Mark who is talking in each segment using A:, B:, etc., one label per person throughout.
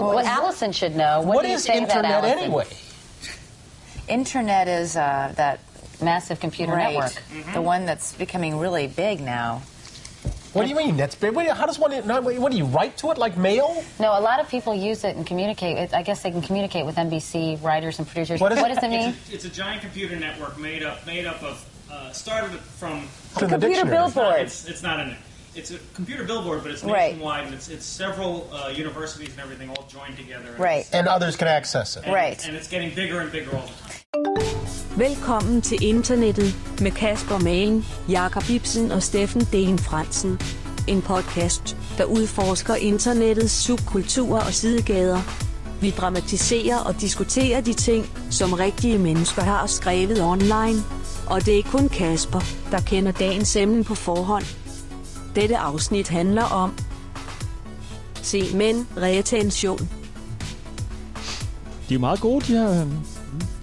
A: Well,
B: What is-
A: Allison should know. What,
C: What
A: do you
C: is
A: say to that,
C: internet
A: Allison?
C: anyway?
B: Internet is uh, that
A: Massive computer
B: right,
A: network.
B: the one that's becoming really big now.
C: What do you mean? That's big. What, how does one? no, wait, What do you write to it like mail?
A: No, a lot of people use it and communicate. It, I guess they can communicate with NBC writers and producers.
C: What is it?
A: does it mean?
D: It's a, it's a giant computer network made up made up of uh, started from
C: It's in the
A: computer
C: dictionary.
A: billboard.
D: It's, it's not in it. It's a computer billboard, but it's
B: Right.
D: nationwide, and it's, it's several uh, universities and everything all joined together. and
B: Right.
D: it's-
C: And others can access it.
D: and-
B: Right.
D: And it's getting bigger and bigger all the time.
E: Velkommen til internettet med Kasper Malen, Jakob Ibsen og Steffen Dane Fransen. En podcast, der udforsker internettets subkulturer og sidegader. Vi dramatiserer og diskuterer de ting, som rigtige mennesker har skrevet online. Og det er kun Kasper, der kender dagens emne på forhånd. Dette afsnit handler om Se mænd, retention.
F: De er meget gode, de her øhm,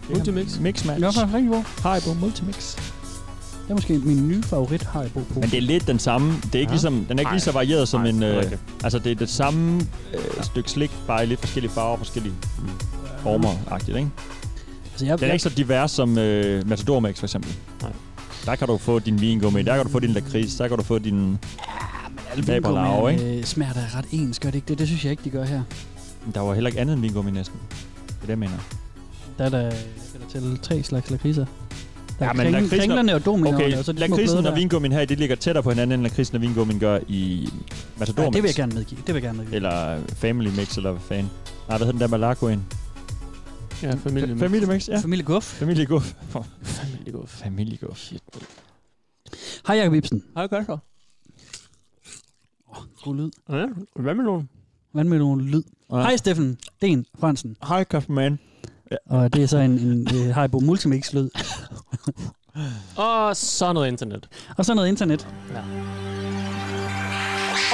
G: Multimix.
F: mixmatch.
G: Jeg er faktisk rigtig god.
F: Haribo Multimix.
G: Det er måske min nye favorit Haribo på.
F: Men det er lidt den samme. Det er ikke ja.
G: Ja.
F: ligesom, den er ikke
G: Nej.
F: lige så varieret som
G: Nej,
F: en...
G: det er
F: Øh,
G: rigtigt.
F: altså, det er det samme øh, stykke slik, bare i lidt forskellige farver og forskellige former-agtigt, ikke?
G: altså, jeg,
F: Den er
G: jeg,
F: ikke så divers som øh, Matador Mix, for eksempel.
G: Nej.
F: Der kan du få din vingummi, der kan du få din lakrids, der kan du få din...
G: alle
F: Laber Lav,
G: vingummierne, øh, smager da ret ens, gør det ikke det? Det synes jeg ikke, de gør her. øh.
F: Der var heller ikke andet end vingummi næsten. Det er det, jeg mener.
G: Der er der, der, er der til tre slags lakridser. Der
F: Ja,
G: er ja,
F: men
G: kring,
F: lakridsen-
G: kringlerne og dominoerne,
F: Okay,
G: og så de små
F: lakridsen
G: bløde
F: og
G: der.
F: vingummien her, det ligger tættere på hinanden, end lakridsen og vingummien gør i Matador
G: Nej,
F: Mix.
G: det vil jeg gerne medgive. Det vil jeg gerne medgive.
F: Eller Family Mix, eller hvad fanden. Nej, hvad hedder den der Malakoen?
G: ja, familie.
F: Familie Mix, ja.
G: Familie Guff.
F: Familieguff.
G: Familie Guff.
F: Familieguff. Shit.
G: Hej Jacob Ibsen.
H: Hej Kasper.
G: God lyd.
H: Ja, hvad med nogen?
G: Hvad med nogen lyd?
F: Ja.
G: Hej Steffen. Den Fransen.
F: Hej, Kaffeman.
G: Og det er så en, en øh, Haribo Multimix-lyd.
H: Og så noget Ah, internet.
G: Og så noget internet.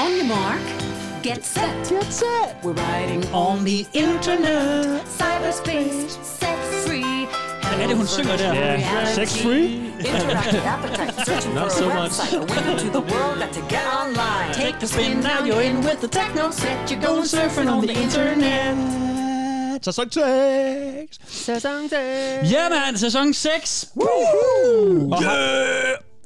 I: On your mark, get set. Get set. We're riding
G: On the internet.
I: cyberspace, set free.
G: Hvad er det, hun synger der?
F: Sex free?
I: Interactive appetite, searching
H: Not
I: for
H: so
I: a
H: much.
I: website, a window to the world that to get online. Take the spin, now you're in with the techno set. You're going surfing on the internet.
F: Sæson 6!
G: Jamen, sæson 6!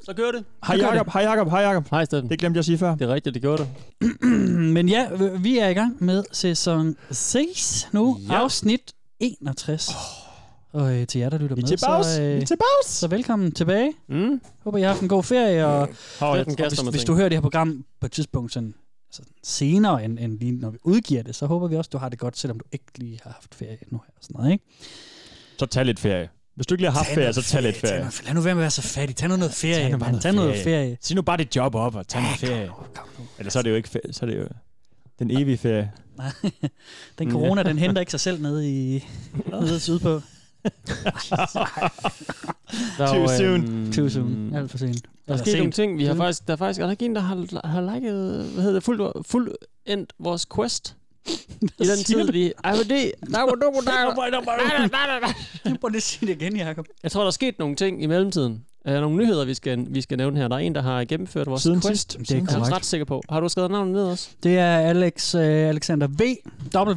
H: Så gør det.
F: Hej Jakob, hej Jakob, hej Jakob.
H: Hej Steffen.
F: Det glemte jeg at sige før.
H: Det er rigtigt, det gjorde det.
G: Men ja, øh, vi er i gang med sæson 6 nu. Ja. Afsnit 61. Oh. Og øh, til jer, der lytter
F: Vi er
G: med,
F: tilbage.
G: så,
F: Vi
G: øh,
F: er tilbage.
G: så velkommen tilbage.
H: Mm.
G: Håber, I har haft en god ferie. Og,
F: Øh,
H: Hov, jeg den
G: og hvis,
H: kaster mig
G: hvis du hører det her program på et tidspunkt sådan, altså senere, end, end lige når vi udgiver det, så håber vi også, du har det godt, selvom du ikke lige har haft ferie nu her. Og sådan noget, ikke?
F: Så tag lidt ferie. Hvis du ikke lige har haft ferie, så tag lidt
G: Tag
F: ferie.
G: noget, lad nu være med at være så fattig. Tag nu noget ferie,
F: Tag nu bare
G: mand. Tag noget ferie.
F: Sig nu bare dit job op og tag noget ferie. Eller så er det jo ikke ferie, så er det jo den evige ferie.
G: Den corona, den henter ikke sig selv nede i nede sydpå.
H: Der er
F: Too
H: jo,
F: soon.
H: øhm,
G: øh, Too soon. Alt for sent.
H: Der er
G: Eller
H: sket nogle
G: sent.
H: ting. Vi har
G: Siden.
H: faktisk, der er faktisk er der ikke en, der har, har liket, hvad hedder det, fuldt, fuldt endt vores quest. I den
G: siger
H: tid,
G: du?
H: vi... Ej, men det... Nej, hvor dukker der...
G: Nu må det sige det igen, Jacob.
H: Jeg tror, der er sket nogle ting i mellemtiden. Uh, nogle nyheder, vi skal, vi skal nævne her. Der er en, der har gennemført vores
F: Siden
H: quest.
F: sidst.
G: Det er
H: Jeg er ret
G: korrekt.
H: sikker på. Har du skrevet navnet ned også?
G: Det er Alex, øh, Alexander V.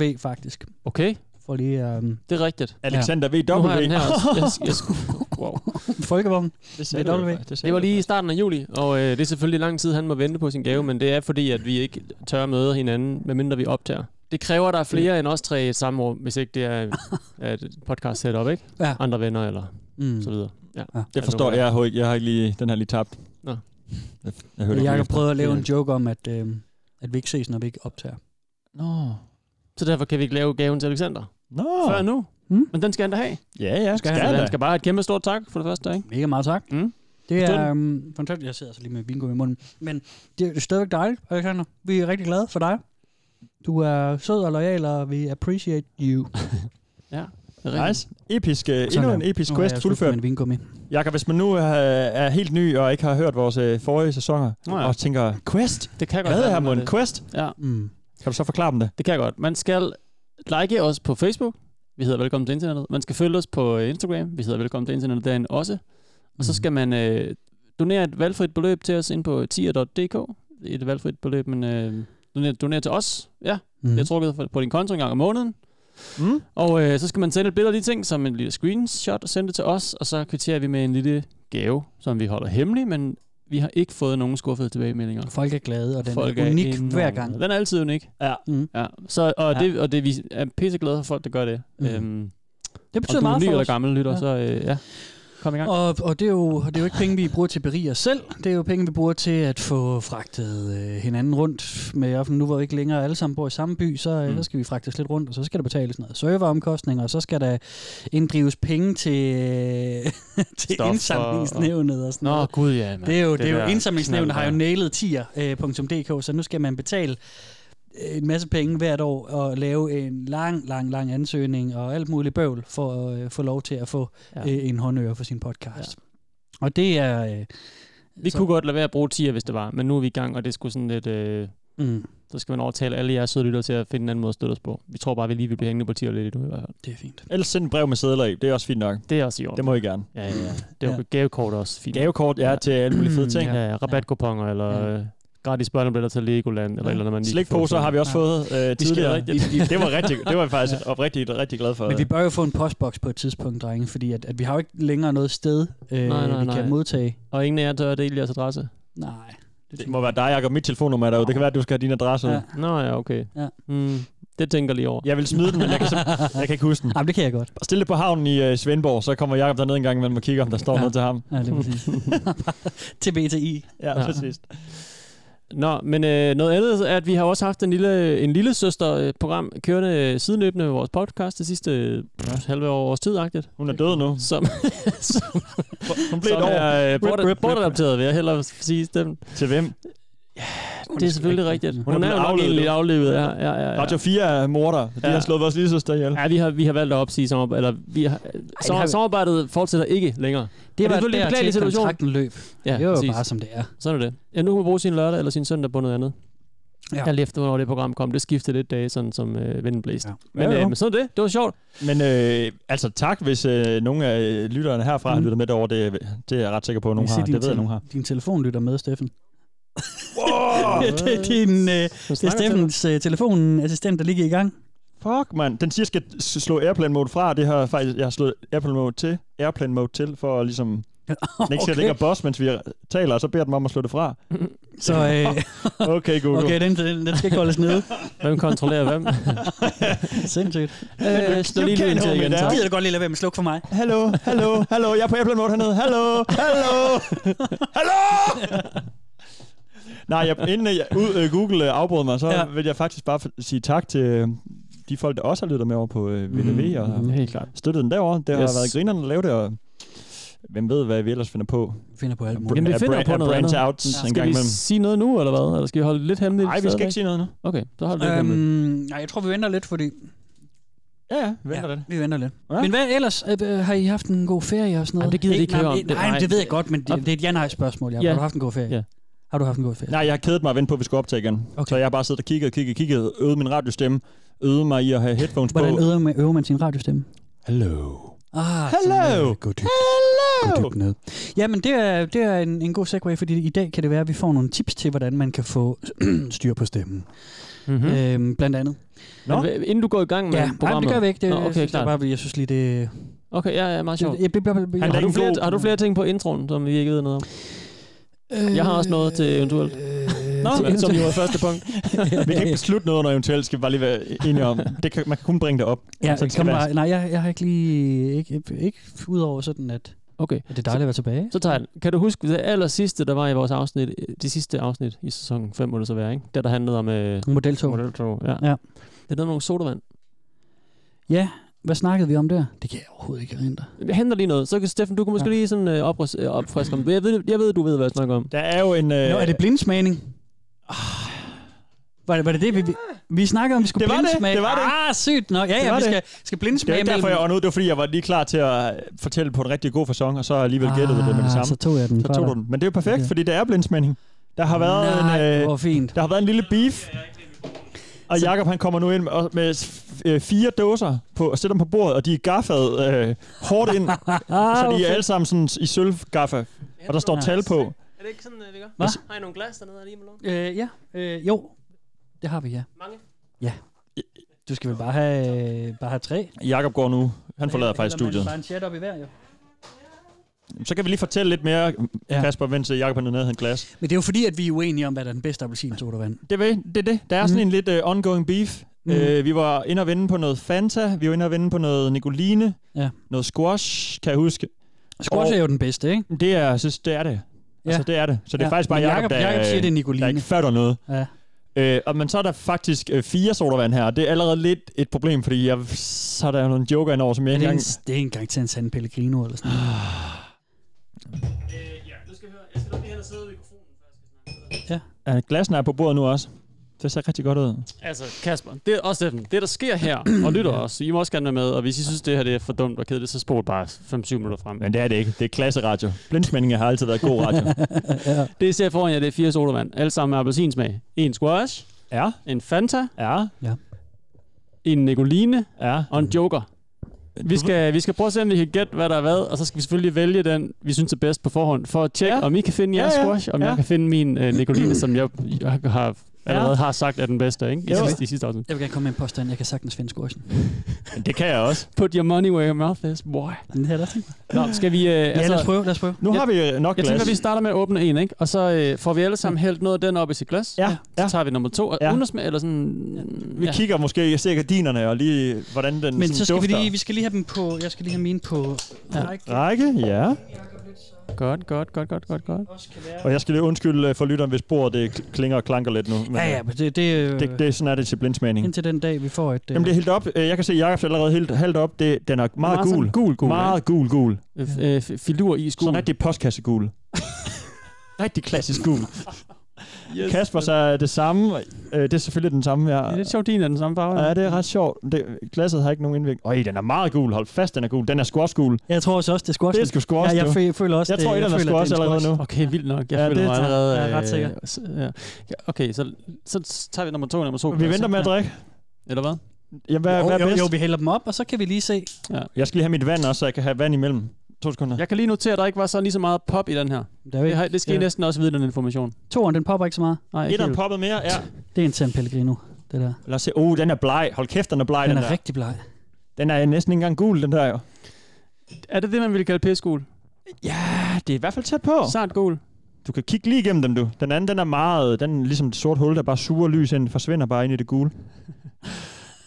G: W faktisk.
H: Okay,
G: For lige øh,
H: det er rigtigt.
F: Alexander V.
H: Nu har jeg
F: W.
H: den her også. Jeg, jeg, wow.
G: folkevogn.
F: Det
G: sagde du jo.
H: Det var lige i starten af juli, og øh, det er selvfølgelig lang tid, han må vente på sin gave, men det er fordi, at vi ikke tør møde hinanden, medmindre vi optager. Det kræver, at der er flere end os tre i et samme rum, hvis ikke det er er et podcast setup, ikke?
G: Ja.
H: Andre venner eller
G: Mm.
H: så videre. Ja.
G: Ja.
F: Det forstår jeg. Jeg har ikke, jeg har ikke lige, den har lige tabt.
H: Nå.
F: Jeg, jeg hørte
G: Men
F: ikke
G: Jacob
F: efter.
G: prøvede at lave en joke om, at, øh, at vi ikke ses, når vi ikke optager.
F: Nå.
H: Så derfor kan vi ikke lave gaven til Alexander.
F: Nå.
H: Oh. Før nu.
G: Mm.
H: Men den skal han da have.
F: Ja, ja. Skal,
H: Så
F: han da.
H: han skal bare have et kæmpe stort tak for det første, ikke?
G: Mega meget tak.
H: Mm.
G: Det
H: Forstod
G: er um, fantastisk. Jeg sidder altså lige med bingo i munden. Men det er stadigvæk dejligt, Alexander. Vi er rigtig glade for dig. Du er sød og lojal, og vi appreciate you.
H: Det er rigtigt.
F: Nice. Episk, øh, endnu en episk quest fuldført.
G: Med vingummi.
F: Jakob, hvis man nu er, er helt ny og ikke har hørt vores øh, forrige sæsoner,
H: Nå ja.
F: og tænker, quest?
H: Det kan godt
F: Hvad er
H: han
F: her
H: har
F: en
H: det.
F: quest?
H: Ja.
G: Mm.
F: Kan du så forklare dem det?
H: Det kan jeg godt. Man skal like os på Facebook. Vi hedder Velkommen til Internettet. Man skal følge os på øh, Instagram. Vi hedder Velkommen til Internettet derinde også. Og så skal man øh, donere et valgfrit beløb til os ind på tier.dk. Et valgfrit beløb, men øh, donere, donere til os. Ja,
G: Mhm.
H: mm. jeg har trukket for- på din konto en gang om måneden.
C: Mm.
H: Og øh, så skal man sende et billede af de ting, som en lille screenshot, og sende det til os, og så kvitterer vi med en lille gave, som vi holder hemmelig, men vi har ikke fået nogen skuffede tilbagemeldinger.
G: Folk er glade, og den
H: Folk
G: er
H: er
G: unik
H: enormt
G: hver gang.
H: glade. Den er altid unik.
G: Ja. Mm.
H: Ja. Så, og,
G: Ja.
H: ja. Det, og det, vi er pisseglade for folk, der gør det.
G: Mhm.
H: Mm. Øhm,
G: Det betyder
H: om du er
G: meget
H: ny
G: for
H: eller
G: os.
H: gammel lytter,
G: Ja.
H: ja. så øh, ja. kom i gang.
G: Og, og det, er jo, det er jo ikke penge, vi bruger til at berige os selv. Det er jo penge, vi bruger til at få fragtet øh, hinanden rundt med offentlig. Nu hvor vi ikke længere alle sammen bor i samme by, så, øh,
H: Mm.
G: så skal vi fragtes lidt rundt, og så skal der betales noget serveromkostninger, og så skal der inddrives penge til, øh, til
H: Stoffer og-
G: indsamlingsnævnet og sådan
H: Nå,
G: noget.
H: gud ja. Man.
G: Det er jo, det det er jo
H: der
G: indsamlingsnævnet har jo
H: knald
G: nailet øh, tier.dk, så nu skal man betale øh, en masse penge hvert år og lave en lang, lang, lang ansøgning og alt muligt bøvl for at øh, få lov til at få ja.
H: Ja.
G: øh, en håndøre for sin podcast. Ja. Og det er... Øh,
H: der. Vi
G: så-
H: kunne godt lade være at bruge 10'er, hvis det var, men nu er vi i gang, og det skulle sådan lidt... Øh,
G: Mm,
H: så skal man overtale alle jeres søde lyttere til at finde en anden måde at støtte os på. Vi tror bare, vi lige vil blive hængende på 10'er lidt endnu i hvert fald.
G: det er fint.
F: Ellers send en brev med sædler i. Det er også fint nok.
H: Det er også i orden.
F: Det må I gerne.
H: Ja, ja, ja. Det er jo gavekort er også fint.
F: Gavekort ja,
H: Ja.
F: til alle mulige fede ting.
H: Ja, ja, rabatkuponer, eller
G: Ja.
H: ja. gratis børnebilletter til Legoland, eller
G: Ja.
H: ja. eller andet, man lige kan få.
F: Slikposer har vi også
G: Ja.
F: fået øh, tidligere.
H: rigtig-
F: Det var rigtig, det var jeg faktisk oprigtigt rigtig glad for.
G: Men vi bør jo få en postboks på et tidspunkt, drenge, fordi at, at vi har jo ikke længere noget sted, øh,
H: Nej, nej,
G: vi kan
H: nej.
G: modtage.
H: Og ingen af jer tør at dele jeres adresse?
G: Nej. Det
F: Det
G: tænker
F: må være dig, Jacob. Mit telefonnummer er derude. Det kan være, at du skal have din adresse.
G: Ja.
F: Ja.
H: Nå ja, okay.
G: Ja.
H: Mm, det tænker jeg lige over.
F: Jeg vil smide den, men jeg kan, sim- jeg kan ikke huske den.
G: jeg. Jamen, det kan jeg godt.
F: Stil det på havnen i øh, Svendborg, så kommer Jacob derned en gang imellem og kigger, om der står
G: Ja.
F: noget til ham.
G: Ja, det er præcis. Til BTI.
F: Ja,
H: Ja.
F: præcis.
H: Nå, men øh, noget andet er, at vi har også haft en lille, en lille søster-program kørende øh, sideløbende med vores podcast det sidste øh, halve år, års tid, agtigt,
F: Hun er død nu.
H: som, som,
F: Hun blev
H: som
F: et år.
H: er øh,
F: Rip, rip,
H: borta-
F: rip.
H: bortadopteret, vil jeg hellere sige. Dem.
F: Til hvem?
H: Det er selvfølgelig rigtigt.
F: Hun er
H: Hun er jo
F: blevet
H: nok
F: aflivet.
H: egentlig lidt aflevet. Ja, ja, ja, ja.
F: Radio 4 er morder. De
H: Ja.
F: har slået vores lille søster ihjel.
H: Ja, vi har, vi har valgt at opsige samarbejdet. Eller vi har,
G: har
H: Ej,
G: vi-
H: samarbejdet fortsætter ikke længere.
G: Det
H: Og det
G: var
H: er selvfølgelig en
G: der
H: beklagelig
G: til
H: situation.
G: kontrakten løb.
H: Ja,
G: det er jo
H: præcis.
G: bare, som det er.
H: Sådan er det. Ja, nu kan man bruge sin lørdag eller sin søndag på noget andet.
G: Ja.
H: Ja. Jeg lefte, hvornår det program kom. Det skiftede lidt dage, sådan som øh, vinden blæste.
G: Ja.
H: Ja. Men,
F: Ja, jo.
H: øh, men sådan er det. Det var sjovt.
F: Men øh, altså tak, hvis øh, nogle af lytterne herfra har
H: Mm.
G: Mhm.
F: lyttet med derover. Det, det er jeg ret sikker på, at nogen
G: Jeg kan se,
F: har. Det
G: din
F: ved jeg,
G: tel-
F: nogen har. Øh,
G: Din telefon lytter med, Steffen. Wow! det er din... Øh, det er Steffens øh, telefonassistent, der ligger i gang.
F: Fuck, mand. Den siger, at jeg skal s- slå airplane mode fra. Det har jeg faktisk, jeg har slået airplane mode til, airplane mode til, for at ligesom... Den ikke skal
G: Okay.
F: ligge og boss, mens vi taler, og så beder den om at slå det fra.
G: Så øh,
F: Okay, Google.
G: okay,
F: Okay.
G: den, den, den skal ikke holdes nede.
H: Hvem kontrollerer hvem?
G: Sindssygt.
H: øh, slå lige
F: You
H: lyden
F: can't
H: til
F: hold me
H: igen.
F: down.
H: Så.
G: Jeg gider godt lige lade være med at slukke for mig.
F: Hallo, hallo, hallo. Jeg er på airplane mode hernede. Hallo, hallo, hallo. Nej, jeg, inden jeg, ud, øh, Google øh, afbrød mig, så
G: Ja.
F: ja. vil jeg faktisk bare f- sige tak til øh, de folk, der også har lyttet med over på øh, VDV og
H: Mm, helt klart.
F: støttet den derovre. Det har
H: Yes.
F: været grinerne at lave det, og hvem ved, hvad vi ellers finder på.
G: Vi finder på alt muligt.
H: Jamen, vi
F: At
H: finder
F: bra-
H: på
F: at
H: noget
F: branch
H: andet.
F: out en
H: Skal
F: gang
H: vi
F: imellem.
H: sige noget nu, eller hvad? Eller skal vi holde det lidt hemmeligt?
F: Nej, vi skal
H: stadigvæk?
F: ikke sige noget nu.
H: Okay, så holder det lidt hemmeligt.
G: Øhm, nej, jeg tror, vi venter lidt, fordi...
F: Ja, ja, vi venter ja. lidt.
G: Vi venter lidt.
F: Ja.
G: Men hvad ellers? Øh, øh, har I haft en god ferie og sådan noget?
H: Jamen, det gider de ikke
G: nej,
H: høre om.
G: Nej, nej,
H: Nej.
G: det ved jeg godt, men det, det er et ja-nej-spørgsmål. Ja.
H: Ja.
G: Har du haft en god ferie?
H: Ja.
G: Har du haft en god ferie?
F: Nej, jeg har kædet mig at vente på, at vi skal optage igen.
G: Okay.
F: Okay. Så jeg har bare siddet og kigget, kigget, kigget, øvet min radiostemme, øvet mig i at have headphones
G: Hvordan
F: på.
G: øver man, øver man sin radiostemme?
F: Hello.
G: Ah,
F: Hello.
G: Gå dybt, gå
F: Hello.
G: dybt ned. Jamen, det er, det er en, en god segue, fordi i dag kan det være, at vi får nogle tips til, hvordan man kan få styr på stemmen.
H: Mhm.
G: Mm. Øhm, blandt andet.
H: Men hvad- Inden du går i gang med
G: Ja, nej, men
H: programmet.
G: det gør vi ikke. Det,
H: Nå,
G: Nå,
H: okay,
G: okay,
H: klart.
G: jeg, bare, jeg synes lige, det...
H: Okay, ja, ja, meget sjovt.
G: Jeg, jeg, jeg, jeg,
F: Han
H: Har
F: er
H: du,
F: en
H: flere,
F: god-
H: har du flere ting på introen, som vi ikke ved noget om?
G: øh,
H: Jeg har også noget til eventuelt.
G: Øh,
F: Nå,
G: til
H: som
G: eventuelt.
H: jo er første punkt.
F: Vi kan ikke beslutte noget under eventuelt, skal vi bare lige være enige om. Det kan, man kan kun bringe det op.
G: Ja,
F: Så
G: så
F: det
G: kan
F: skal
G: man,
F: være-
G: nej, jeg, jeg har ikke lige... Ikke, ikke, ikke udover sådan, at,
H: Okay,
G: at det er dejligt at være tilbage.
H: så tager jeg den. Kan du huske det aller sidste, der var i vores afsnit, øh, det sidste afsnit i sæson 5, må det så være, ikke? Der, der handlede om øh,
G: Modeltog.
H: modeltog. Ja.
G: Ja.
H: Det er noget med nogle sodavand.
G: Ja, hvad snakkede vi om der? Det kan jeg overhovedet ikke erindre.
H: Jeg henter lige noget. Så kan Steffen, du kan måske
G: Ja.
H: ja. lige sådan øh, opres, øh, opfriske om det. Jeg ved, jeg ved, du ved, hvad jeg snakker om.
F: Der er jo en... Øh,
G: Nå, er det blindsmagning? Var det, var det det, vi, vi, vi snakkede om, vi skulle
F: Det var det,
G: blindsmage?
F: det var det.
G: Ah, sygt nok. Ja,
F: Det
G: ja,
F: var
G: vi
F: det.
G: skal, skal
F: det er
G: blindsmage
F: ikke derfor, jeg åndede ud. Det var, fordi jeg var lige klar til at øh, fortælle på en rigtig god fasong, og så alligevel gættede det med det samme.
G: Ah, så tog jeg den
F: Så
G: fra
F: tog du
G: dig.
F: den. Men det er jo perfekt,
G: Okay.
F: fordi det er blindsmænding. Der har været
G: Nej,
F: en... øh,
G: hvor fint.
F: Der har været en lille beef. Og Jakob han kommer nu ind med, og- med f- øh, fire dåser på, og sætter dem på bordet, og de er gaffet øh, hårdt ind. så de er alle sammen sådan i sølvgaffe, og der står tal på.
H: Er det ikke sådan, vi gør?
G: Hva?
H: Har I nogle glas dernede lige med
G: Øh, ja, øh, jo. Det har vi, ja.
D: Mange?
G: Ja. Du skal vel bare have, øh, bare have tre?
F: Jakob går nu. Han forlader
G: Eller
F: faktisk
G: man
F: studiet.
G: Bare en chat op i hver, jo.
F: Så kan vi lige fortælle lidt mere,
G: Ja.
F: Kasper, mens øh, Jakob er nede og henter en glas.
G: Men det er jo fordi, at vi er uenige om, hvad der er den bedste appelsinsodavand.
F: Det er det. det, er det. Der er mm. sådan en lidt uh, ongoing beef.
G: Mm.
F: Mm. Uh, vi var inde og vende på noget Fanta, vi var inde og vende på noget Nicoline,
G: Ja.
F: noget squash, kan jeg huske.
G: Squash er jo den bedste, ikke?
F: Det er, jeg synes, det er det.
G: Ja.
F: Ja. Altså, det er det. Så det er
G: Ja.
F: ja. faktisk bare
G: Men
F: Jacob,
G: Jacob-
F: der,
G: Jacob siger, det er Nicoline.
F: der ikke fatter noget.
G: Ja.
F: Øh, og men så er der faktisk øh, fire sodavand her, og det er allerede lidt et problem, fordi jeg, så er der jo nogle joker indover, som jeg
G: Det
F: ikke
G: er, en,
F: engang...
G: det er en gang til en San Pellegrino eller sådan noget.
D: Øh, ja, nu skal jeg høre. Jeg skal nok lige hen og sidde ved mikrofonen.
F: Ja, glassen er på bordet nu også. Det ser rigtig godt ud.
H: Altså, Kasper, det er også Steffen. Det, der sker her, og lytter ja. også, I må også gerne være med, og hvis I synes, det her det er for dumt og kedeligt, så spol bare 5-7 minutter frem.
F: Men det er det ikke. Det er klasseradio. Blindsmændinger har altid været god radio.
H: Det, I ser foran jer, det er fire sodavand. Alle sammen med appelsinsmag. En squash,
F: ja,
H: en Fanta,
F: ja,
H: en Nicoline
F: ja.
H: og en Joker. Vi skal, vi skal prøve at se, om vi kan gætte, hvad der er hvad, og så skal vi selvfølgelig vælge den, vi synes er bedst på forhånd, for at tjekke, ja.
F: Ja.
H: om I kan finde jeres
F: Ja, ja.
H: squash, om ja.
F: Ja.
H: jeg kan finde min øh, Nicoline, som jeg, jeg har, allerede har sagt er den bedste, ikke? I,
F: Jo.
H: sidste, i sidste afsnit.
G: Jeg vil gerne komme med en påstand. Jeg kan sagtens finde squashen.
F: Men Det kan jeg også.
H: Put your money where your mouth is, boy.
G: Den her, der tænkt mig.
H: Nå, skal vi... Øh,
G: Ja, lad os prøve, lad os prøve.
F: Nu
H: Jeg-
F: har vi øh, nok
H: Jeg
F: glas.
H: tænker, vi starter med at åbne en, ikke? Og så øh, får vi alle sammen hældt noget af den op i sit glas.
F: Ja,
H: Så
F: ja.
H: tager vi nummer to, og ja.
F: Ja.
H: uden at smage, eller sådan...
F: Vi ja. kigger måske, jeg ser gardinerne og lige, hvordan den
G: Men
F: sådan
G: så skal vi
F: dufter.
G: lige, vi skal lige have dem på, jeg skal lige have mine på række.
F: Række, ja.
H: Godt, godt, godt, godt, godt, godt.
G: Også kan være-
F: Og jeg skal lige undskylde øh, for lytteren, hvis bordet det kl- klinger og klanker lidt nu. Men,
G: Ja, ja,
F: øh,
G: men det, det, øh,
F: Det, det, sådan er det til blindsmagning.
G: indtil den dag, vi får et... øh,
F: Jamen, det er helt op. Øh, Jeg kan se, at Jacobs er allerede helt, halvt op. Det, den er meget,
H: Meget sådan
F: gul.
H: gul, gul,
F: Meget gul, gul.
H: Øh, øh, filur i
F: Sådan
H: skoen.
F: rigtig postkassegul. rigtig klassisk gul.
H: Yes.
F: Kasper, så er det samme. Øh, det er selvfølgelig den samme, jeg...
H: Det er lidt sjovt, din er den samme farve.
F: Ja, det er ret sjovt. Det, glasset har ikke nogen indvirkning. Øj, den er meget gul. Hold fast, den er gul. Den er squash-gul.
G: Jeg tror også, også det er squash.
F: Det er sgu squash,
G: ja, jeg
F: du.
G: fø- føler også,
F: Jeg tror,
G: det-
F: et af dem er
G: føler, at
F: squash
G: det er en
F: allerede nu.
H: Okay, vildt nok. Jeg
F: Ja,
H: føler
F: det
H: mig
F: er-
H: allerede...
G: jeg er ret sikker.
H: øh, s- ja. Okay, så, så så tager vi nummer to, nummer to.
F: Vi venter med at drikke.
H: Eller hvad?
F: Jamen, hvad,
G: Jo,
F: hvad er
G: jo,
F: bedst?
G: jo, vi hælder dem op, og så kan vi lige se.
F: Jeg skal lige have mit vand også, så jeg kan have vand imellem. To sekunder.
H: Jeg kan lige notere, at der ikke var så lige så meget pop i den her.
G: Der er jo
H: Det,
G: ikke,
H: har- det skal I næsten også vide, den information.
G: Toren, den popper ikke så meget.
H: Nej, ikke
F: Etteren
H: helt.
F: poppet mere, ja.
G: Det er en San Pellegrino, det der.
F: Lad os se. Oh, den er bleg. Hold kæft, den er bleg,
G: Den
F: den,
G: er
F: der.
G: rigtig bleg.
F: Den er næsten ikke engang gul, den der jo.
H: Er det det, man ville kalde pæskul?
F: Ja, det er i hvert fald tæt på.
H: Sart gul.
F: Du kan kigge lige igennem dem, du. Den anden, den er meget... Den er ligesom et sort hul, der bare suger lys ind, forsvinder bare ind i det gule.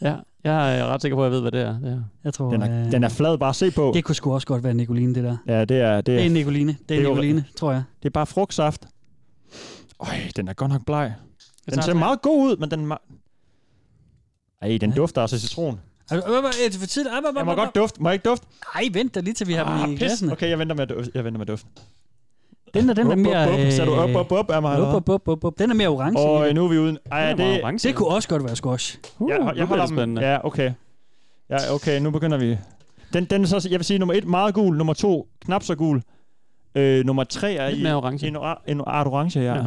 H: Ja, jeg er ret sikker på, at jeg ved, hvad det er. Det er.
G: Jeg tror,
F: Den er,
G: øh,
F: den er flad, bare se på.
G: det kunne sgu også godt være Nicoline, det der.
F: Ja, det er, det
G: Det
F: er,
G: er Nicoline, det er
F: Det er jo-
G: Nicoline, tror jeg.
F: det er bare frugtsaft. Øj, den er godt nok bleg. Den
H: tager
F: ser
H: tre.
F: meget god ud, men den... er ma- Ej, den dufter altså af citron.
G: Er det for tidligt? Ej, hvor- hvor-
F: Jeg må
G: hvor-
F: godt dufte. Må jeg ikke dufte?
G: Ej, vent da lige, til vi har dem i
F: Ah, pis.
G: glassene.
F: Okay, jeg venter med at dufte. Jeg venter med at dufte.
G: Den er, den er
F: Bup, bup,
G: mere... øh,
F: bup. Sagde du op, op, op af mig? eller
G: Bup,
F: hvad?
G: bup, bup, bup, bup. Den er mere orange.
F: Og nu er vi uden. Ej,
H: Den
F: det,
H: er
F: det,
H: meget
F: jeg,
H: orange.
G: det kunne også godt være squash.
H: Uh,
F: jeg,
H: nu
F: jeg
H: bliver
F: holder
H: det spændende.
F: dem. Ja, okay. Ja, okay, nu begynder vi. Den, den er så, jeg vil sige, nummer et meget gul, nummer to knap så gul. Øh, nummer tre er
H: Lidt
F: i,
H: mere orange.
F: en, or- en art orange, ja.
H: Ja.
F: ja.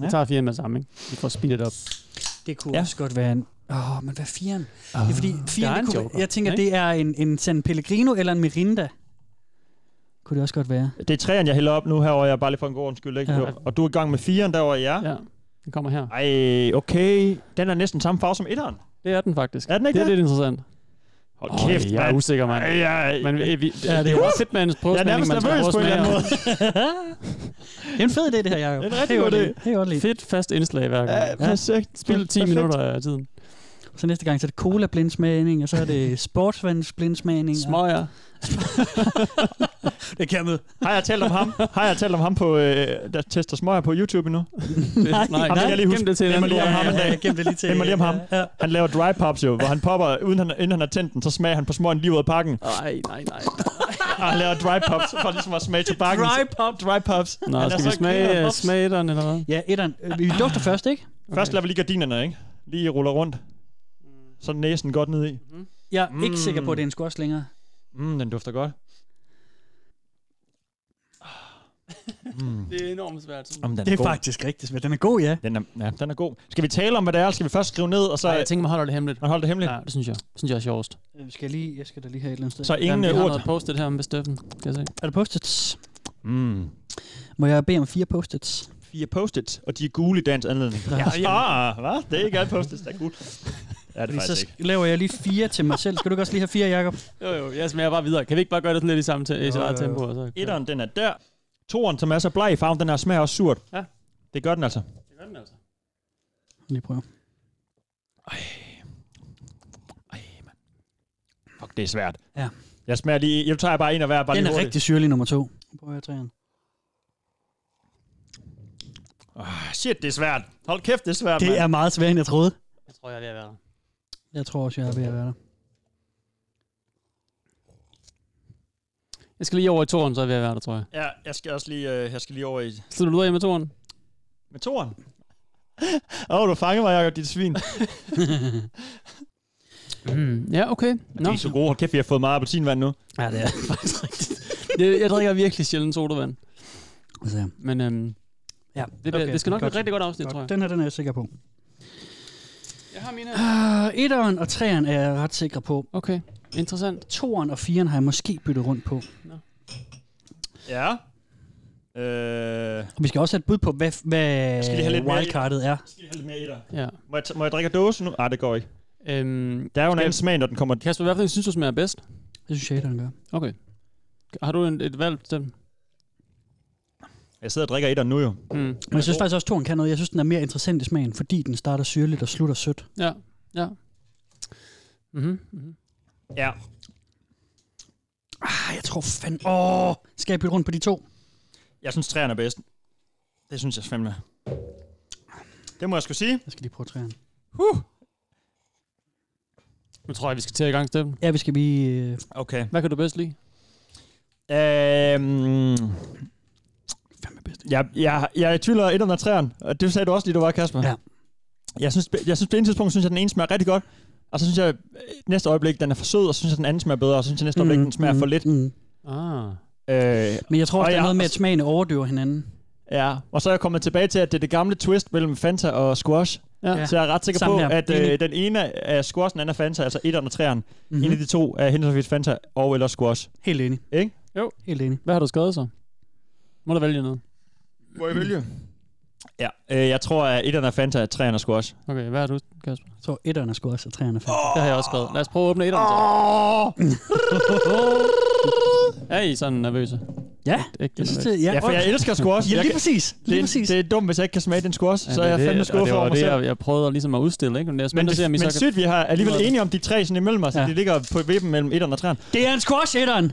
H: Jeg tager fire med sammen, ikke? Vi får speedet op.
G: Det kunne
F: Ja.
G: også godt være en... Åh, oh, men hvad er firen?
F: Ah,
G: Oh, det er fordi,
H: der er
G: firen,
H: en
G: det kunne,
H: joker,
G: jeg tænker,
H: ikke?
G: det er en, en San Pellegrino eller en Mirinda. Kunne det også godt være.
F: Det er træerne, jeg hælder op nu herovre, jeg er bare lige for en god undskyld, ikke?
G: Ja.
F: Jo. Og du er i gang med firen derovre, ja.
H: Ja, den kommer her.
F: Ej, okay. Den er næsten samme farve som etteren.
H: Det er den faktisk.
F: Er den ikke
H: det? er
F: det?
H: lidt interessant.
F: Hold
H: Åh,
F: kæft,
H: jeg er
F: mand.
H: usikker, mand.
F: Ej, jeg,
H: Men vi, vi, ja, det er jo også fedt med en
F: jeg er
H: sprogsmænding,
F: nærmest
H: man skal
F: nervøs
H: prøve
F: på en eller anden
H: smage.
F: måde.
G: Det er en fed idé, det her, Jacob.
F: Det er en rigtig god
G: godt,
F: idé.
G: Det er godt lige.
H: Fedt fast indslag hver gang.
F: Ja, perfekt.
H: Spil 10
F: Perfekt.
H: minutter af tiden.
G: Så næste gang, så er det cola-blindsmagning, og så er det sportsvandsblindsmagning. og-
H: Smøger.
G: Det kan jeg med.
F: Har jeg talt om ham? Har jeg talt om ham på, øh, der tester smøger på YouTube endnu?
H: Nej,
F: Ham kan jeg lige
H: gem
F: huske.
H: det til en
F: Gem
H: anden
F: lige
H: gang.
F: om ham en dag.
G: Jeg gemte det lige til.
F: Det mig lige om ham.
G: Ja.
F: Han laver dry pops jo, hvor han popper, uden han, inden han har tændt den, så smager han på smøgen lige ud af pakken.
H: Nej, nej, nej.
F: Og han Ah, laver dry pops, for ligesom at smage tobakken.
G: Dry
F: pop. Dry pops.
H: Nå,
F: Han er
H: skal vi
F: så
H: smage,
F: grineren.
H: øh, smage den, eller hvad? Ah.
G: Ja, etteren. Øh, Vi dufter først, ikke?
F: Først lader vi lige gardinerne, ikke? Lige ruller rundt. Så er næsen godt ned i.
G: Mm-hmm. Jeg er ikke sikker på, at det er en squash længere.
F: Mm, den dufter godt.
H: Det er enormt svært.
F: Om den er, god.
G: faktisk rigtigt, men den er god, ja.
F: Den er, ja, den er god. Skal vi tale om, hvad det er? eller Skal vi først skrive ned, og så...
H: Nej, jeg tænker, man holder det hemmeligt.
F: Man holder det hemmeligt.
H: Ja, det synes jeg. Det synes jeg er sjovest.
G: Jeg Øh, skal, jeg lige, jeg skal da lige have et eller andet sted.
F: Så ingen
H: Jamen, vi
F: øh,
H: har
F: ord.
H: noget postet her med Steffen. Kan jeg se?
G: Er der post-its?
F: Mm.
G: Må jeg bede om fire post-its?
F: fire post-its, og de er gule i dansk anledning.
G: Ja.
F: Ja, ah, hvad? Det er ikke alle post-its, der er gule. Ja, det er
G: Fordi
F: faktisk
G: så
F: ikke.
G: laver jeg lige fire til mig selv. Skal du ikke også lige have fire, Jacob?
H: Jo, jo, jeg smager bare videre. Kan vi ikke bare gøre det sådan lidt i samme te- i sit
G: Jo,
H: eget
G: jo, jo.
H: tempo? Og så?
F: øh, Etteren, den er der. Toeren, som er så bleg i farven, den her smager også surt.
H: Ja.
F: Det gør den altså.
H: Det gør den altså.
G: Lige prøve.
F: Fuck, det er svært.
G: Ja.
F: Jeg smager lige... Jeg tager bare en af hver, bare
G: Den
F: lige
G: er
F: hurtigt.
G: rigtig syrlig, nummer to. Prøver jeg træerne.
F: Ah, shit, det er svært. Hold kæft, det er svært,
G: Det
F: mand.
G: er meget sværere, end jeg troede.
H: Jeg tror, jeg er ved at være der.
G: Jeg tror også, jeg er ved at være der.
H: Jeg skal lige over i toren, så er jeg ved at være der, tror jeg.
F: Ja, jeg skal også lige, øh, jeg skal lige over i...
H: Slutter du ud af med toren?
F: Med toren. Åh, oh, du fanger mig, Jacob, dit svin.
H: Mm, ja, okay. Nå.
F: Nå. Det er så gode. Hold kæft, vi har fået meget appelsinvand nu.
G: Ja, det er
H: faktisk rigtigt. Jeg, jeg drikker virkelig sjældent sodavand.
G: altså,
H: Men øhm,
G: ja.
H: det, bliver, okay, det skal nok blive et rigtig godt afsnit,
G: godt.
H: tror jeg.
G: Den her, den er jeg sikker på.
H: Jeg har mine.
G: Uh, etteren og treeren er jeg ret sikker på.
H: Okay, interessant.
G: Toeren og firen har jeg måske byttet rundt på.
F: Ja. Øh,
G: Og vi skal også have et bud på, hvad, hvad
F: skal lige have lidt mere i.
G: wildcardet er.
F: skal lige have lidt mere i dig.
H: Ja.
F: Må jeg, t- må jeg drikke af dåse nu? Nej, det går ikke.
H: Øhm,
F: Der er jo en
H: Skal-
F: anden smag, når den kommer...
H: Kasper, hvad for en synes du smager bedst?
G: Det synes jeg, etteren gør.
H: Okay. Har du en, et valg til dem?
F: Jeg sidder og drikker et nu jo.
H: Mm.
G: Men jeg synes faktisk også, at toren kan noget. Jeg synes, den er mere interessant i smagen, fordi den starter syrligt og slutter sødt.
H: Ja, ja. Mm-hmm. Mm-hmm.
F: Ja.
G: Ah, jeg tror fandme... Åh, skal jeg bytte rundt på de to?
F: Jeg synes, træerne er bedst. Det synes jeg fandme. Det må jeg skulle sige.
G: Jeg skal lige prøve træerne.
H: Nu tror jeg, vi skal til i gang, Steffen.
G: Ja, vi skal lige... Øh,
F: Okay.
H: Hvad kan du bedst lide?
F: Øhm,
G: fandme bedst.
F: jeg, jeg, jeg er i tvivl om etteren og træerne, og det sagde du også lige, du var, Kasper.
G: Ja.
F: Jeg synes, jeg synes på en tidspunkt, synes jeg, den ene smager rigtig godt, og så synes jeg, øh, næste øjeblik, den er for sød, og så synes jeg, den anden smager bedre, og så synes jeg, næste øjeblik, den smager for lidt.
G: Mm.
H: Ah.
F: Øh,
G: Men jeg tror også,
F: Og
G: der er
F: jeg-
G: noget med, at smagene overdøver hinanden.
F: ja. Og så er jeg kommet tilbage til, at det er det gamle twist mellem Fanta og Squash.
H: Ja.
F: Så jeg er ret sikker
G: Samme
F: på,
G: her.
F: at
G: Enig.
F: øh, den ene er Squash, den anden er Fanta, altså etteren og træerne.
G: Mhm.
F: Mm-hmm. En af de to er henholdsvis Fanta og eller Squash.
G: Helt enig.
F: Ikke?
H: Jo.
G: Helt enig.
H: Hvad har du skrevet så? Må du vælge noget?
F: Må jeg vælge? Ja, øh, jeg tror, at etteren er Fanta, og træerne er Squash.
H: Okay, hvad har du, Kasper?
G: Jeg tror, etteren er sgu også, og træerne er
H: Det har jeg også skrevet. Lad os prøve at åbne et om Er I sådan nervøse?
G: Ja,
H: Ægte
G: jeg synes
H: nervøse.
G: det... Ja,
F: Ja, for jeg elsker squash.
G: ja
F: Jeg
G: lige
F: kan-
G: præcis. Lige
F: det,
G: præcis.
F: det er dumt, hvis jeg ikke kan smage den squash, så er jeg
H: det-
F: fandme
H: og
F: skuffet
H: Det
F: over
H: var
F: mig
H: det,
F: selv.
H: jeg, jeg prøvede ligesom at udstille. Ikke? Men jeg er
F: Men,
H: spændt at se,
F: det,
H: om I
F: men
H: så kan...
F: sygt, vi har alligevel enige om de tre sådan imellem os,
G: Ja.
F: ja. de ligger på vippen mellem etteren og træerne.
G: Det er en squash, etteren.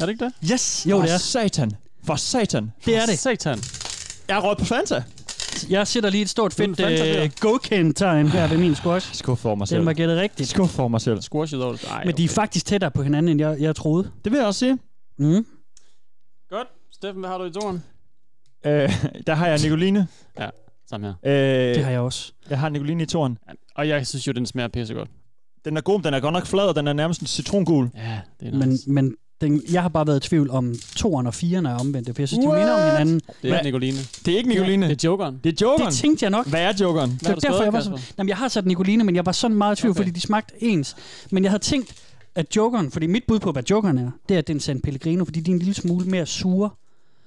H: Er det ikke det?
G: Yes, jo det
F: For
G: er.
F: satan. For satan.
G: Det er det.
H: Satan.
F: Jeg har råd på Fanta.
G: Jeg sætter lige et stort fedt
H: Den fandt sig
G: øh, go-kendt-tegn her ved min squash.
F: Skuffet over mig selv.
G: Den var gættet rigtigt.
F: Skuffet over mig selv.
H: Squashed over. Ej,
G: Men de er faktisk tættere på hinanden, end jeg, jeg troede.
F: Det vil jeg også sige.
G: Mm.
H: Godt. Steffen, hvad har du i toren?
F: Øh, der har jeg Nicoline.
H: Samme her.
F: Øh,
G: Det har jeg også.
F: jeg har Nicoline i toren.
H: Og jeg synes jo, den smager pissegodt.
F: Den er god, men den er godt nok flad, og den er nærmest en citrongul.
H: Ja, det er
G: Men,
H: nice. Men,
G: men den, jeg har bare været i tvivl om toeren og firen er omvendte, for jeg synes, de minder om hinanden.
H: det er
F: Hvad?
H: Nicoline.
F: Det er ikke Nicoline.
H: Det er Jokeren.
F: Det er
G: Det
F: jokeren.
G: tænkte jeg nok.
F: Hvad er jokeren?
H: Hvad har du
G: det var derfor,
H: skrevet,
G: jeg var
H: Kasper?
G: sådan, jamen, jeg har sat Nicoline, men jeg var sådan meget i tvivl,
H: Okay.
G: okay. fordi de smagte ens. Men jeg havde tænkt, at jokeren, fordi mit bud på, hvad jokeren er, det er, at det er en San Pellegrino, fordi de er en lille smule mere sure.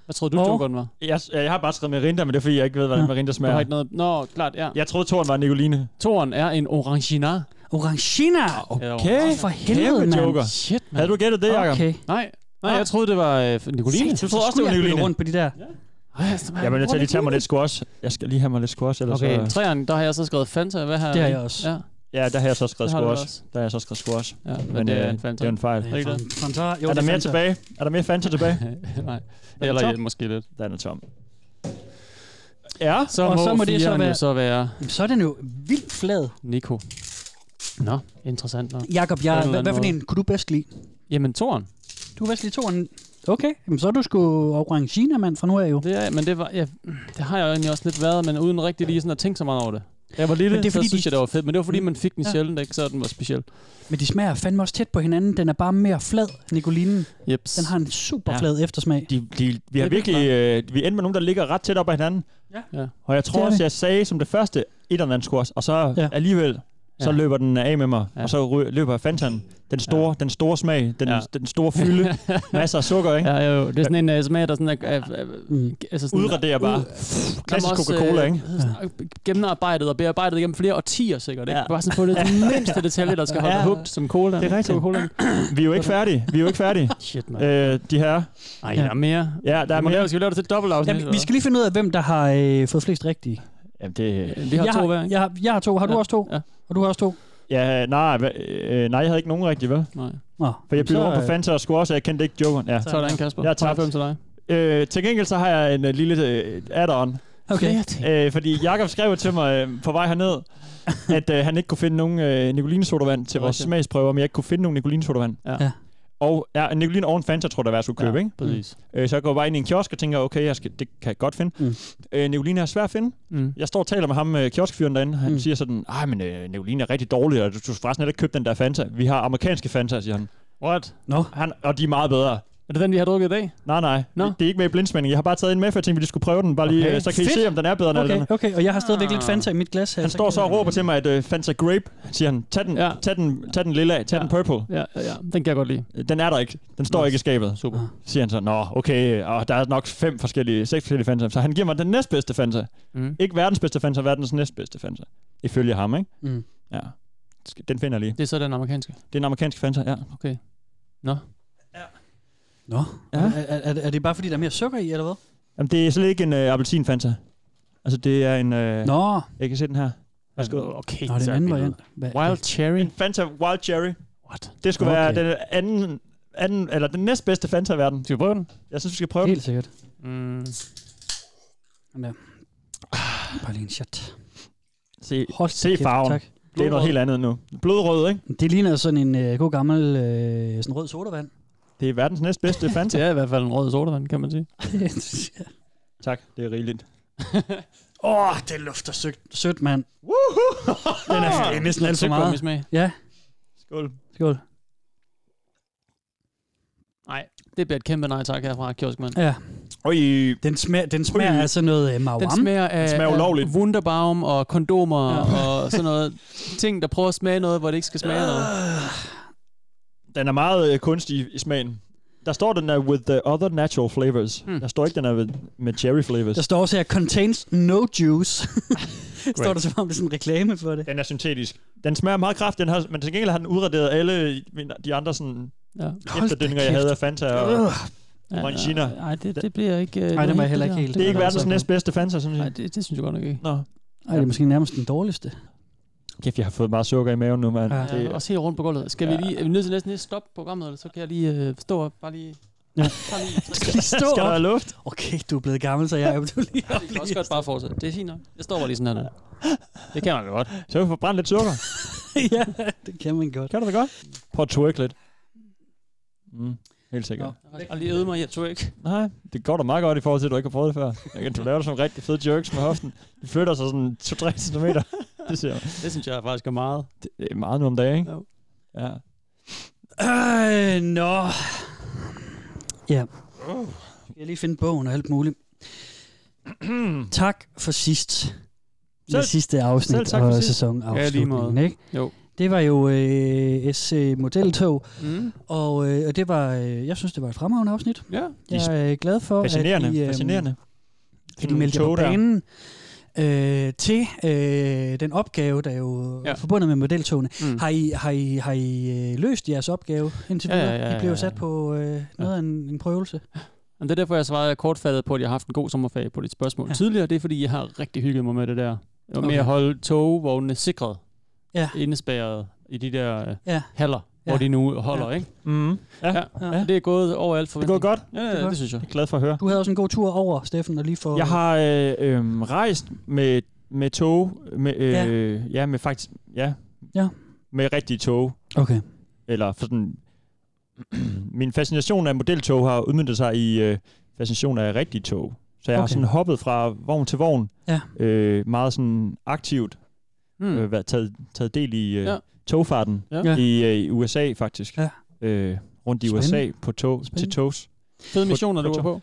H: Hvad troede du,
G: Og-
H: Jokeren var?
F: Jeg, jeg har bare skrevet Merinda, men det er fordi, jeg ikke ved, hvordan
G: Nå.
F: Merinda
H: Der
F: smager.
H: har ikke noget... Nå, klart, ja.
F: Jeg troede, toren var Nicoline.
H: Toren er en orangina.
G: Orangina!
H: Okay.
G: Åh, for helvede,
F: Kæmpe
G: mand.
F: joker.
H: Shit, mand.
F: Havde du gættet det, Jacob?
G: Okay.
H: Nej, nej, jeg troede, det var øh, Nicoline.
G: Satan,
F: Du troede
G: så
F: også, det
G: skulle
F: var
G: jeg bytte
F: Nicoline.
G: rundt på de der.
F: Jeg bliver nødt til at lige tage mig lidt squash. Jeg skal lige have mig lidt squash, ellers
H: Okay,
F: så...
H: træerne, der har jeg så skrevet Fanta. Hvad har
G: Det har jeg også.
H: Ja,
F: Ja, der har jeg så skrevet
H: Det har du
F: squash.
H: også.
F: Der har jeg så skrevet squash.
H: ja men,
F: Men
H: det er
F: øh,
H: en Fanta.
F: det er en fejl.
H: Ikke det?
G: Fanta. Jo,
F: Er
G: det
F: der mere
G: Fanta.
F: tilbage? Er der mere Fanta tilbage?
H: nej,
F: den
H: eller øh,
F: tom?
H: ja, måske lidt.
F: Den er tom. Ja,
H: Så og må, så må det så være... så være
G: Jamen, Så er den jo vildt flad.
H: Nico. Nå, interessant nok.
G: Jakob,
H: På en
G: jeg,
H: eller
G: hvad, hvad for
H: anden
G: en kunne du bedst lide?
H: Jamen, Toren.
G: Du er bedst lide toeren. Okay, jamen, så er du sgu Orangina, mand, fra nu af jo.
H: Det er, men det, var, ja, det har jeg jo egentlig også lidt været, men uden rigtig lige sådan at tænke så meget over det. Da Jeg var lille, det
G: Men det
H: er,
G: er
H: så
G: fordi,
H: synes
G: de-
H: jeg,
G: Mm.
H: det var fedt, men det var fordi, man fik den
G: Ja.
H: ja. sjældent, ikke? så den var speciel.
G: Men de smager fandme også tæt på hinanden. Den er bare mere flad, Nicolinen.
H: Jeps.
G: Den har en super flad ja. eftersmag.
F: de, de, vi
H: Det
F: har
H: er
F: virkelig... Øh, vi endte med nogen, der ligger ret tæt op ad hinanden.
G: Ja.
H: Ja.
F: Og jeg tror
G: Det er
F: også,
G: det.
F: jeg sagde som det første, et eller andet squash, og så
G: Ja.
F: alligevel... så løber den af med mig, ja. og så ry- løber Fantan. Den store, ja. den store smag, den, ja. den store fylde, masser af sukker, ikke?
H: Ja, jo, det er sådan en uh, smag, der sådan er... Uh, uh, altså sådan,
F: Udraderer bare. Klassisk Coca-Cola, ikke?
H: ikke? øh, Gennemarbejdet og bearbejdet gennem flere årtier sikkert, ikke?
F: Ja.
H: Bare sådan på det mindste detalje, der skal holde
F: Ja.
H: hugt som cola.
F: Det er rigtigt.
H: Coca-Cola.
F: Vi er jo ikke færdige. Vi er jo ikke færdige.
H: Shit, mand.
F: øh, de her.
H: Ej, der er mere.
F: Ja, der er
H: Må
F: mere.
H: lave, skal vi lave det til et dobbelt afsnit?
G: Jamen, vi skal lige finde ud af, hvem der har øh, fået flest rigtige.
F: Jamen, det,
H: Øh, Vi har
G: jeg
H: to
G: har,
H: hver, ikke?
G: Jeg har, jeg har to. Har du
H: Ja.
G: også to?
H: Ja.
G: Og du har også to?
F: ja, nej, hva- øh, nej, jeg havde ikke nogen rigtig, vel?
H: Nej.
G: Nå.
F: For jeg blev
G: Så,
F: rundt på
G: øh,
F: Fanta og skulle også, og jeg kendte ikke jokeren. Ja.
H: Så er der en, Kasper.
F: Jeg er tabt.
H: 90 til dig.
F: Øh, til gengæld så har jeg en uh, lille øh, add-on.
G: Okay.
F: Øh, fordi Jakob skrev til mig øh, på vej herned, at øh, han ikke kunne finde nogen øh, nikolinasodavand til vores
H: Okay.
F: smagsprøver, men jeg ikke kunne finde nogen nikolinasodavand.
H: Ja.
G: Ja.
F: Og ja, en nikolin og en Fanta, tror jeg, der var, jeg skulle købe, ja. ikke?
H: Præcis.
F: Øh, så jeg går bare ind i en kiosk og tænker, okay, jeg skal, det kan jeg godt finde.
G: Mm.
F: Mm. Øh, Nicolina er svær at finde.
H: Mm.
F: Jeg står og taler med ham, øh, kioskfyren derinde. Han
G: Mm.
F: mm. siger sådan, nej, men øh, Nicolina er rigtig dårlig, og du, du skal forresten heller ikke købe den der Fanta. Vi har amerikanske Fanta, siger han.
H: What?
G: Nå.
F: han og de er meget bedre.
H: Er det den, vi har drukket i dag?
F: Nej, nej.
H: Nå.
F: Det, det er ikke med i blindsmænding. Jeg har bare taget en med, for jeg tænkte, vi lige skulle prøve den. Bare lige,
H: Okay.
F: øh, så kan I
G: Fedt.
F: se, om den er bedre end alle
G: Okay,
F: den.
G: okay, og jeg har stadigvæk
H: Ah.
G: lidt Fanta i mit glas her.
F: Han står så og råber til mig, at øh, Fanta Grape, siger han, tag den,
H: Ja.
F: ja. tag den, tag den lilla, tag
H: Ja.
F: ja. den purple. Øh,
H: Ja, ja, ja. Den kan jeg godt lide.
F: Den er der ikke. Den står
H: Nå.
F: ikke i skabet.
G: Ah.
H: Super.
F: Siger han så, nå, okay, og der er nok fem forskellige, seks forskellige Fanta. Så han giver mig den næstbedste Fanta.
H: Mm.
F: Ikke verdens bedste Fanta, verdens næstbedste Fanta. Ifølge ham, ikke?
G: Mm.
F: Ja. Sk- Den finder jeg lige.
H: Det er så den amerikanske.
F: Det er en amerikansk Fanta, ja.
G: Nå,
F: Ja.
G: er, er, er, er det bare fordi, der er mere sukker i, eller hvad?
F: Jamen, det er slet ikke en øh, appelsin Fanta. Altså, det er en... Øh,
G: Nå,
F: Jeg kan se den her. Værsgo.
H: Okay.
G: Nå det er en anden variant. Hvad-
H: Wild Cherry.
F: En Fanta Wild Cherry.
H: What?
F: Det skulle
G: Okay.
F: okay. være den anden, anden, eller den næstbedste Fanta i verden.
H: Skal vi prøve den?
F: Jeg synes, vi skal prøve den.
G: Helt sikkert.
H: Mm.
G: Bare lige en shot.
F: Se,
G: Hold
F: se
G: da kæft,
F: farven.
G: Tak.
F: Det er noget helt andet nu. Blodrød, ikke?
G: Det ligner sådan en øh, god gammel øh, sådan rød sodavand.
F: Det er verdens næstbedste Fanta.
H: Det er i hvert fald en rød sodavand, kan man sige.
F: tak, det er rigeligt.
G: Åh, oh, det lufter sødt, sødt mand. Den er, det er næsten alt for meget.
H: Meget.
G: Ja,
F: Skål.
G: skål.
H: Nej, det bliver et kæmpe nej tak herfra, kioskmand.
G: Ja,
F: Øj,
G: den smager, den smager
F: Prøv.
G: af sådan noget øh,
H: Den
G: mawam.
H: smager af,
F: Den smager ulovligt.
H: af wunderbaum og kondomer ja. og sådan noget. Ting, der prøver at smage noget, hvor det ikke skal smage noget.
F: den er meget øh, kunstig i smagen. Der står, den er with the other natural flavors. Mm. Der står ikke, den er ved, med cherry flavors.
G: Hmm. Der står også her, contains no juice. står der som om, det er sådan en reklame for det.
F: Den er syntetisk. Den smager meget kraftigt, den har, men til gengæld har den udraderet alle de andre sådan
H: Ja.
F: efterdønninger, jeg
G: kæft.
F: havde af Fanta. Og,
H: Ja,
F: Orangina.
H: Nej, det, det bliver ikke...
G: Øh.
H: øh,
G: det må jeg heller ikke helt.
F: det er ikke
G: var
F: verdens
G: altså-
F: næstbedste Fanta, sådan
H: Nej,
F: set.
H: det, det synes jeg godt nok ikke.
F: Nå.
G: Ej, det er måske nærmest den dårligste.
F: Kæft, jeg har fået meget sukker i maven nu, mand.
G: Ja.
F: Ja,
H: Ja, det,
F: det,
H: også helt rundt på gulvet. Skal vi
F: Ja.
H: lige... Er vi nødt til næsten lige at stoppe programmet, eller så kan jeg lige øh, stå op, bare lige...
F: Ja.
H: Bare lige
G: Lige stå
F: skal der
G: op.
F: være luft?
G: Okay, du er blevet gammel, så jeg er du lige op
H: jeg kan også
G: lige.
H: godt bare fortsætte. Det er fint nok. Jeg står bare lige sådan her nu. Det kan man da godt.
F: Så kan vi få brændt lidt sukker.
G: ja, det kan man godt.
F: Kan du det godt? Prøv at twerk lidt. Mm, helt sikkert.
G: Nå.
H: Jeg har lige øvet mig, jeg tror ikke.
F: Nej, det går da meget godt i forhold til, at du ikke har prøvet det før. Jeg kan, du laver sådan nogle rigtig fede jerks med hoften. Du flytter sig sådan 2-3 cm. Det, ser,
H: Det synes jeg faktisk er meget.
F: det er meget nu om dagen, ikke?
H: Jo.
F: Ja.
G: Øh, nå. Ja.
F: Mm.
G: Skal jeg lige finde bogen og alt muligt. tak for sidst.
F: Selv-
G: det sidste afsnit
F: selv tak for
G: og
F: sidst.
G: sæsonafslutningen,
H: måde.
G: ikke?
H: Jo.
G: Det var jo øh, S øh, modeltog,
H: Mm.
G: og, øh, og det var, øh, jeg synes, det var et fremragende afsnit.
H: Ja.
G: Jeg er øh, glad for,
F: Fascinerende,
G: at I,
F: fascinerende.
G: at I meldte jer på
F: Tog der.
G: banen øh, til øh, den opgave, der jo ja.
H: Ja.
G: er forbundet med modeltogene.
H: Mm.
G: Har I, har I, har I øh, løst jeres opgave indtil
H: Ja,
G: videre?
H: ja, ja,
G: I blev
H: ja,
G: jo
H: ja.
G: sat på øh, noget af en, en prøvelse.
H: Men det er derfor, jeg svarede kortfattet på, at jeg har haft en god sommerferie på dit spørgsmål
G: Ja.
H: ja. tidligere. Det er, fordi jeg har rigtig hygget mig med det der. Det var okay.
G: Okay.
H: med at holde togvognene sikret,
G: Ja.
H: indespærret i de der øh,
G: Ja.
H: ja. haller, ja.
G: Ja.
H: hvor de nu holder,
G: Ja.
H: ja. ikke?
F: Mm. Ja,
H: Ja.
G: Ja.
H: ja. Det er gået overalt for
F: det går godt.
H: Ja,
G: Det er
H: det,
G: godt.
H: det synes jeg.
F: Jeg er glad for at høre.
G: Du havde også en god tur over, Steffen, og lige for...
F: Jeg har øh, øh, rejst med, med tog, med, øh,
G: Ja.
F: ja. ja, med faktisk, ja,
G: Ja.
F: med rigtige tog,
G: Okay.
F: eller for sådan, min fascination af modeltog har udmyndtet sig i øh, fascination af rigtige tog. Så jeg okay. har
G: Okay.
F: sådan hoppet fra vogn til vogn,
G: Ja. Hmm.
F: øh, meget sådan aktivt
H: Mm.
F: øh, været, taget, taget del i øh,
H: Ja.
F: ja. togfarten
H: Ja.
F: ja. i, øh, i USA faktisk.
G: Ja.
F: Øh, rundt i
G: Spændende.
F: USA på tog, til
G: Spændende.
F: togs.
H: Fede missioner,
F: på
H: du var
F: tog.
H: på.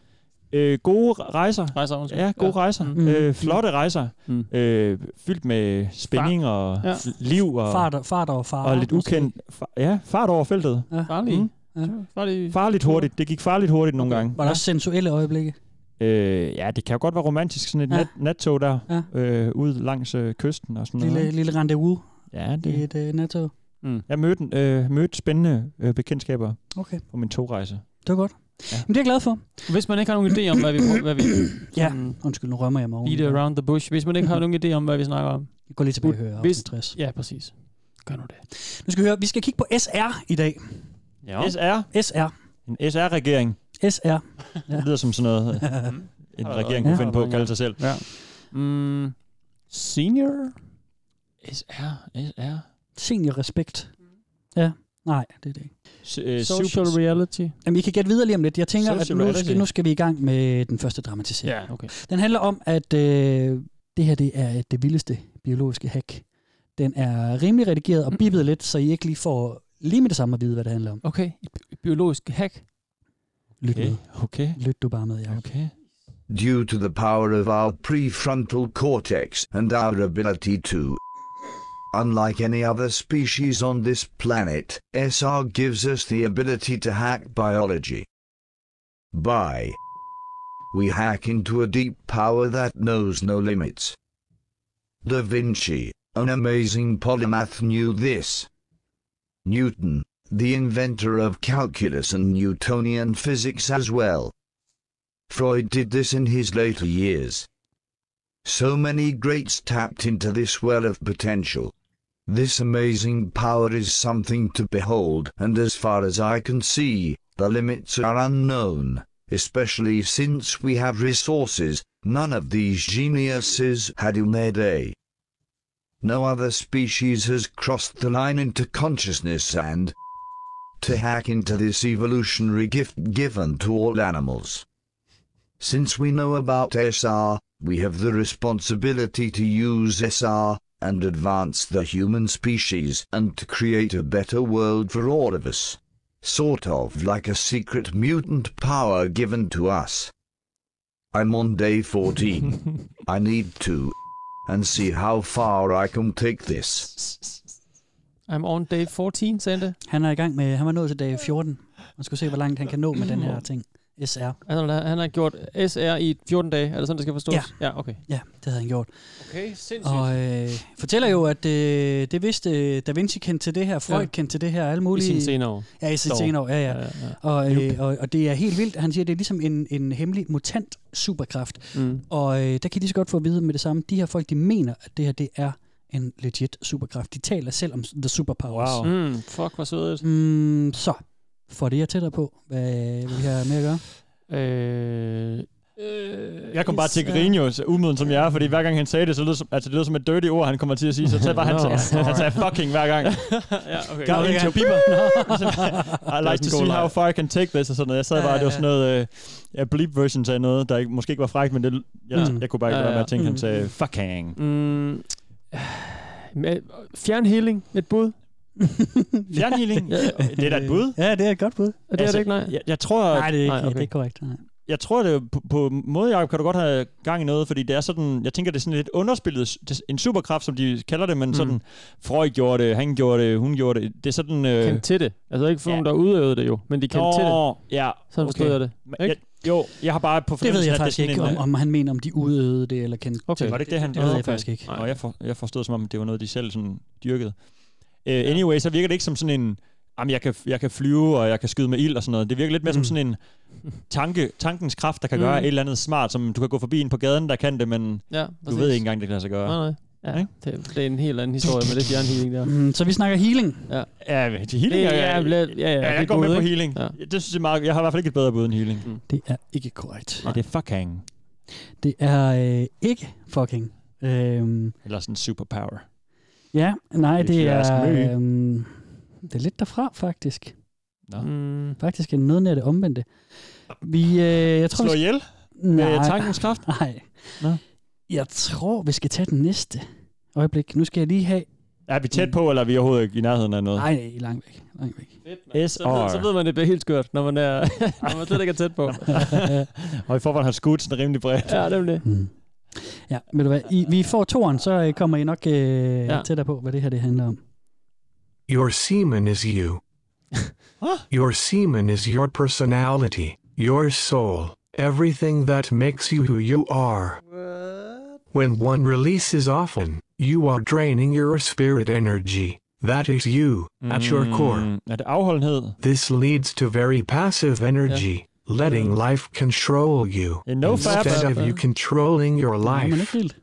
F: Øh, gode rejser.
H: Rejser, undskyld.
F: Ja, gode ja. rejser.
G: Mm.
F: Mm. Øh, flotte rejser.
H: Mm.
F: Øh, fyldt med spænding og
H: Ja.
F: ja. liv og,
G: Fart, og- fart og far.
F: og lidt ukendt. Fa- ja, fart over feltet.
H: Farlige.
F: Mm.
G: Ja.
H: Farlige.
F: Farligt hurtigt. Det gik farligt hurtigt nogle gange.
G: Var der også sensuelle øjeblikke?
F: Øh, ja, det kan jo godt være romantisk, sådan et
G: Ja.
F: ja. nat, nattog der,
G: Ja.
F: ja. øh, ud langs øh, kysten og sådan
G: Lille,
F: noget.
G: lille rendezvous
F: Ja,
G: i
F: det,
G: et øh, nattog.
F: jeg mødte, øh, mødte spændende øh, bekendtskaber
G: Okay.
F: på min togrejse.
G: Det var godt. Ja.
F: Ja.
G: Men det er jeg glad for.
H: Hvis man ikke har nogen idé om, hvad vi, hvad vi
G: Ja.
H: sådan,
G: Undskyld, nu rømmer jeg mig oven.
H: beat around the bush, hvis man ikke har nogen idé om, hvad vi snakker om.
G: Jeg går lige tilbage og hører
H: Hvis-
G: afsnit 60.
H: Ja, præcis. Gør nu det.
G: Nu skal vi høre, vi skal kigge på SR i dag.
H: Ja.
F: SR.
G: SR.
F: En SR-regering.
G: SR.
F: Det lyder som sådan noget, øh, en
H: Har der været
F: regering
H: en? Har
F: kunne
H: der
F: finde på
H: været en,
F: at kalde sig selv.
H: ja. Mm, senior? SR? SR?
G: Senior respekt.
H: Mm.
G: Ja. Nej, det er det ikke.
F: S- øh,
H: Social
F: super-
H: reality?
G: Jamen, I kan gætte videre lige om lidt. Jeg tænker, at
F: Social
G: nu
F: reality.
G: skal, nu skal vi i gang med den første dramatisering.
H: Ja, okay.
G: Den handler om, at øh, det her det er det vildeste biologiske hack. Den er rimelig redigeret og
H: Mm.
G: bippet lidt, så I ikke lige får lige med det samme at vide, hvad det handler om.
H: Okay, et bi- et biologisk hack.
G: Lyt,
F: Okay,
G: med.
F: okay,
G: Lyt du bare med, Jacob.
F: okay.
J: Due to the power of our prefrontal cortex and our ability to. Unlike any other species on this planet, SR gives us the ability to hack biology. By. We hack into a deep power that knows no limits. Da Vinci, an amazing polymath, knew this. Newton, the inventor of calculus and Newtonian physics as well. Freud did this in his later years. So many greats tapped into this well of potential. This amazing power is something to behold, and as far as I can see, the limits are unknown, especially since we have resources none of these geniuses had in their day. No other species has crossed the line into consciousness and to hack into this evolutionary gift given to all animals. Since we know about SR, we have the responsibility to use SR and advance the human species and to create a better world for all of us. Sort of like a secret mutant power given to us. I'm on day 14. I need to. And see how far I can take this.
H: I'm on day 14, sagde han det.
G: Han er i gang med, han var nået til dag 14. Man skulle se, hvor langt han kan nå med den her ting. SR.
H: Han har, han har gjort SR i 14 dage. Er det sådan, det skal forstås?
G: Ja.
H: ja okay.
G: Ja, det havde han gjort.
H: Okay, sindssygt.
G: Og øh, fortæller jo, at øh, det vidste øh, Da Vinci kendte til det her, Freud
H: Ja.
G: kendte til det her, alle
H: I
G: mulige...
H: sine senere år.
G: Ja, i sin
H: år.
G: senere år, ja, ja.
H: ja.
G: Og, øh, og, og det er helt vildt. Han siger, at det er ligesom en, en hemmelig mutant superkraft.
H: Mm.
G: Og øh, der kan de så godt få at vide med det samme. De her folk, de mener, at det her det er en legit superkraft. De taler selv om the superpowers.
F: Wow.
H: Mm, fuck, hvor sødt.
G: Mm, så får det jer tættere på, hvad, hvad vi har med at gøre.
H: Øh, øh,
F: Jeg kom bare til
G: SR.
F: Grinius, umoden som jeg er, fordi hver gang han sagde det, så lød som, altså, det lød som et dirty ord, han kommer til at sige, så tag bare han,
H: Nå.
F: han sagde fucking hver gang.
H: ja, okay.
F: Gør
G: ikke
F: into
G: han.
F: people. I like to
H: sådan en god
F: see
H: leg.
F: how far I can take this, og sådan noget. Jeg sad
G: Ja,
F: bare,
G: ja,
F: det var sådan
G: ja.
F: noget, øh, ja, bleep versions af noget, der ikke, måske ikke var frækt, men det, jeg,
G: Mm.
F: jeg kunne bare ikke
H: Ja,
F: lade være med
H: ja.
F: at tænke,
G: Mm.
F: han sagde, fucking.
H: Mm, med, fjern healing, et bud.
F: Fjernhealing, det er da et bud.
G: Ja, det er et godt bud.
H: Er det, altså, er det ikke, nej?
F: Jeg, jeg tror,
G: Nej, det er ikke,
H: nej,
G: nej,
H: okay.
G: det er ikke korrekt. Nej.
F: jeg tror det er på, på en måde, Jacob, kan du godt have gang i noget, fordi det er sådan, jeg tænker, det er sådan lidt underspillet, det er en superkraft, som de kalder det, men
H: Mm.
F: mm. sådan, Freud gjorde det, han gjorde det, hun gjorde det, det er sådan... Øh,
H: Kendte til det. Altså ikke for
F: Ja.
H: nogen, der udøvede det jo, men de kendte til det.
F: Nå, Ja,
H: Sådan forstod jeg det.
F: Men
H: Ikke?
F: Jeg, jo, jeg har bare på
G: Det ved
F: fornemmelsen,
G: jeg
F: at
G: faktisk
F: det er
G: ikke,
F: sådan
G: om,
F: en, øh,
G: om han mener, om de udøvede det eller kendte
H: Okay.
G: til
F: Var det ikke det, han...
G: Det ved jeg faktisk ikke.
F: Nå,
H: Nej.
F: jeg, for, jeg forstod som om, det var noget, de selv sådan dyrkede. Uh, anyway, så virker det ikke som sådan en, jamen jeg kan, jeg kan flyve, og jeg kan skyde med ild og sådan noget. Det virker lidt mere som
G: Mm.
F: sådan en tanke, tankens kraft, der kan gøre
H: Mm.
F: et eller andet smart, som du kan gå forbi en på gaden, der kan det, men
H: Ja,
F: du ved ikke engang, det kan lade sig gøre.
H: Nej, nej. Ja,
F: Ikke?
H: det, det, er en helt anden historie med det fjern healing der.
G: Mm, så vi snakker healing.
F: Ja, men det healing
H: Det,
F: er,
H: ja,
F: ja,
H: bla- ja, ja,
F: ja,
H: det er
F: jeg går med
H: gode,
F: på
H: ikke?
F: healing.
H: Ja. Mm.
F: Ja. Det synes jeg, er meget, jeg har i hvert fald ikke et bedre bud end healing.
G: Det er ikke korrekt.
F: Ja, det er fucking.
G: Det er øh, ikke fucking. Øhm,
F: Eller sådan superpower.
G: Ja, nej,
F: If
G: det
F: you ask
G: er,
F: me.
G: øhm, det er lidt derfra, faktisk.
F: Ja.
H: Mm.
G: Faktisk er det noget nær det omvendte. Vi, øh, jeg tror,
F: Slå
G: vi
F: ihjel med
G: nej,
F: tankens kraft.
G: nej.
F: Nå.
G: Jeg tror, vi skal tage den næste øjeblik. Nu skal jeg lige have
F: Er vi tæt på, eller er vi overhovedet ikke i nærheden af noget?
G: Nej, nej, langt væk. Langt væk.
H: Så ved, så ved man, det bliver helt skørt, når man, er, når man slet ikke er tæt på.
F: Og i forvejen har skudt sådan rimelig bredt.
H: Ja, det er det.
G: Mm. Ja, ved du hvad? I, vi får toren, så øh, kommer I nok øh, ja. tættere på, hvad det her det handler om.
K: Your semen is you. your semen is your personality, your soul, everything that makes you who you are. When one releases often, you are draining your spirit energy. That is you, at your core.
F: Er det afholdenhed?
K: This leads to very passive energy, letting life control you
F: no fab-
K: instead of you controlling your
G: men
K: life.
G: ikke helt.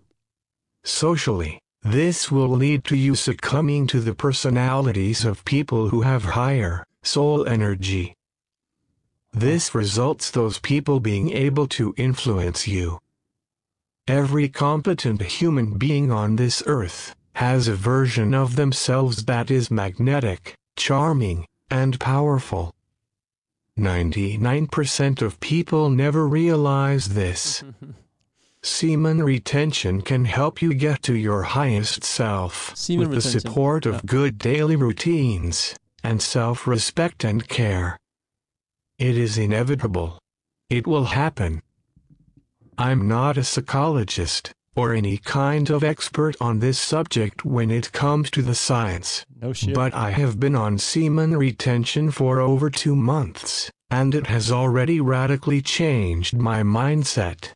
K: Socially, this will lead to you succumbing to the personalities of people who have higher soul energy. This results those people being able to influence you. Every competent human being on this earth has a version of themselves that is magnetic, charming, and powerful. 99% of people never realize this. Semen retention can help you get to your highest self
H: Semen
K: with
H: retention,
K: the support of
H: yeah.
K: good daily routines and self respect and care. It is inevitable. It will happen. I'm not a psychologist or any kind of expert on this subject when it comes to the science.
F: No shit.
K: But I have been on semen retention for over two months, and it has already radically changed my mindset.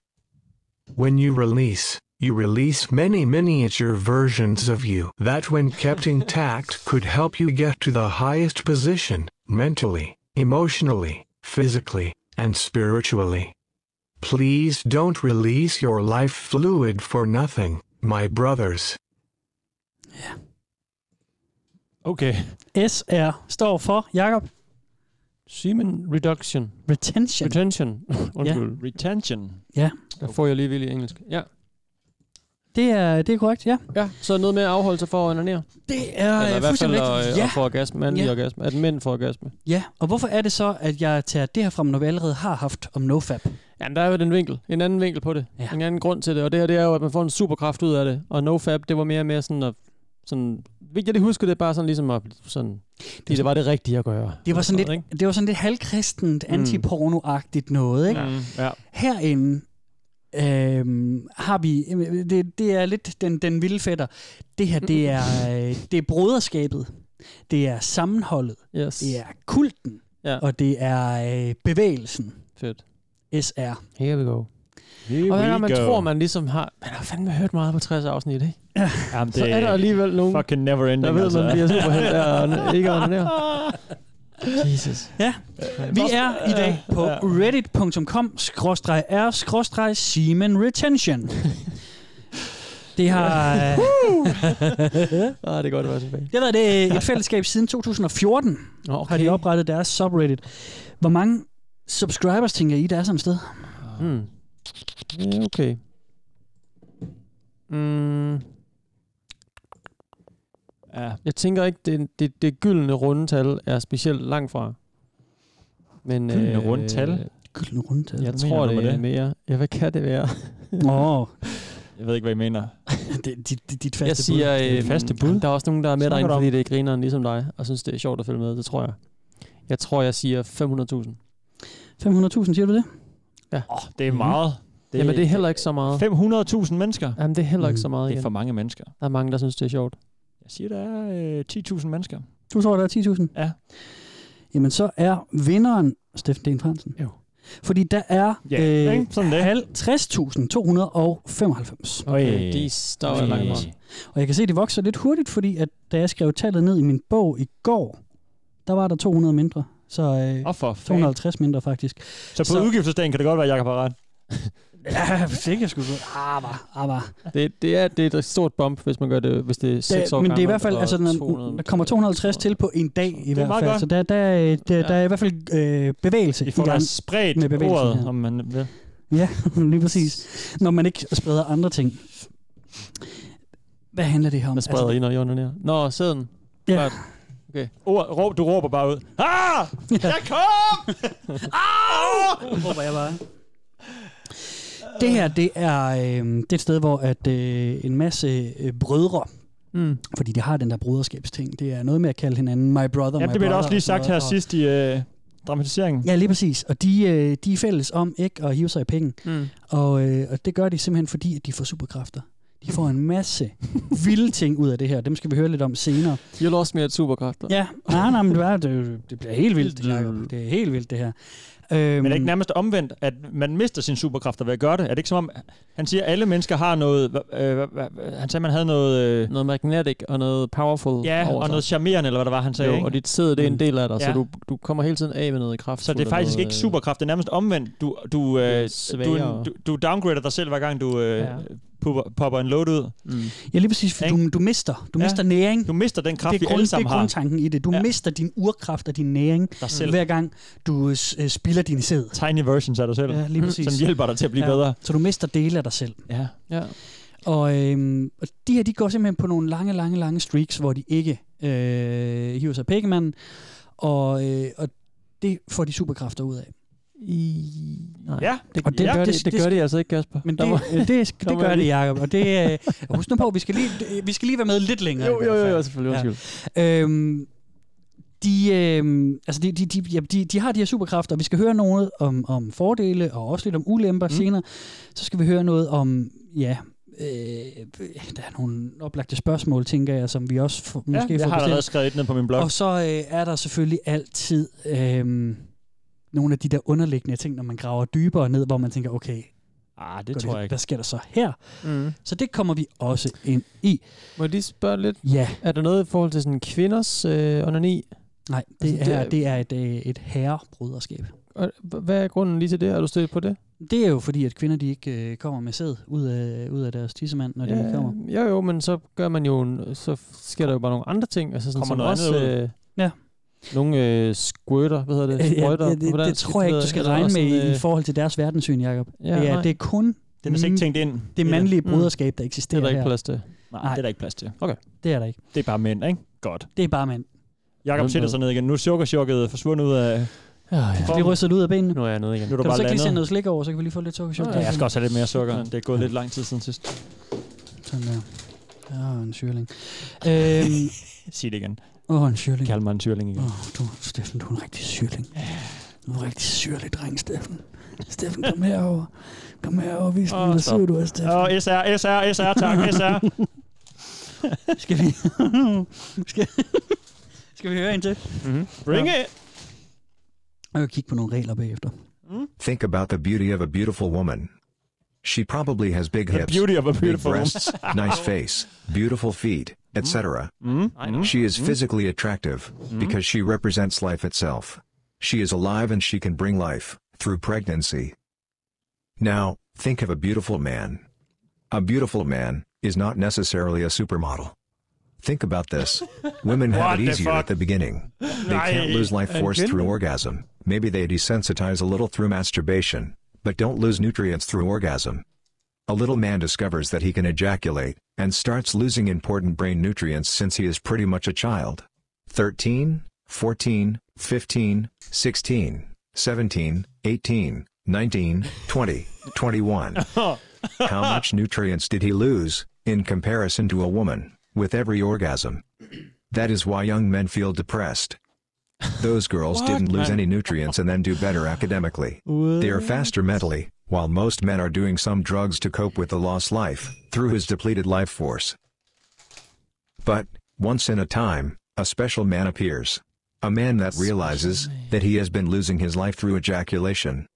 K: When you release, you release many miniature versions of you that, when kept intact, could help you get to the highest position mentally, emotionally, physically, and spiritually. Please don't release your life fluid for nothing, my brothers.
F: Okay.
G: SR står for, Jakob
H: Semen reduction.
G: Retention.
H: Retention. Undskyld.
F: Retention.
G: Ja,
H: Der får jeg lige vildt i engelsk. Ja.
G: det er, det er korrekt, ja.
H: ja. Så noget med at afholde sig for at onanere.
G: Det er
H: Eller i
G: øh,
H: hvert fald
G: fuldstændig
H: at,
G: rigtigt.
H: øh,
G: Ja.
H: at få orgasme, mandlig
G: Ja.
H: orgasme. At mænd får orgasme.
G: ja, og hvorfor er det så, at jeg tager det her frem, når vi allerede har haft om nofap?
H: Jamen, der er jo den vinkel. En anden vinkel på det. Ja. En anden grund til det. Og det her, det er jo, at man får en superkraft ud af det. Og nofap, det var mere og mere sådan at... Sådan, vigtigt, at huske det bare sådan ligesom at... Sådan, det, det var det rigtige at gøre.
G: Det var sådan
H: Ikke?
G: lidt, det var sådan lidt halvkristent, antipornoagtigt noget, ikke?
H: Mm, ja.
G: Herinde øhm, har vi, det, det er lidt den, den vilde fætter. Det her, det er, øh, det er broderskabet, det er sammenholdet,
H: Yes.
G: det er kulten,
H: Ja.
G: og det er øh, bevægelsen.
H: Fedt.
G: SR.
H: Here we go.
F: Here
H: Og hver gang
F: we
H: man
F: go.
H: tror, man ligesom har... Man har fandme hørt meget på 60 afsnit, ikke?
F: Jamen, det
H: Så er der alligevel nogen,
F: fucking never ending.
H: der ved,
F: altså.
H: man bliver superhelt af at ikke at onanere. Jesus.
G: Ja,
H: Øh,
G: vi er i dag på reddit.com-r-semen-retention. Det har, øh,
H: Ah, det er godt at være tilbage.
G: det har været det- et fællesskab siden 2014,
H: Nå,
G: har de oprettet deres subreddit. Hvor mange subscribers, tænker I, der er sådan et sted?
H: Mm. Ja, Hmm, Okay. Mm. Ja, jeg tænker ikke, det, det, det gyldne runde tal er specielt langt fra. Men, øh,
F: Gyldne runde tal?
G: Gyldne runde
H: Jeg
F: Hvad
H: tror,
F: mener
H: det
F: du med
H: er
F: det?
H: mere. Ja, hvad kan det være?
G: Åh,
F: Jeg ved ikke, hvad I mener.
G: det, dit, dit, dit faste
H: Jeg siger,
G: bud.
H: øh,
F: Faste bud?
H: der er også nogen, der er med
F: Snakker
H: derinde,
F: du om?
H: fordi det er grineren ligesom dig, og synes, det er sjovt at følge med. Det tror jeg. Jeg tror, jeg siger 500.000.
G: 500.000, siger du det?
F: Det er meget. Det,
H: Jamen, det er heller ikke så meget.
F: 500.000 mennesker.
H: Jamen, det er heller ikke så meget
F: Det er
H: igen.
F: for mange mennesker.
H: Der er mange, der synes, det er sjovt.
F: Jeg siger, der er øh, 10.000 mennesker.
G: Du tror, der er 10.000?
F: Ja.
G: Jamen, så er vinderen Steffen Den Fransen.
F: Jo.
G: Fordi der er øh,
F: Ja, ikke? Sådan det.
G: 50.295.
F: Okay.
H: De står jo langt fra.
G: Og jeg kan se, at det vokser lidt hurtigt, fordi at, da jeg skrev tallet ned i min bog i går, der var der 200 mindre. Så øh,
F: Og for fanden.
G: 250 mindre faktisk.
F: Så på
G: Så-
F: udgiftsdagen kan det godt være, at Jacob har ret.
G: Ja, det kan sgu godt. Ah, var, ah, var.
H: Det, det, er, det er et stort bump, hvis man gør det, hvis det er 6 år
G: men det er i
H: gammelt
G: hvert fald,
H: og
G: altså, når,
H: 200.
G: der kommer 250 til på en dag i hvert
F: meget
G: fald.
F: godt.
G: Så der, der, øh, der, der er i hvert fald øh, bevægelse
F: I
G: i
F: får da
G: gang.
F: spredt
G: med bevægelsen
F: ordet,
G: her.
F: om man vil.
G: Ja, lige præcis. Når man ikke spreder andre ting. Hvad handler det her om?
H: Man spreder altså, ind og i onanerer. Nå, sæden.
G: Ja.
H: Klart.
F: Ord, råb, du råber bare ud. Ah! Jeg kom!
G: håber jeg bare. øhm, Det her, det er, øh, det er et sted, hvor at, øh, en masse øh, brødre
F: Mm.
G: Fordi de har den der broderskabsting. Det er noget med at kalde hinanden my brother,
F: Ja,
G: my
F: det blev der
G: brother
F: også lige
G: og sådan
F: sagt her
G: noget, og-
F: sidst i øh, dramatiseringen.
G: Ja, lige præcis. Og de, øh, de er fælles om ikke at hive sig i penge.
F: Mm.
G: Og, øh, og det gør de simpelthen, fordi at de får superkræfter. De får en masse vilde ting ud af det her. Dem skal vi høre lidt om senere.
H: You lost me at superkræfter.
G: Ja, nej, nej, men det, var, det, det bliver helt vildt, Jacob. Det er helt vildt, det her. Øhm,
F: Men er det ikke nærmest omvendt, at man mister sine superkræfter ved at gøre det? Er det ikke som om, han siger, at alle mennesker har noget... hva- Øh, hva- hva- han sagde, man havde noget... Øh,
H: noget magnetic og noget powerful
F: Ja,
H: over
F: og
H: sig.
F: noget charmerende, eller hvad det var, han sagde.
H: Jo,
F: ikke? Mm.
H: og dit sæd, det
G: Mm.
H: er en del af dig, så
F: Ja.
H: du, du kommer hele tiden af med noget øh, kraft.
F: Så det er faktisk ikke superkraft, det er nærmest omvendt. Du, du, øh, du,
H: svagere.
F: du, du downgrader dig selv, hver gang du øh,
H: Ja.
F: popper, popper en load ud.
H: Mm.
G: Ja, lige præcis, for du, du mister. Du
F: Ja.
G: mister næring.
F: Du mister den kraft,
G: det er
F: vi alle sammen
G: det er
F: har.
G: grundtanken i det. Du ja. mister din urkraft og din næring,
F: Dig selv.
G: hver gang du øh, s- øh, spilder din sæd.
F: Tiny versions af dig selv,
G: Ja, lige præcis.
F: som hjælper dig til at blive
G: ja.
F: bedre.
G: Så du mister dele af dig selv.
F: Ja.
H: Ja.
G: Og, øhm, og de her, de går simpelthen på nogle lange, lange, lange streaks, hvor de ikke øh, hiver sig pækemanden, og, øh, og det får de superkræfter ud af.
H: I... Nej.
F: Ja,
H: det, og det, ja, gør det, det, det gør det altså ikke, Kasper.
G: Men
H: Der
G: det,
H: må-
G: det, det,
H: der
G: det
H: må
G: gør
H: jeg
G: det,
H: lige-
G: Jacob. Og det, øh, husk nu på, vi skal, lige, vi skal lige være med lidt længere.
H: Jo,
G: i
H: jo,
G: hvert
H: jo,
G: fald.
H: jo, selvfølgelig,
G: Ja. Øhm, de, øhm, altså de, de, de, ja, de, de har de her superkræfter, og vi skal høre noget om, om fordele og også lidt om ulemper mm. senere. Så skal vi høre noget om, ja, øh, der er nogle oplagte spørgsmål, tænker jeg, som vi også f- måske
F: jeg
G: får
F: har allerede
G: bestilt.
F: skrevet et ned på min blog.
G: Og så øh, er der selvfølgelig altid øh, nogle af de der underliggende ting, når man graver dybere ned, hvor man tænker, okay,
F: ah,
G: går
F: det tror jeg ikke.
G: hvad sker der så her?
H: Mm.
G: Så det kommer vi også ind i.
H: Må jeg lige spørge lidt?
G: Ja.
H: Er der noget i forhold til sådan kvinders øh, onani?
G: Nej, det,
H: Altså,
G: altså,
H: det
G: er,
H: er-
G: det er et, øh, et herrebruderskab.
H: Og h- Hvad er grunden lige til det? Er du stødt på det?
G: Det er jo fordi, at kvinder de ikke øh, kommer med sæd ud af, ud af deres tissemand, når de ikke kommer.
H: jo, jo, men så gør man jo, en- så sker der jo bare nogle andre ting. Altså sådan,
F: Kommer
H: som
F: noget
H: også,
F: andet ud.
H: Øh,
G: Ja.
H: Nogle øh, squirter, hvad hedder
G: Øh,
H: det? Sprøjter?
G: ja, det, det,
H: Hvordan-
G: det tror jeg ikke, du skal
H: hedder
G: regne
H: sådan,
G: med i
H: øh,
G: forhold til deres verdenssyn, Jacob.
H: Ja,
G: Ja, det, er,
H: nej.
G: det er kun
F: Det er vist ikke tænkt ind.
G: det
F: i
G: mandlige
F: Mm.
G: bruderskab, der eksisterer
H: Det er der ikke
G: her.
H: plads til.
F: Nej,
G: Nej.
F: det er der ikke plads til.
H: Okay.
G: Det er der ikke.
F: Det er bare mænd, ikke? Godt.
G: Det er bare mænd.
F: Jakob
H: Hvem
F: sætter
H: ved?
F: sig ned igen. Nu er sukkerchokket forsvundet ud af...
H: Ja, ja.
G: Vi rystet ud af benene.
H: Nu er jeg nede igen.
F: Nu er du
G: Kan du
F: bare
G: så ikke lige
F: landet.
G: sende noget slik over, så kan vi lige få lidt sukkerchok?
F: Ja, jeg skal også have lidt mere sukker. Det er gået lidt lang tid siden sidst.
G: Sådan der. Åh, en syrling. Øhm,
F: Sig det igen.
G: Åh, en syrling.
F: Kald mig en syrling igen.
G: Åh, du, Steffen, du er en rigtig syrling. Du er en rigtig syrlig dreng, Steffen. Steffen, kom herover. Kom herover og vis mig,
F: Åh,
G: hvor
F: stop.
G: syr du er, Steffen.
F: Åh, SR, SR, SR, tak, SR.
G: Skal vi... skal... skal vi høre en til?
F: Mm-hmm. Bring it!
G: Og jeg kigge på nogle regler bagefter.
L: Think about the beauty of a beautiful woman. She probably has big
F: The
L: hips,
F: beauty of a
L: big
F: beautiful woman.
L: breasts, nice face, beautiful feet, etc.
F: Mm-hmm.
L: She is physically attractive because she represents life itself. She is alive and she can bring life through pregnancy. Now, think of a beautiful man. A beautiful man is not necessarily a supermodel. Think about this. Women
F: What
L: have it
F: the
L: easier
F: fuck?
L: at the beginning. They can't
F: Aye.
L: lose life
F: And
L: force
F: didn't
L: through orgasm. Maybe they desensitize a little through masturbation, but don't lose nutrients through orgasm. A little man discovers that he can ejaculate and starts losing important brain nutrients since he is pretty much a child. 13, 14, 15, 16, 17, 18, 19, 20, 21. How much nutrients did he lose in comparison to a woman with every orgasm? That is why young men feel depressed. Those girls
F: What?
L: didn't lose
F: Man.
L: any nutrients and then do better academically. They are faster mentally, while most men are doing some drugs to cope with the lost life through his depleted life force. But, once in a time, a special man appears. A man that realizes that he has been losing his life through ejaculation.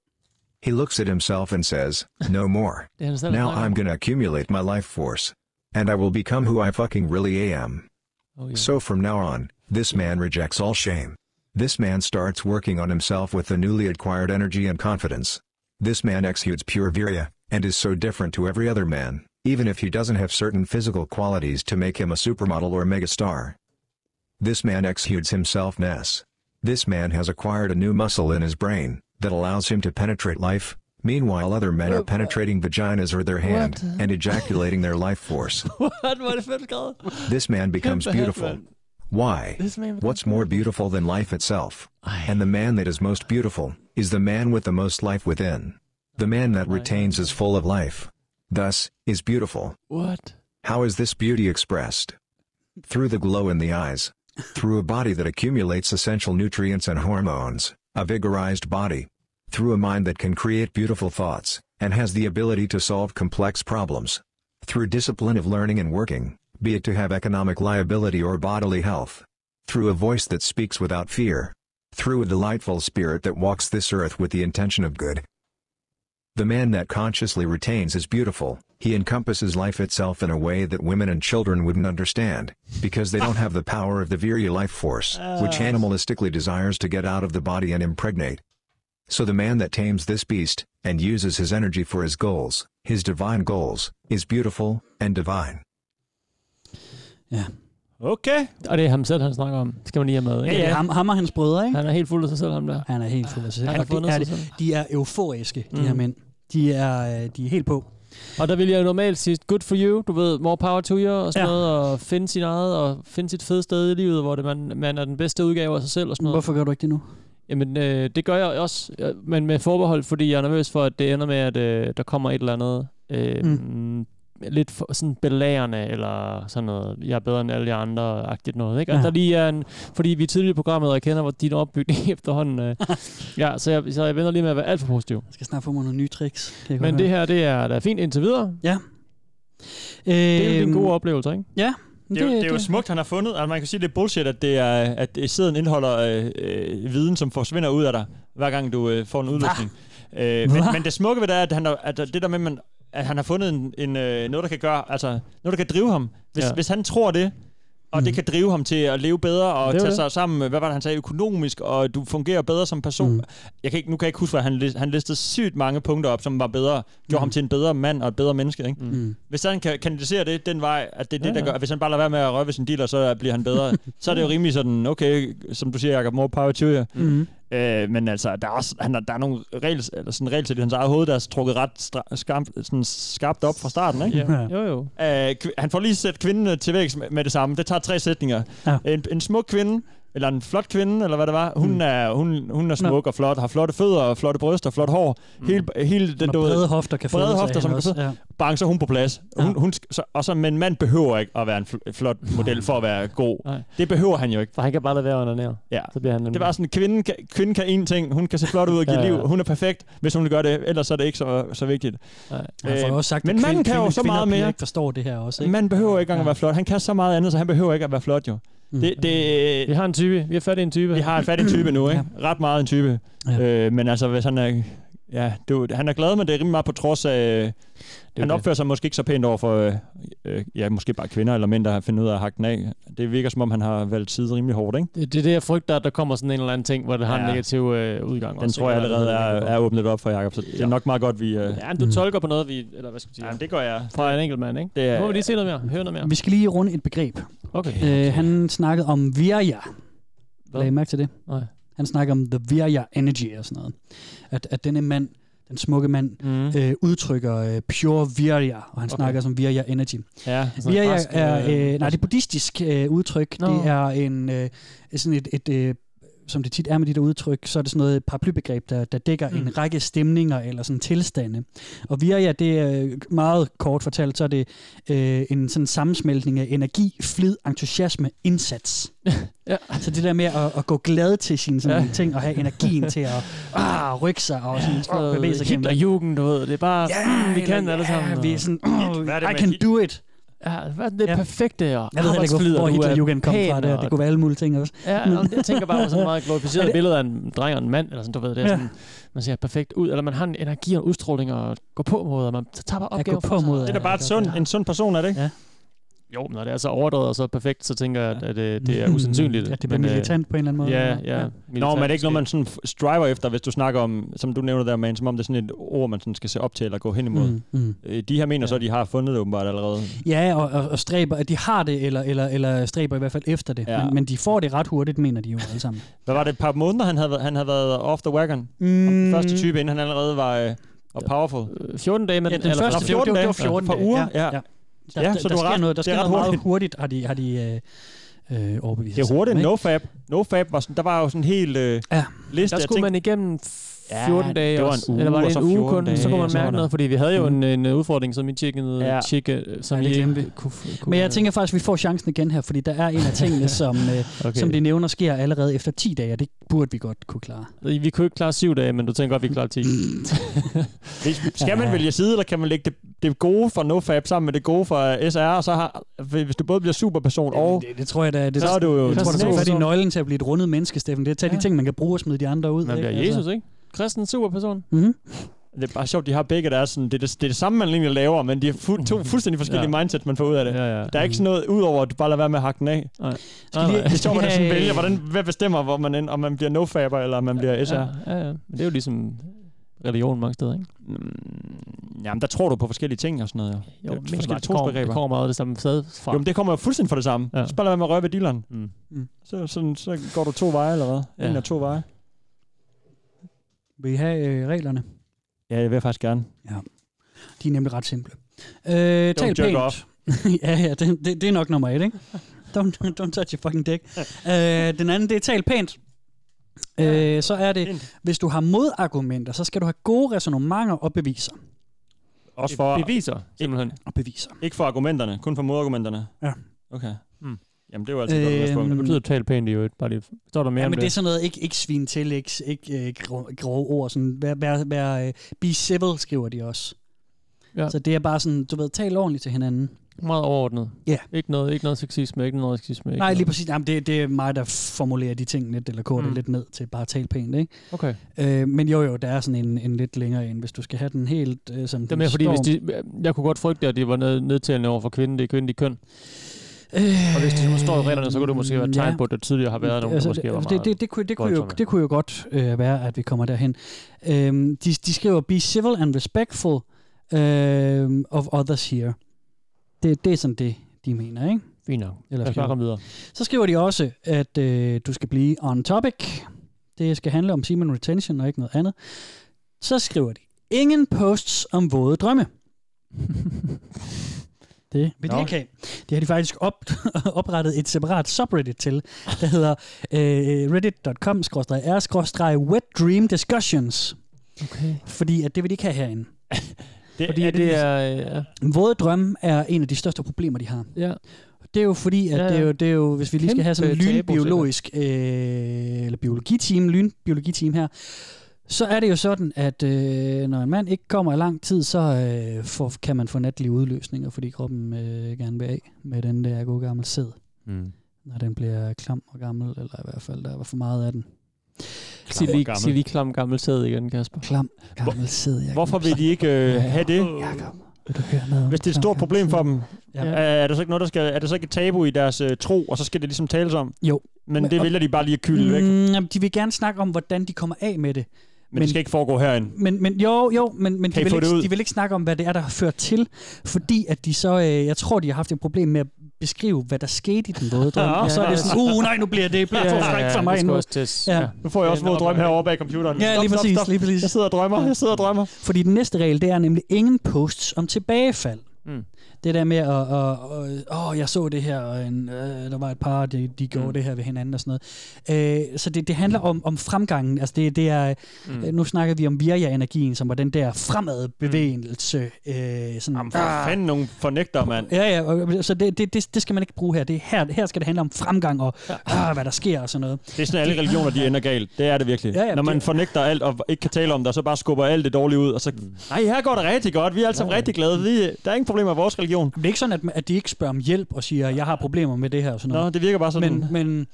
L: He looks at himself and says, No more.
H: Det er han selv, der
L: Now
H: snakker
L: I'm
H: om.
L: gonna accumulate my life force. And I will become who I fucking really am.
H: Oh, ja.
L: So from now on, this man rejects all shame. This man starts working on himself with the newly acquired energy and confidence. This man exudes pure virya, and is so different to every other man, even if he doesn't have certain physical qualities to make him a supermodel or megastar. This man exudes himself ness. This man has acquired a new muscle in his brain that allows him to penetrate life. Meanwhile, other men are penetrating vaginas or their hand and ejaculating their life force.
H: Hvordan var det fedt skrevet?
L: This man becomes
H: Kæmpe hat,
L: beautiful.
H: mand.
L: Why?
H: This man becomes
L: What's more beautiful than life itself? And the man that is most beautiful is the man with the most life within. The man that retains is full of life. Thus, is beautiful.
H: What?
L: How is this beauty expressed? through the glow in the eyes, through a body that accumulates essential nutrients and hormones, a vigorized body, through a mind that can create beautiful thoughts, and has the ability to solve complex problems, through discipline of learning and working, be it to have economic liability or bodily health, through a voice that speaks without fear, through a delightful spirit that walks this earth with the intention of good. The man that consciously retains is beautiful, he encompasses life itself in a way that women and children wouldn't understand, because they don't have the power of the virile life force, which
M: Ah.
L: animalistically desires to get out of the body and impregnate. So the man that tames this beast, and uses his energy for his goals, his divine goals, is beautiful and divine.
F: Okay.
H: Og det er ham selv, han snakker om. Det skal man lige have med.
G: Ja, det er ham, ham og hans brødre, ikke?
H: Han er helt fuld af sig selv, ham der.
G: Han er helt fuld af sig selv.
H: Han har
G: Og det
H: fundet
G: er
H: sig
G: det.
H: selv.
G: De er euforiske, de
H: Mm.
G: her mænd. De er, øh, de er helt på.
H: Og der vil jeg normalt sige, good for you, du ved, more power to you, og sådan ja. noget, og finde sin eget, og finde sit fede sted i livet, hvor det, man, man er den bedste udgave af sig selv, og sådan noget.
G: Hvorfor gør du ikke det nu?
H: Jamen, øh, det gør jeg også, øh, men med forbehold, fordi jeg er nervøs for, at det ender med, at øh, der kommer et eller andet øh, mm. lidt for, sådan belærende, eller sådan noget, jeg er bedre end alle jer andre-agtigt noget, ikke? Og
F: Ja.
H: ja. der lige er en, fordi vi er tidligere i programmet, og jeg kender hvor din opbygning efterhånden. Øh, ja, så jeg, så jeg venter lige med at være alt for positiv.
G: Jeg skal snart få mig nogle nye tricks. Kan jeg godt
H: Men det
G: høre.
H: her, det er da fint indtil videre.
G: Ja.
H: Det er jo en
F: Øhm,
H: god oplevelse, ikke?
G: Ja.
F: Det, det, det er jo smukt, han har fundet. Altså, man kan sige, det er bullshit, at, det er, at sæden indeholder øh, øh, viden, som forsvinder ud af dig, hver gang du øh, får en udløsning. Øh, men,
H: Hva?
F: men det smukke ved det er, at, han har, at det der med, man, at han har fundet en, en, øh, noget, der kan gøre, altså noget, der kan drive ham. Hvis, ja.
H: Ja.
F: hvis han tror det, og det kan drive ham til at leve bedre og
H: Det er jo
F: tage
H: det.
F: sig sammen, øh, hvad var det, han sagde, økonomisk, og du fungerer bedre som person. Mm. Jeg kan ikke, nu kan jeg ikke huske, hvad han, lis- han listede sygt mange punkter op, som var bedre, gjorde mm. ham til en bedre mand og et bedre menneske. Ikke?
G: Mm.
F: Hvis han kan kanalisere det den vej, at det er
H: Ja,
F: det, ja. der
H: ja. Mm.
F: gør, at hvis han bare lader være med at røve ved sin dealer, så bliver han bedre, så er det jo rimelig sådan, okay, som du siger, Jacob, more power to you.
G: Mhm.
F: Øh, men altså, der er, også, han har, der er nogle regels, eller sådan regels i hans eget hoved, der er trukket ret stra- skarpt, sådan skarpt op fra starten, ikke?
H: Ja. Jo, jo.
F: Øh, kv- han får lige sat kvinden øh, til vægs med, med det samme. Det tager tre sætninger.
G: Ja.
F: En, en smuk kvinde, eller en flot kvinde, eller hvad det var,
G: Mm.
F: hun, er, hun, hun er smuk og flot, har flotte fødder, og flotte bryster, flot hår.
H: Mm.
F: Hele, hele den,
G: har
F: du ved-
G: brede hofter, kan fødes
F: brede
G: af
F: hofter, som
G: hende
F: kan
G: også,
F: føde. Bang, så er hun på plads. Hun, hun, sk- så, og så, men mand behøver ikke at være en fl- flot model for at være god.
H: Nej.
F: Det behøver han jo ikke.
H: For han kan bare lade være under nær.
F: Ja.
H: Så bliver han en-
F: Det var sådan, kvinden kan, kvinden kan én ting. Hun kan se flot ud og give
H: Ja,
F: ja,
H: ja.
F: liv. Hun er perfekt, hvis hun gør det. Ellers er det ikke så, så vigtigt.
G: Jeg får
F: Øh,
G: også sagt, at
F: men
G: kvinde-
F: manden kan jo
G: kvinde-
F: så
G: kvinder og
F: meget
G: piger
F: mere.
G: ikke forstår det her også, ikke?
F: Ikke? Man behøver ikke engang ja. at være flot. Han kan så meget andet, så han behøver ikke at være flot, jo. Mm. Det, det, vi
H: har en type. Vi har fat i en type.
F: Vi har fat i en type nu, ikke? Ja. Ret meget en type. Ja. Øh, men altså, hvis han er... Ja, det, er jo- han er glad, men det er rimelig meget på trods af... Han
H: det.
F: opfører sig måske ikke så pænt over for, øh, øh, ja, måske bare kvinder eller mænd, der har fundet ud af at hakke den af. Det virker, som om han har valgt side rimelig hårdt, ikke?
H: Det, det er det, jeg frygter, at der kommer sådan en eller anden ting, hvor det har ja. en
F: Ja.
H: negativ øh, udgang.
F: Den
H: også,
F: tror jeg
H: ikke?
F: allerede er, er åbnet op for, Jacob, så det er nok meget godt, vi... Øh,
H: Ja, men du mm. tolker på noget, vi... Eller hvad skal vi sige? Jamen,
F: det gør jeg.
H: Fra en enkelt mand, ikke?
F: Det er-
H: Nu må vi lige se noget mere. Høre noget mere.
G: Vi skal lige runde et begreb.
H: Okay.
G: Øh, han snakkede om virja.
H: Hvad?
G: Lagde I mærke til det?
H: Nej.
G: Han snakker om the virja energy og sådan noget. At, at denne mand, den smukke mand,
H: mm.
G: øh, udtrykker øh, pure virja, og han
H: Okay.
G: okay. snakker som virja energy.
H: Ja, sådan
G: virja
H: græsk,
G: er,
H: øh,
G: øh, nej, det er buddhistisk øh, udtryk.
H: Nå.
G: Det er en, øh, sådan et, et øh, som det tit er med de der udtryk, så er det sådan noget paraplybegreb, der, der dækker mm. en række stemninger eller sådan tilstande. Og virja, det er øh, meget kort fortalt, så er det øh, en sådan sammensmeltning af energi, flid, entusiasme, indsats.
H: ja.
G: Så det der med at, at gå glad til sine sådan ja. ting, og have energien til at ah, rykke sig og sådan,
H: noget
G: ah, bevæge sig gennem
H: Hitlerjugend, du ved. Det er bare,
G: Ja,
H: mm, vi "Mm, kan
G: eller
H: alle
G: ja,
H: sammen.
G: vi er sådan, oh, I can do it.
H: Ja, hvad er det perfekte? Og
G: Jeg ved heller ikke, hvor, hvor Hitlerjugend kom fra der. Det kunne være alle mulige ting også.
H: Ja,
G: Men-
H: nå, men jeg tænker bare på sådan et meget glorificeret
G: Er
H: det...
G: det-
H: billede af en dreng og en mand, eller sådan, du ved, det er
G: Ja.
H: sådan, man ser perfekt ud, eller man har en energi og en udstråling og går på måde, og man tager bare
G: Ja,
H: opgaver
G: gå
H: for
G: på
H: sig.
G: måde, Det er da ja, bare
F: et sundt- en sund person, er det ikke?
G: Ja.
H: Jo, men når det er så overdrevet og så perfekt, så tænker jeg, at, at øh, det er usandsynligt.
G: Ja, det bliver
H: men, øh,
G: militant på en eller anden måde,
H: Ja,
G: eller?
H: ja.
G: Ja.
H: ja.
F: Nå, men er det ikke noget, man sådan f- striver efter, hvis du snakker om, som du nævner der, man, som om det er sådan et ord, man sådan skal se op til eller gå hen imod?
G: Mm,
F: Mm,
G: mm.
F: mm. De her mener så, at de har fundet det åbenbart allerede.
G: Ja, og, og, og stræber, at de har det, eller, eller, eller stræber i hvert fald efter det.
F: Ja.
G: Ja. Men, men de får det ret hurtigt, mener de jo alle sammen.
F: Hvad var det, et par måneder, han havde, været- han havde været off the wagon?
G: Mm.
F: Den første type, inden han allerede var øh, og
G: Øh,
F: powerful.
H: 14 dage med
G: Ja, den første, det var- det var- det var 14
F: par
G: dage,
F: uger,
G: ja,
F: ja.
G: ja.
F: ja.
G: Der, ja, der, der,
F: du har
G: sker
F: ret.
G: noget, der
F: Det er
G: sker
F: ret
G: noget meget
F: hurtigt.
G: hurtigt, har de, har de øh, øh, overbevist
F: Det er hurtigt. Nofab. Nofab var sådan, der var jo sådan en hel øh, ja. liste
H: Der
F: af
H: skulle
F: ting.
H: man igennem Ja, 14 dage
F: det var
H: også.
F: en uge,
H: Eller var
F: og
H: det
F: så
H: en uge
F: 14
H: kun?
F: dage,
H: så kunne
F: og
H: man
F: så var
H: mærke
F: der- Mm.
H: noget, fordi vi havde jo en, en øh, udfordring, som I tjekkede,
G: Ja.
H: ja. tjekke, øh, som
G: Ja,
H: ja,
G: det
H: I
G: glemte
H: ikke
G: vi.
H: kunne, kunne...
G: Men jeg tænker faktisk, at vi får chancen igen her, fordi der er en af tingene, som, øh, okay.
H: Okay.
G: som de nævner, sker allerede efter 10 dage, og det burde vi godt kunne klare.
H: I- Øh, Vi kunne ikke klare syv dage, men du tænker godt, vi kan klare ti.
F: Skal man
G: Ja.
F: vælge side, eller kan man lægge det, det gode fra NoFab sammen med det gode fra SR, og så har, hvis du både bliver superperson og...
G: Det, det tror jeg da. Det,
F: så er du jo...
G: Jeg tror, det er
F: det
G: fordi nøglen til at blive et rundet menneske, Steffen. Det er at tage ja. de ting, man kan bruge og smide de andre ud. Altså,
H: Man bliver Jesus, ikke? Kristen superperson.
G: Mm-hmm.
F: Det er bare sjovt, de har begge, der er sådan, det, er det, det er det samme, man egentlig laver, men de er fu- to
H: Mm-hmm.
F: fuldstændig forskellige ja. mindsets, man får ud af det. Ja, ja. Der er ikke sådan noget, udover at du bare lader være med at hakke den af.
H: Nej.
F: Skal lige, det er sjovt, at man sådan
H: have-
F: vælger, hvordan, hvad bestemmer, hvor man end, om man bliver nofaber, eller om man bliver SR.
H: Ja, ja, ja. Men det er jo ligesom religion mange steder, ikke?
F: Mm, Jamen, der tror du på forskellige ting og sådan noget, jo.
H: Jo,
F: Det er
H: menneskeligt
F: forskellige
H: kommer-
F: trosbegreber.
H: det kommer meget af det samme sted fra.
F: Jo, men det kommer jo fuldstændig fra det samme. Ja. Så bare lad være med at røre ved dealeren.
H: Mm.
G: Mm.
F: Så, sådan, så går du to veje, eller hvad? Ja. En
G: Ja.
F: af to veje.
G: Vil I have øh, reglerne?
F: Ja, jeg vil faktisk gerne.
G: Ja. De er nemlig ret simple. Øh, tal
F: jerk
G: pænt.
F: off.
G: ja, ja, det, det, det er nok nummer et, ikke? Don't, don't touch your fucking dick. øh, den anden, det er tal pænt. Øh, så er det, hvis du har modargumenter, så skal du have gode resonemanger og beviser.
F: Også for...
H: Beviser, simpelthen.
G: Og beviser.
F: Ikke for argumenterne, kun for modargumenterne.
G: Ja.
F: Okay.
H: Mm.
F: Jamen, det er jo altid godt at
G: Øhm,
F: spørge.
G: Det betyder
H: totalt pænt i øvrigt. Bare lige, står der mere
G: Ja,
H: om
G: men det er
H: det?
G: sådan noget, ikke, ikke svin til, ikke, ikke øh, grove, grove ord. Sådan, vær, vær, vær, øh, be civil, skriver de også.
H: Ja.
G: Så det er bare sådan, du ved, tal ordentligt til hinanden.
H: Meget overordnet.
G: Ja.
H: Ikke noget, ikke noget sexisme, ikke noget sexisme. Ikke
G: Nej,
H: noget.
G: lige præcis. Jamen, det, det er mig, der formulerer de ting lidt, eller koder mm.
H: Mm.
G: lidt ned til bare at tale pænt, ikke?
H: Okay.
G: Øh, men jo, jo, der er sådan en, en lidt længere en, hvis du skal have den helt, øh, som
H: Det er
G: den
H: mere fordi, hvis de,
G: står.
H: jeg kunne godt frygte, at det var ned, nedtalende over for kvinden, det er kvindelige køn.
G: Øh,
H: og hvis det nu står i reglerne, så kunne det måske være et tegn
G: ja.
H: på, at der tidligere har været nogen, der
G: Altså,
H: måske var
G: det,
H: meget
G: det, det, kunne, det, kunne jo,
H: voldsomme.
G: det kunne jo godt øh, være, at vi kommer derhen. Øhm, de, de skriver, be civil and respectful øhm, of others here. Det, det er sådan det, de mener, ikke?
H: Fint nok.
G: Eller
H: Lad os bare
G: skriver.
H: komme videre.
G: Så skriver de også, at øh, du skal blive on topic. Det skal handle om semen retention og ikke noget andet. Så skriver de, ingen posts om våde drømme. det vil de
I: Nå.
G: ikke have. Det har de faktisk op, oprettet et separat subreddit til, der hedder øh, reddit.com-r-wet dream discussions.
H: Okay.
G: Øh, Fordi at det vil de ikke have herinde.
F: Det,
H: Fordi er det, det er... Ja.
G: Våde drømme er en af de største problemer, de har.
H: Ja.
G: Det er jo fordi, at
H: Ja, ja.
G: ja, ja. Det, er jo, det er jo, hvis vi lige skal have sådan en
H: Kæmpe
G: lynbiologisk, øh, eller biologiteam, lynbiologiteam her, så er det jo sådan, at øh, når en mand ikke kommer i lang tid, så øh, får, kan man få natlige udløsninger, fordi kroppen øh, gerne vil af med den der gode gamle sæd.
H: Mm.
G: Når den bliver klam og gammel, eller i hvert fald, der var for meget af den.
H: Sig lige, sig lige klam gammel sæd igen, Kasper.
G: Klam gammel sæd, Jacob.
F: Hvorfor vil de ikke øh, have det? Hvis det er et stort problem for dem,
G: Ja.
F: ja. er, der så ikke noget, der skal, er der så ikke et tabu i deres øh, tro, og så skal det ligesom tales om?
G: Jo.
F: Men
G: Men-
F: det vælger de bare lige at kylde væk.
G: Mm, jamen, de vil gerne snakke om, hvordan de kommer af med det.
F: Men, det skal ikke foregå herinde.
G: Men, men jo, jo, men, men
F: Kan
G: de,
F: I
G: vil
F: få det
G: ikke,
F: ud?
G: de vil ikke snakke om, hvad det er, der har ført til, fordi at de så, øh, jeg tror, de har haft et problem med at beskrive, hvad der skete i den våde drøm.
F: Ja.
G: og så er det sådan, uh, nej, nu bliver det, bliver
F: Ja,
G: for
F: ja,
G: frækt
F: ja,
G: for
F: det
G: mig
F: skulle
G: nu.
F: også tæs. Ja. Nu får jeg også våd drøm herovre bag computeren.
G: Ja,
F: Stop,
G: lige
F: stop,
G: præcis,
F: stop.
G: lige præcis.
F: Jeg sidder og drømmer, jeg sidder og drømmer.
G: Fordi den næste regel, det er nemlig ingen posts om tilbagefald.
H: Mm.
G: Det der med, at åh, åh, jeg så det her, og en, øh, der var et par, de, de gjorde mm. det her ved hinanden og sådan noget. Øh, så det, det handler om, om fremgangen. Altså det, det er,
H: Mm.
G: mm. øh, nu snakker vi om virja-energien, som var den der fremadbevægelse. Mm. Øh, sådan, Jamen,
F: For fanden nogle fornægter, mand.
G: Ja, ja, og- så det, det, det, det skal man ikke bruge her. Det er her, her skal det handle om fremgang og ja. øh, hvad der sker og sådan noget.
F: Det er sådan, alle religioner, de ender galt. Det er det virkelig.
G: Ja, ja,
F: Når man
G: det-
F: fornægter alt og ikke kan tale om det, og så bare skubber alt det dårlige ud, og så... Nej, her går det rigtig godt. Vi er altså rigtig glade. Vi, der er ingen problemer med vores religion.
G: Det er ikke sådan, at, at de ikke spørger om hjælp og siger, jeg har problemer med det her og sådan noget.
F: Nå, det virker bare sådan.
G: Men, men,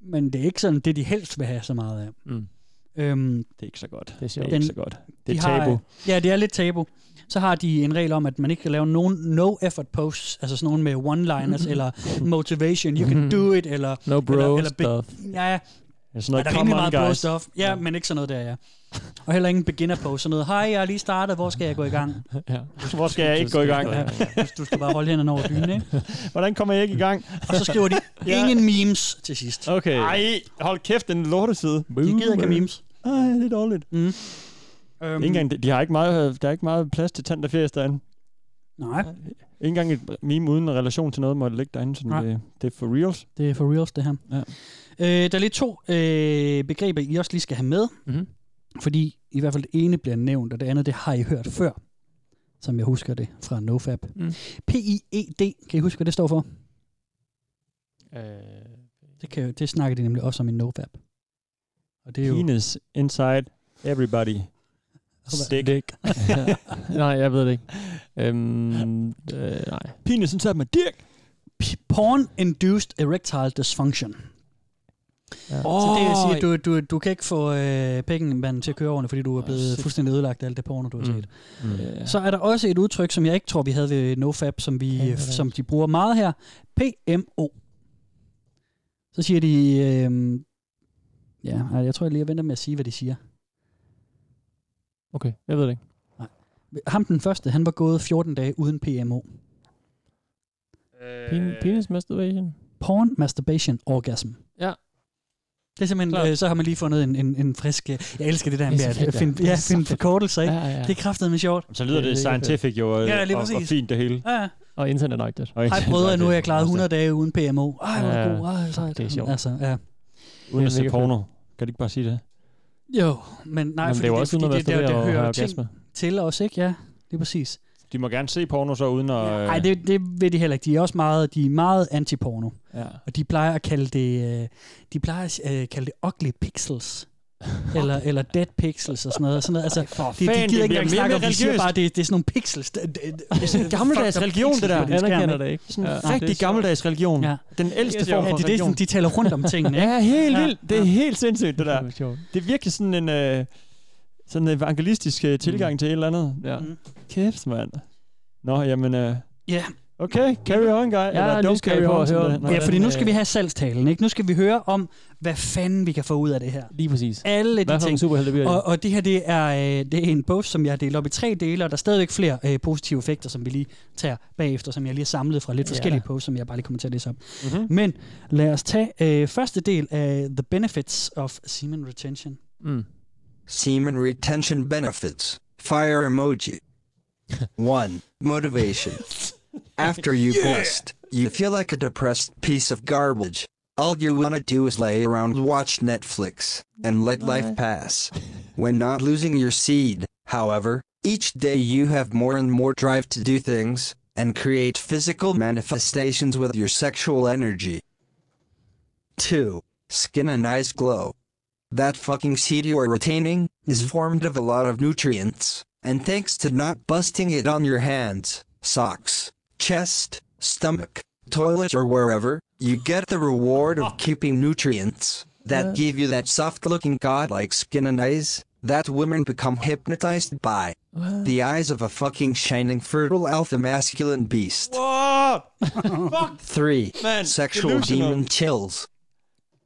G: men det er ikke sådan, det de helst vil have så meget af.
H: Mm.
G: Øhm,
F: det er ikke så godt.
H: Det er sjovt.
G: Den-
H: Ikke så godt.
F: Det er
G: de har-
F: tabu.
G: ja, det er lidt tabu. Så har de en regel om, at man ikke kan lave nogen no-effort posts, altså sådan nogle med one-liners eller motivation, you can do it, eller...
H: No bro
G: eller, eller be-
H: stuff.
G: Ja, ja.
F: Ja, sådan noget,
G: er der
F: "Come
G: rimelig
F: on,
G: meget
F: guys."
G: bro stuff. Ja, ja, men ikke sådan noget der, ja. Og heller ingen beginner post, sådan noget. Hej, jeg har lige startet, hvor skal jeg gå i gang?
H: Ja.
F: Hvor skal jeg ikke gå i gang?
G: Ja, du- du skal bare holde hænderne over dynen, ikke?
F: Hvordan kommer jeg ikke i gang?
G: Og så skriver de, ingen memes til sidst.
F: Okay. Ej, hold kæft, den lorteside. De
G: gider ikke have memes.
F: Ej, det er dårligt.
G: Mm.
F: Øhm. Engang, de, de har ikke meget, øh, der er ikke meget plads til tand og fjæs derinde.
G: Nej.
F: Ikke engang et meme uden en relation til noget måtte ligge derinde.
G: Nej.
F: Sådan det, det er for reals.
G: Det er for reals, det her.
F: Ja.
G: Øh, der er lige to øh, begreber, I også lige skal have med.
F: Mhm.
H: Mm-hmm.
G: Fordi i hvert fald det ene bliver nævnt, og det andet, det har I hørt før, som jeg husker det fra NoFab.
F: Mm.
G: PIED, kan I huske, hvad det står for?
F: Øh,
G: Det, kan, det snakker de nemlig også om i NoFab. Og det er jo...
F: Penis inside everybody. Stick. nej, jeg ved det ikke. Øhm, øh, nej.
G: Penis inside my dick. Porn-induced erectile dysfunction. Ja. Så det vil sige, at du, du, du kan ikke få øh, pengemanden til at køre ordentligt, fordi du er blevet
F: shit.
G: fuldstændig ødelagt af alt det porno, du har
F: Mm.
G: set.
F: Mm.
G: Mm. Så er der også et udtryk, som jeg ikke tror, vi havde ved NoFap, som, vi,
F: Ja, det er
G: som de bruger meget her. PMO. Så siger de... Øh, ja, ej, jeg tror, jeg lige venter med at sige, hvad de siger.
F: Okay, jeg ved det ikke.
G: Ham den første, han var gået 14 dage uden PMO.
F: Pen- penis masturbation?
G: Porn masturbation orgasm.
F: Ja.
G: Det er simpelthen, øh, så har man lige fundet en, en, en frisk... øh, Jeg elsker det der
F: Det er
G: med
F: så
G: at øh,
F: fedt, ja.
G: finde,
F: Det
G: ja,
F: er så
G: finde
F: fedt.
G: forkortelser, ikke?
F: Ja, ja, ja.
G: Det er kraftedeme sjovt.
F: Så lyder det scientific jo, øh,
G: Ja, lige
F: og, og
G: præcis.
F: fint det hele.
G: Ja, ja.
F: Og internetagtigt.
G: Hej brødre, nu har jeg klaret 100 dage uden PMO. Ej, hvor er
F: Ja,
G: det god. Ej, sejt.
F: det er sjovt.
G: Altså, ja.
F: Uden at
G: Det er
F: se
G: mega
F: porno. Kan du ikke bare sige det?
G: Jo, men nej,
F: Jamen,
G: fordi
F: det er jo også
G: fordi
F: uden at
G: det, det, det,
F: masturbere
G: det
F: og
G: hører
F: have
G: jo ting
F: orgasme.
G: til os, ikke? Ja, det er præcis.
F: De må gerne se porno så uden at... øh,
G: Nej, det, det ved de heller ikke. De er også meget, de er meget anti-porno.
F: Ja.
G: Og de plejer at kalde det, øh, de plejer at øh, kalde det ugly pixels. eller, eller dead pixels og sådan noget. Sådan noget. Altså,
F: for
G: de,
F: fanden,
G: de
F: det
G: gider
F: bliver
G: ikke
F: mere
G: engang snakke om,
F: og mere
G: de siger
F: religiøst.
G: bare, det, det er sådan nogle pixels. Det, det, det er sådan en
F: Gammeldags
G: fucked up
F: religion, det
G: pixels
F: der.
G: på din skærm,
F: Anerkender det ikke.
G: Sådan,
F: Ja.
G: nej,
F: Rigtig
G: det er
F: gammeldags religion.
G: Ja.
F: Den ældste
G: Ja,
F: form for
G: det er det,
F: religion.
G: sådan, de taler rundt om tingene. ikke?
F: ja, helt vildt. Det er
G: Ja.
F: helt sindssygt, det der. Det er virkelig sådan en... Øh, sådan en evangelistisk øh,
G: Mm.
F: tilgang til et eller andet. Ja. Kæft, mand. Nå, jamen... Øh,
G: Ja.
F: Okay, carry on, guy. Eller don't carry on, som det- Nå,
G: Ja, fordi
F: den,
G: nu
F: øh,
G: skal vi have salgstalen, ikke? Nu skal vi høre om, hvad fanden vi kan få ud af det her.
F: Lige præcis.
G: Alle de
F: Hvad for nogle
G: ting.
F: superhelte bliver det?
G: og, og det her, det er, øh, det er en post, som jeg har delt op i tre dele, og der er stadigvæk flere øh, positive effekter, som vi lige tager bagefter, som jeg lige har samlet fra lidt
F: Ja.
G: forskellige posts, som jeg bare lige kommer til at læse op.
F: Mhm.
G: Men lad os tage øh, første del af The Benefits of Semen Retention.
M: Semen retention benefits. Fire emoji. 1. Motivation. After you bust, you feel like a depressed piece of garbage. All you want to do is lay around, watch Netflix, and let life pass. When not losing your seed, however, each day you have more and more drive to do things and create physical manifestations with your sexual energy. 2. Skin and eyes glow. That fucking seed you are retaining is formed of a lot of nutrients, and thanks to not busting it on your hands, socks, chest, stomach, toilet, or wherever, you get the reward of keeping nutrients that
N: Yeah.
M: give you that soft looking godlike skin and eyes that women become hypnotized by.
N: What?
M: The eyes of a fucking shining fertile alpha masculine beast.
F: What? Fuck!
M: 3.
F: Man,
M: sexual
F: delusional.
M: demon chills.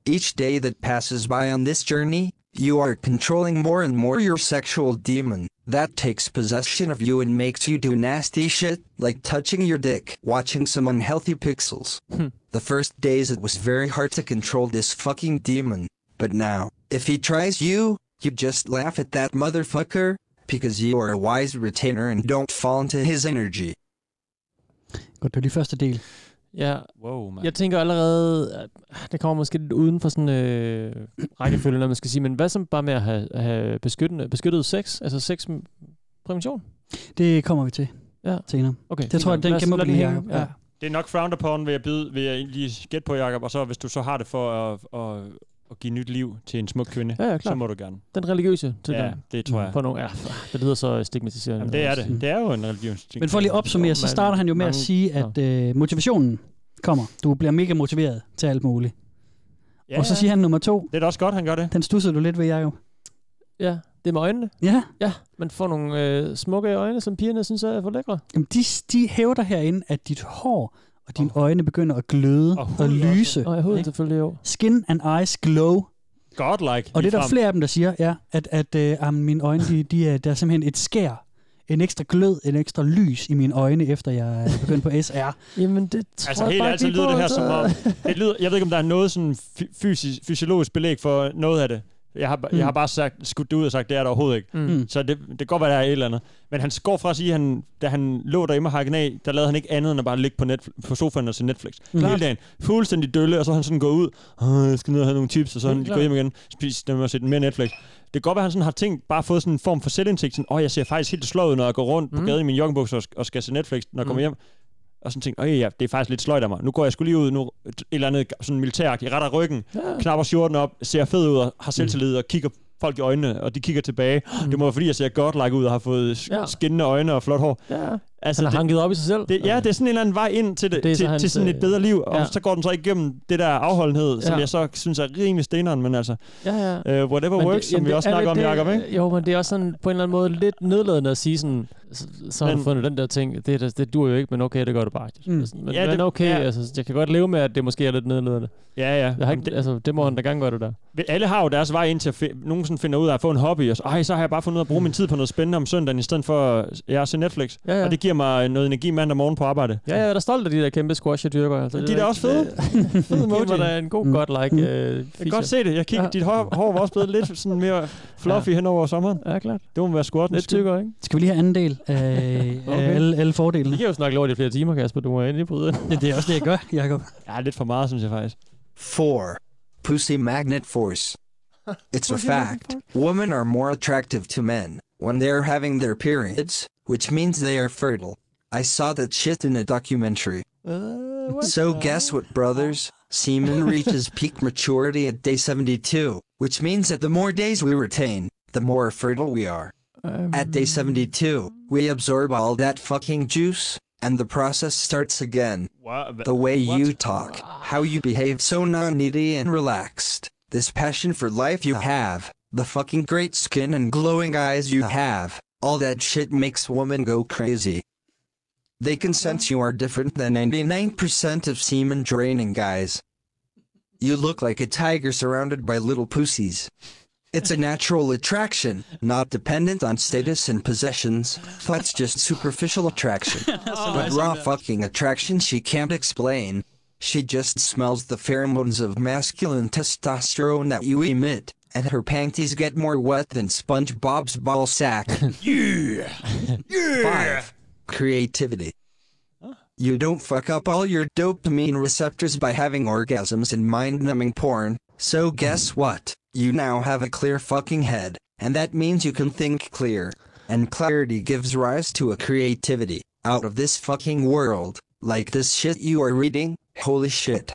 M: Each day that passes by on this journey, you are controlling more and more your sexual demon that takes possession of you and makes you do nasty shit, like touching your dick, watching some unhealthy pixels. the first days it was very hard to control this fucking demon, but now, if he tries you, you just laugh at that motherfucker, because you are a wise retainer and don't fall into his energy.
G: Godt, det var lige første del.
H: Ja.
F: Wow, mand.
H: Jeg tænker allerede, at ah, det kommer måske lidt uden for sådan øh, rækkefølge, når man skal sige, men hvad som bare med at have, have beskyttende, beskyttet sex, altså sex med prævention?
G: Det kommer vi til
H: ja.
G: senere.
H: Okay,
G: det tror
H: fint nok.
G: jeg, den
H: Lad os-
G: gemmer
H: lad
G: vi
H: den
G: lige,
H: hænge.
G: Jacob. Ja.
H: Ja.
F: Det er nok frowned upon, vil jeg, bide, vil jeg lige gætte på, Jacob. Og så hvis du så har det for at, at, at give nyt liv til en smuk kvinde,
H: Ja, ja, klart.
F: så må du gerne.
H: Den religiøse til
F: Ja, det Mm. tror jeg.
H: For nogle, ja, det lyder så stigmatiserende.
F: Jamen, det er det. Det er jo en religionsting.
G: Men for lige at opsummere, så starter han jo med at
H: Mange-
G: sige, at øh, motivationen kommer. Du bliver mega motiveret til alt muligt.
F: Ja,
G: og så
F: ja.
G: siger han nummer to.
F: Det er da også godt, han gør det.
G: Den stussede du lidt ved, Jacob.
H: Ja, det er med øjnene.
G: Ja.
H: Ja, man får nogle øh, smukke øjne, som pigerne synes er for lækre.
G: Jamen, de, de hævder herinde, at dit hår og dine øjne begynder at gløde og, og lyse.
H: Og huden selvfølgelig jo.
G: Skin and eyes glow.
F: Godlike.
G: Og det er der
F: ligefrem.
G: flere af dem, der siger, ja, at, at øh, jamen, mine øjne, de, de er, der er simpelthen et skær, en ekstra glød, en ekstra lys i mine øjne, efter jeg er begyndt på SR.
H: Jamen, det
F: Altså helt ærligt, så lyder det her som om... Det lyder, jeg ved ikke, om der er noget sådan fy- fysisk, fysiologisk belæg for noget af det. Jeg har, ba-
H: Mm.
F: jeg har bare sagt, skudt det ud og sagt, det er der overhovedet ikke.
H: Mm.
F: Så det, det kan godt være, der er et eller andet. Men han går fra at sige, at han, da han lå derhjemme og hakkede af, der lavede han ikke andet end at bare ligge på, Netflix, på sofaen og se Netflix.
H: Mm.
F: Mm. Hele
H: Klart.
F: dagen. Fuldstændig dølle, og så er han sådan gået ud. "Åh, Jeg skal ned og have nogle tips, og så er
H: Mm,
F: han
H: klart.
F: gået hjem igen, spist dem og set mere Netflix. Det kan godt være, at han sådan har tænkt, bare fået sådan en form for selvindsigt. Sådan, åh, jeg ser faktisk helt slået, ud, når jeg går rundt mm. på
H: Mm.
F: gaden i min joggingbukser og, sk- og skal se Netflix, når jeg kommer
H: Mm.
F: hjem og sådan tænkte, åh ja, det er faktisk lidt sløjt af mig. Nu går jeg skulle lige ud, nu et eller andet sådan militæragtigt, retter ryggen,
H: Ja. Mm.
F: ja. knapper skjorten op, ser fed ud og har selvtillid og kigger folk i øjnene, og de kigger tilbage. Mm. Det må være fordi, jeg ser godt like ud og har fået
H: Ja.
F: ja. skinnende øjne og flot hår.
H: Ja.
F: Altså,
H: Han har hanket op i sig selv.
F: Det, ja, det er sådan en eller anden vej ind til, det,
H: Det er
F: det
H: så
F: til,
H: hans,
F: til sådan
H: øh,
F: et bedre liv, og
H: ja.
F: så går den så igennem det der afholdenhed, som
H: Ja.
F: jeg så synes er rimelig steneren, men altså,
H: Ja, ja.
F: uh, whatever
H: Men
F: works, som
H: jamen,
F: vi også
H: er
F: snakker om,
H: lidt
F: Jacob,
H: det-
F: ikke?
H: Jo, men det er også sådan på en eller anden måde lidt nedladende at sige sådan, så, så har du
F: Men-
H: fundet den der ting, det, er da- det dur jo ikke, men okay, det gør du bare. Mm. Sådan, men, ja,
F: Ja,
H: men
F: det-
H: okay,
F: ja.
H: altså, jeg kan godt leve med, at det måske er lidt nedladende.
F: Ja, ja.
H: Jeg har ikke, det, altså, det må han da gerne gøre, det der.
F: Vi- alle har jo deres vej ind til at fi- nogen sådan finder ud af at få en hobby, og så, Ej, så har jeg bare fundet ud af at bruge min tid på noget spændende om søndagen, i stedet for at jeg ser Netflix.
H: Ja, ja.
F: Og det giver mig noget energi mandag morgen på arbejde.
H: Ja, jeg er da stolt af de der kæmpe squash, jeg dyrker. Altså,
F: De
H: det
F: er da også fede.
H: Fede emoji. Det
F: emoji.
H: var da en god mm. godt like uh,
F: Jeg kan godt se det. Jeg kigger, ja. Dit hår, hår var også blevet lidt sådan mere fluffy ja. hen over sommeren.
H: Ja, klart.
F: Det må være squatten.
H: Lidt tykkere, ikke?
G: Skal vi lige have anden del Øh, af, okay. af alle, alle fordelene?
H: Vi kan jo snakke lort i flere timer, Kasper. Du må endelig bryde ind.
G: det, det er også det, jeg gør, Jacob.
F: Ja, er lidt for meget, synes jeg faktisk.
M: 4. Pussy magnet force. It's a
I: Pussy magnet
M: fact. Women are more attractive to men when they're having their periods, which means they are fertile. I saw that shit in a documentary. So guess what, brothers? Semen reaches peak maturity at day 72, which means that the more days we retain, the more fertile we are. at day 72, we absorb all that fucking juice, and the process starts again.
F: Wha-
M: The way you talk, how you behave so non-needy and relaxed, this passion for life you have, the fucking great skin and glowing eyes you have, all that shit makes women go crazy. They can sense you are different than 99% of semen draining guys. You look like a tiger surrounded by little pussies. It's a natural attraction, not dependent on status and possessions. That's just superficial attraction. but raw fucking attraction she can't explain. She just smells the pheromones of masculine testosterone that you emit, and her panties get more wet than SpongeBob's ball sack.
I: Yeah. Yeah.
M: creativity. You don't fuck up all your dopamine receptors by having orgasms and mind numbing porn. So, guess what? You now have a clear fucking head, and that means you can think clear. And clarity gives rise to a creativity out of this fucking world, like this shit you are reading. Holy shit.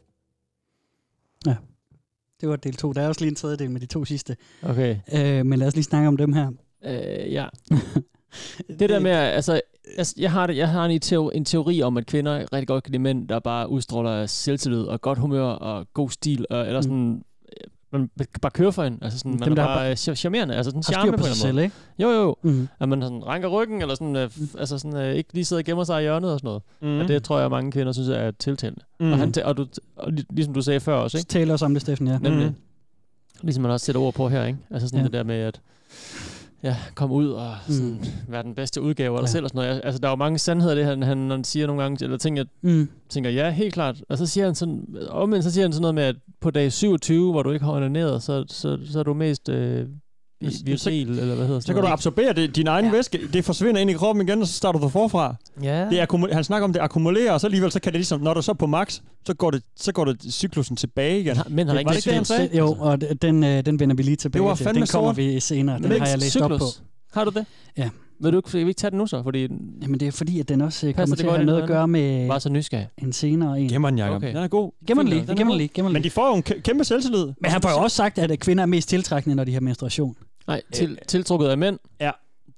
G: Det var del 2. Der er også lige en tredjedel med de to sidste.
H: Okay.
G: Øh, men lad os lige snakke om dem her.
H: Øh, ja. det der med, altså, altså jeg har, det, jeg har en, teori, en teori om, at kvinder rigtig godt kan lide mænd, der bare udstråler selvtillid og godt humør og god stil, og, eller sådan, øh, man b- bare kører for en, altså sådan, man
G: Mm. Dem,
H: Dem,
G: der
H: er
G: har
H: bare
G: bare-
H: øh, char- charmerende, altså sådan
G: har styr
H: charme
G: på
H: på, en
G: sig
H: eller anden
G: selv,
H: måde. Jo, jo,
G: Mhm.
H: at man sådan ranker ryggen, eller sådan, øh, f- altså sådan, øh, ikke lige sidder og gemmer sig i hjørnet og sådan noget.
G: Mm-hmm.
F: Mhm.
H: Og det tror jeg, mange kvinder synes er tiltalende.
G: Mhm.
H: Og, han, tæ- og, du, og lig- ligesom du sagde før også, ikke?
G: Tal også om det, Steffen, ja.
F: Mhm.
H: Nemlig. Mm. Ligesom man også sætter ord på her, ikke? Altså sådan ja.
G: Ja.
H: det der med at ja, komme ud og sådan,
G: Mm.
H: mm. være den bedste udgave af dig
G: Ja.
H: ja. selv og sådan noget. Jeg- Altså der er jo mange sandheder, i det han, han, han siger nogle gange, eller ting, jeg
G: Mm.
H: tænker, ja, helt klart. Og så siger han sådan, omvendt så siger han sådan noget med, at på dag 27, hvor du ikke har onaneret, så, så, så er du mest øh, vi- viril, eller hvad hedder
F: Så kan du absorbere det, din egen ja. væske, det forsvinder ind i kroppen igen, og så starter du forfra.
H: Ja.
F: Det akkumu- han snakker om, det akkumulerer, og så alligevel, så kan det ligesom, når du så er på max, så går det, så går det cyklusen tilbage igen.
H: Men
G: Det var det, han sagde? Jo, og d- den, øh, den vender vi lige tilbage
F: Det var
G: til.
F: fandme
G: Den kommer
F: sort.
G: vi senere. Den har jeg læst op på.
H: Har du det?
G: Ja.
H: Vil du ikke, vil vi ikke tage den nu så? Fordi den
G: Jamen det er fordi, at den også øh,
H: Passer
G: kommer
H: det
G: til at
H: godt
G: have
H: ind
G: noget
H: i
G: at
H: den?
G: gøre med
H: Bare så nysgerrig.
G: en senere en.
F: Gemmer den, Jacob. Okay. Den er god.
G: Gemmer den
F: Fint
G: lige,
F: nok. Den er
G: gemmer
F: god.
G: den lige, gemmer den
F: Men de får jo en kæ- kæmpe selvtillid.
G: Men han får jo også sagt, at øh, kvinder er mest tiltrækkende, når de har menstruation. Øh,
H: Nej, Øh, til, tiltrukket af mænd.
F: Ja,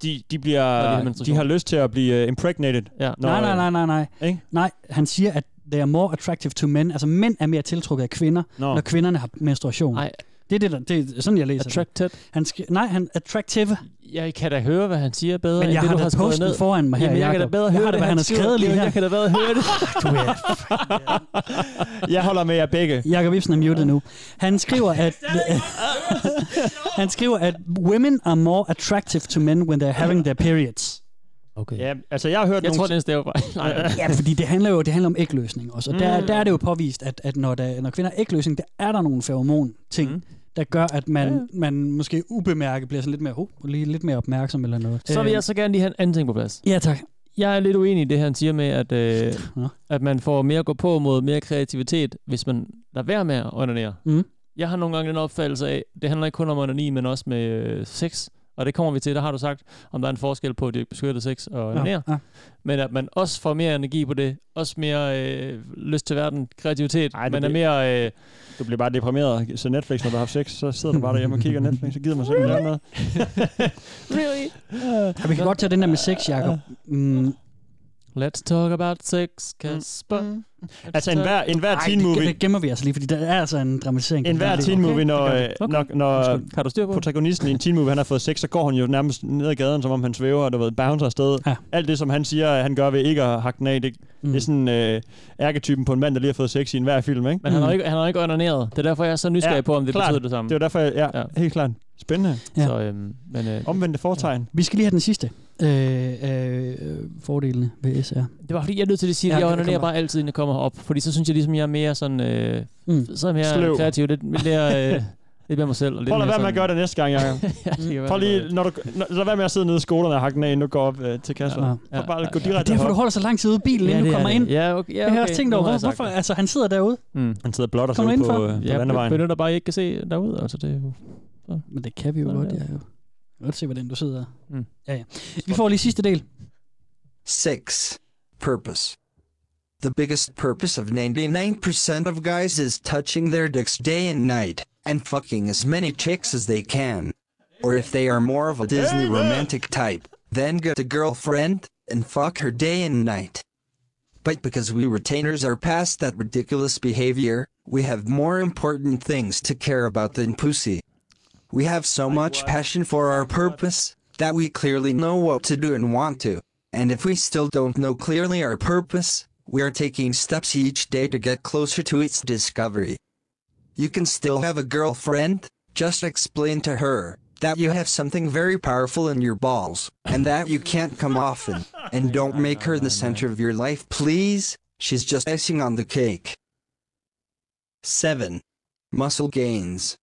F: de, de bliver, de har lyst til at blive øh, impregnated.
H: Ja.
G: Nå, nej, nej, nej, nej, nej.
F: øh, Ikke?
G: Nej, han siger, at they are more attractive to men. Altså mænd er mere tiltrukket af kvinder,
F: Nå.
G: når kvinderne har menstruation.
H: Nej.
G: Det er, det, der, det er sådan, jeg læser
H: Attracted.
G: det. Han skri- nej, han attractive.
H: Jeg kan da høre, hvad han siger bedre,
G: Men
H: end
G: jeg
H: det,
G: har
H: du
G: da
H: har skrevet
G: posten
H: ned.
G: foran mig her,
H: Jamen, jeg kan da
G: Jacob.
H: bedre
G: Jeg har
H: høre,
G: da,
H: det,
G: hvad han har
H: skriver.
G: skrevet lige
H: Jamen,
G: her.
H: Jeg kan da bedre høre det.
G: du er
F: Jeg holder med jer begge.
G: Jakob Ibsen er muted nu. Han skriver, at... han skriver, at women are more attractive to men when they're having their periods.
H: Okay.
F: Ja, altså jeg har hørt
H: Jeg
F: nogle...
H: tror, den stæver bare.
G: ja, fordi det handler jo det handler om ægløsning også. Og der,
F: Mm.
G: der er det jo påvist, at, at når, der, når kvinder er ægløsning, der er der nogle feromon-ting, mm. der gør, at man, ja. man måske ubemærket bliver sådan lidt mere, oh, lige lidt mere opmærksom eller noget.
H: Så vil
G: Øh,
H: jeg så gerne lige have en anden ting på plads.
G: Ja, tak.
H: Jeg er lidt uenig i det, han siger med, at, øh, at man får mere at gå på mod mere kreativitet, hvis man lader være med at onanere.
G: Mm.
H: Jeg har nogle gange den opfattelse af, det handler ikke kun om onani, men også med øh, sex. Og det kommer vi til, der har du sagt, om der er en forskel på det beskyttede sex og onanere.
G: ja.
H: Men at man også får mere energi på det, også mere øh, lyst til verden, kreativitet. Ej,
F: du
H: man er
F: bliver-
H: mere... Øh,
F: Du bliver bare deprimeret. Så Netflix, når du har haft sex, så sidder du bare derhjemme og kigger Netflix, så gider man simpelthen lave noget.
H: really?
G: Ja, vi kan godt tage den der med sex, Jacob. Mm.
H: Let's talk about sex, Kasper. Mm.
F: Altså, enhver- enhver teen movie-
G: Det gemmer vi altså lige, fordi der er altså en dramatisering.
F: En hver teen movie, når, okay. når, øh, når
H: har du styr på
F: protagonisten i en teen movie, han har fået sex, så går han jo nærmest ned ad gaden, som om han svæver, og der ved, bouncer afsted. Ja. Alt det, som han siger, at han gør ved ikke at hakke den af, det, mm. det er sådan øh, ærketypen på en mand, der lige har fået sex i enhver film, ikke?
H: Men han har jo ikke, han har jo ikke onaneret. Det er derfor, jeg er så nysgerrig ja, på, om det
F: Mm. klart.
H: betyder det samme.
F: Det var derfor, jeg, ja, ja, helt klart. Spændende.
G: Ja.
H: Så, øhm, men, øh,
F: Omvendte fortegn.
G: Vi skal lige have den sidste øh, øh, øh, fordelene ved SR.
H: Det var fordi, jeg er nødt til at sige,
G: Ja,
H: at jeg
G: det
H: onanerer
G: kommer.
H: bare altid, inden jeg kommer op. Fordi så synes jeg ligesom, jeg er mere sådan... Øh,
G: Mm.
H: Så er jeg mere
F: Sløv.
H: kreativ. Lidt, lidt mere... Øh, lidt mere mig selv. Og lidt
F: Prøv
H: mere
F: at lade være med at
H: sådan-
F: gøre det næste gang, Jacob.
H: Ja, det kan være,
F: Prøv
H: det
F: lige, når du, når, lad være med at sidde nede i skolerne og hakke den af, inden du går op øh, til Kasper. Ja, ja, bare gå direkte
G: Det er derfor, du holder så lang tid ude i bilen,
F: Ja,
G: inden
F: det
G: du
F: er
G: kommer
F: det.
G: ind.
H: Ja, okay, ja,
G: Det har
H: okay.
G: jeg også tænkt
H: Nu har
G: over. Hvor,
H: jeg sagt
G: hvorfor? Altså, han sidder derude.
H: Mm.
F: Han sidder blot og
G: Kommer
F: sidder på,
G: du indenfor?
F: øh, på
G: Ja,
F: landevejen.
H: Jeg benytter bare, at jeg ikke kan se derude. Altså, det er jo... Så.
G: Men det kan vi jo godt, ja. Jo. Jeg kan godt se, hvordan du sidder.
H: Mm.
G: Ja, ja. Vi får lige sidste del.
M: 6. Purpose. The biggest purpose of 99% of guys is touching their dicks day and night, and fucking as many chicks as they can. Or if they are more of a Disney romantic type, then get a girlfriend and fuck her day and night. But because we retainers are past that ridiculous behavior, we have more important things to care about than pussy. We have so much passion for our purpose that we clearly know what to do and want to. And if we still don't know clearly our purpose, we are taking steps each day to get closer to its discovery. You can still have a girlfriend, just explain to her that you have something very powerful in your balls and that you can't come often. And don't make her the center of your life, please. She's just icing on the cake. 7. Muscle gains.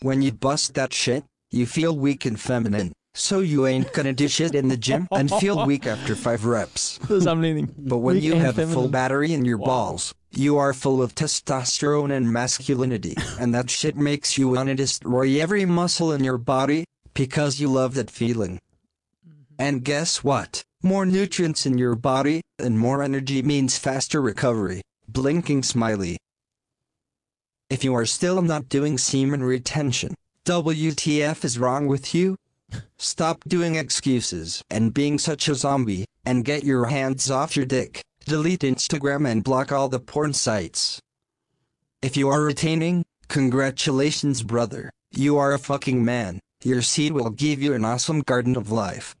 M: When you bust that shit, you feel weak and feminine. So you ain't gonna do shit in the gym and feel weak after five reps.
H: Fed sammenligning.
M: But when
H: Weak
M: you
H: and
M: have a full
H: feminine.
M: battery in your balls, you are full of testosterone and masculinity, and that shit makes you wanna destroy every muscle in your body because you love that feeling.
H: Mm-hmm.
M: And guess what? More nutrients in your body and more energy means faster recovery. Blinking smiley. If you are still not doing semen retention, WTF is wrong with you? Stop doing excuses and being such a zombie and get your hands off your dick. Delete Instagram and block all the porn sites. If you are retaining, congratulations, brother. You are a fucking man. Your seed will give you an awesome garden of life.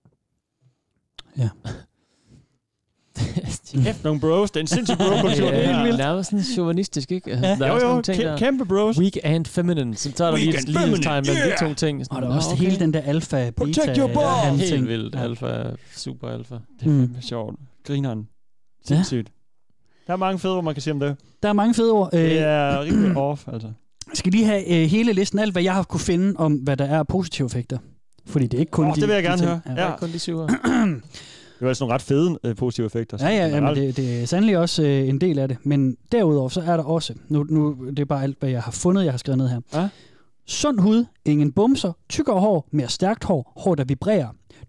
F: Kæft, nogle bros. Det er en sindssyg bro-kultur.
H: Ja,
F: Det er helt vildt.
H: Nærmest sådan chauvinistisk, ikke? Altså,
F: Ja.
H: der er
F: Jo,
H: også
F: jo,
H: nogle ting,
F: kæm-
H: der-
F: kæmpe bros.
H: Weak and feminine. Så tager der
F: Weak
H: lige
F: and
H: et livstegn
F: feminine,
H: mellem de to
F: yeah!
H: ting.
G: Og der er også hele den der alfa, beta, øh,
F: Protect your balls! Mm.
G: han
H: Helt
G: ting.
H: vildt. Alfa, super alfa.
F: Det er fandme sjovt. Grineren. Sindssygt. Der er mange fede ord, man kan sige om det.
G: Der er mange fede ord. øh,
F: Det er rimelig off, altså.
G: Jeg skal lige have øh, hele listen, alt hvad jeg har kunne finde om, hvad der er af positive effekter. Fordi det er ikke kun
F: Åh,
G: de,
F: det vil jeg
G: de
F: gerne
G: ting.
F: høre.
G: Ja.
F: Ja.
H: Kun de syv år.
F: Det var altså nogle ret fede øh, positive effekter.
G: Ja,
F: sådan
G: ja, jamen,
F: generelt.
G: det, det er sandelig også øh, en del af det. Men derudover, så er der også, nu, nu det er bare alt, hvad jeg har fundet, jeg har skrevet ned her.
F: Ja.
G: Sund hud, ingen bumser, tykkere hår, mere stærkt hår, hår, der vibrerer,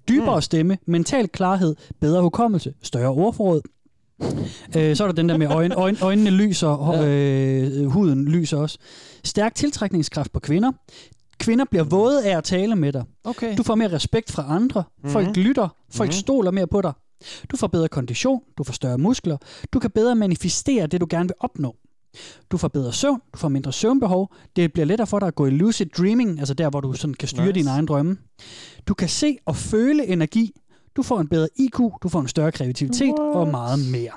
G: dybere mm. stemme, mental klarhed, bedre hukommelse, større ordforråd. øh, så er der den der med øjne, øjne, øjnene lyser, hår, øh, huden lyser også. Stærk tiltrækningskraft på kvinder. Kvinder bliver våde af at tale med dig.
H: Okay.
G: Du får mere respekt fra andre. Folk
H: Mhm.
G: lytter. Folk
H: Mhm.
G: stoler mere på dig. Du får bedre kondition, du får større muskler, du kan bedre manifestere det, du gerne vil opnå. Du får bedre søvn, du får mindre søvnbehov, det bliver lettere for dig at gå i lucid dreaming, altså der, hvor du sådan kan styre nice. dine egne drømme. Du kan se og føle energi, du får en bedre IQ, du får en større kreativitet What? og meget mere.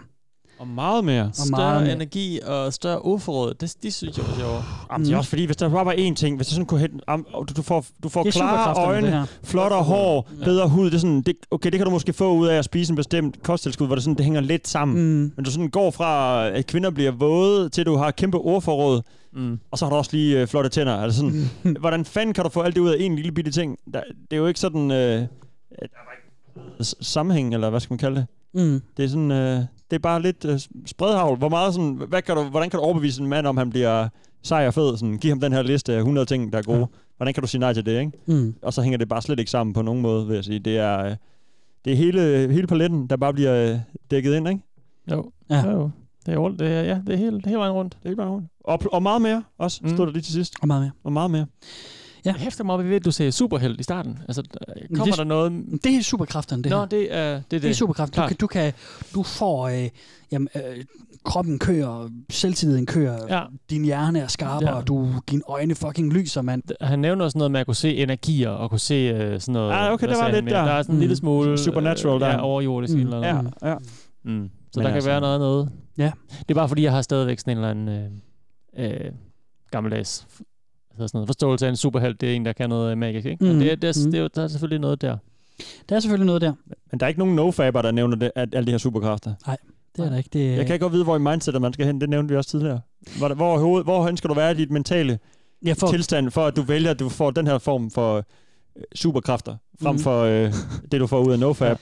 F: Og meget mere.
G: Og
H: Større
G: meget mere.
H: energi og større ordforråd. Det, de synes jeg var sjovt.
F: Jamen, det er også fordi, hvis der bare var én ting, hvis du sådan kunne hente, am, og du, du får, du får
H: Det er
F: klare
H: superkræfterne, det
F: øjne,
H: her.
F: flottere hår, bedre hud, det er sådan, det, okay, det kan du måske få ud af at spise en bestemt kosttilskud, hvor det, sådan, det hænger lidt sammen.
G: Mm.
F: Men du sådan går fra, at kvinder bliver våde, til du har kæmpe ordforråd, Mm. Og så har du også lige øh, flotte tænder. Altså sådan, hvordan fanden kan du få alt det ud af en lille bitte ting? Der, det er jo ikke sådan... Øh, øh, s- sammenhæng, eller hvad skal man kalde det?
G: Mm.
F: Det er sådan... Øh, det er bare lidt øh, spredhavl. Hvor meget sådan, hvad kan du, hvordan kan du overbevise en mand, om han bliver sej og fed? Sådan, giv ham den her liste af 100 ting, der er gode.
G: Ja.
F: Hvordan kan du sige nej til det, ikke?
G: Mm.
F: Og så hænger det bare slet ikke sammen på nogen måde, vil jeg sige. Det er, øh, det er hele, hele paletten, der bare bliver øh, dækket ind, ikke?
H: Jo.
G: Ja.
H: jo. Det er, rundt. Det er, ja, det er helt, helt vejen rundt.
F: Det er helt vejen rundt. Og, og meget mere også, mm. stod der lige til sidst.
G: Og meget mere.
F: Og meget mere.
G: Ja.
H: Jeg hæfter mig op ved, at du sagde superheld i starten. Altså, der- kommer
G: det-
H: der noget...
G: Det er superkræfterne, det
H: Nå,
G: her.
H: det er det. Er det.
G: Det er superkraft. Du
H: Klart.
G: kan, du, kan, du får... Øh, jamen, øh, kroppen kører, selvtilliden kører,
H: Ja.
G: ja. din hjerne er skarpere,
H: Ja.
G: ja. og du, dine øjne fucking lyser, mand.
H: Han nævner også noget med at kunne se energier og kunne se øh, sådan noget.
F: Ah,
H: hvad
F: okay, det var
H: sagde han
F: lidt
H: mere?
F: der.
H: Der er sådan en
F: Mm.
H: lille smule
F: Supernatural
H: øh,
F: der.
H: Ja, overjordisk
F: Mm.
H: eller noget.
F: Ja, ja.
H: Mm. Så
F: Men
H: der
F: altså-
H: kan være noget andet.
G: Ja.
H: Det er bare fordi, jeg har stadigvæk sådan en eller anden øh, øh, gammeldags hvad hedder sådan noget, forståelse af en superheld. Det er en, der kan noget øh, magisk, ikke? Mm.
G: Mm.
H: Det, er- det, er,
G: Mm.
H: det, er, der er selvfølgelig noget der.
G: Der er selvfølgelig noget der.
F: Men der er ikke nogen nofabber, der nævner det, at alle de her superkræfter.
G: Nej, det er der ikke. Det,
F: Jeg kan godt vide, hvor i mindsetet man skal hen. Det nævnte vi også tidligere. Hvor, hvor, hoved, hvorhen skal du være i dit mentale
G: ja, for...
F: tilstand, for at du vælger, at du får den her form for øh, superkræfter, frem mm. for øh, det, du får ud af nofab? Ja.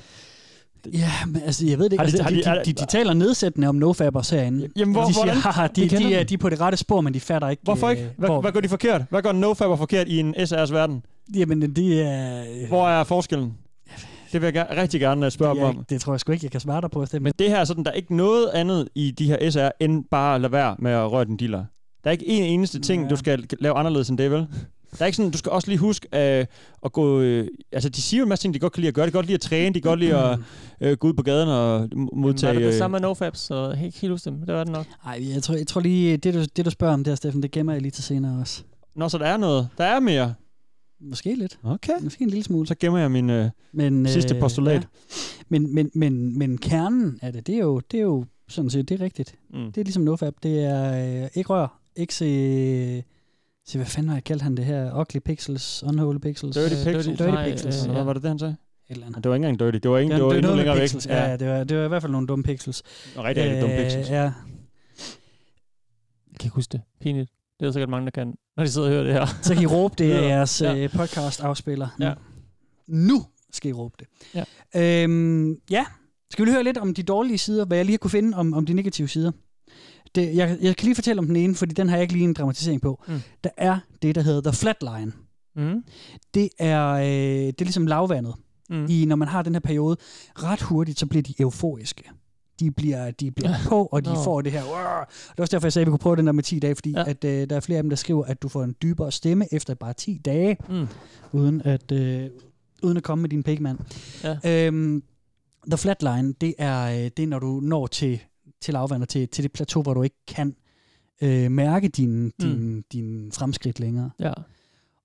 G: Ja, men altså, jeg ved det ikke.
F: Har de-
G: Altså,
F: har
G: de,
F: de- er
G: de,
F: det-
G: de, de, taler nedsættende om nofabers herinde.
F: Jamen, hvor-
G: de siger,
F: hvordan-
G: haha,
F: Vi
G: de,
F: kender
G: de, er,
F: dem.
G: de er på det rette spor, men de fatter ikke.
F: Hvorfor
G: øh,
F: ikke? Hvad,
G: hvor,
F: hvad gør de forkert? Hvad gør nofabber forkert i en SR's verden?
G: Jamen, det er...
F: Hvor er forskellen? Det vil jeg gerne, rigtig gerne øh, spørge dem
G: jeg,
F: om.
G: det tror jeg sgu ikke, jeg kan svare dig på. Steffen.
F: Men det her er sådan, der er ikke noget andet i de her SR, end bare at lade være med at røre din dealer. Der er ikke en eneste ting, ja. du skal lave anderledes end det, vel? Der er ikke sådan, du skal også lige huske øh, at gå... Øh, altså, de siger jo en masse ting, de godt kan lide at gøre. De kan godt lide at træne, de kan godt lide at øh, gå ud på gaden og modtage...
H: Var det
F: øh,
H: det samme med NoFabs? Så jeg kan ikke helt huske dem. Det var det nok.
G: Ej, jeg tror, jeg tror lige, det du, det du spørger om der, Steffen, det gemmer jeg lige til senere også.
F: Nå, så der er noget. Der er mere.
G: Måske lidt.
F: Okay.
G: Måske en lille smule.
F: Så gemmer jeg min øh,
G: Men,
F: sidste
G: øh,
F: postulat.
G: ja. Men, men, men, men kernen af det, det er jo, det er jo sådan set, det er rigtigt.
F: Mm.
G: Det er ligesom nofab. Det er øh, ikke rør, ikke se, se, hvad fanden har jeg kaldt han det her? Ugly pixels, unholy pixels.
F: Dirty
G: Øh,
F: Pixels.
G: Dirty
H: Nej,
G: pixels.
H: øh,
F: Eller
H: ja.
F: hvad var det, det han sagde?
G: Et eller andet.
F: Det var ikke engang dirty. Det var, ikke,
G: Ja,
F: det var endnu
G: noget med
F: længere væk.
G: pixels. Ja, ja, det var, det var i hvert fald nogle dumme pixels. Øh,
F: Rigtig, rigtig dumme pixels.
G: Ja.
H: Jeg kan ikke huske det. Pinligt. Det er der sikkert mange, der kan, når de sidder og hører det her.
G: Så kan I råbe det af
H: Ja.
G: jeres øh,
H: Ja.
G: ja. podcast-afspiller.
H: Ja.
G: Nu skal I råbe det.
H: Ja.
G: Øhm, ja. Skal vi lige høre lidt om de dårlige sider, hvad jeg lige har kunne finde om, om de negative sider? Det, jeg, jeg kan lige fortælle om den ene, fordi den har jeg ikke lige en dramatisering på.
H: Mm.
G: Der er det, der hedder The Flatline.
H: Mm.
G: Det er, øh, det er ligesom lavvandet.
H: Mm.
G: I, når man har den her periode, ret hurtigt, så bliver de euforiske. De bliver, de bliver på, og de
H: Nå.
G: får det her. "Arr!" Det er også derfor, jeg sagde, at vi kunne prøve den der med 10 dage, fordi
H: Ja.
G: ja. at, øh, der er flere af dem, der skriver, at du får en dybere stemme efter bare 10 dage,
H: Mm.
G: uden at, øh, uden at komme med din pigmand. Ja. Øhm, the flatline, det er, øh, det er, når du når til, til lavvandet, til, til det plateau, hvor du ikke kan øh, mærke din, din, mm. din fremskridt længere.
H: Ja.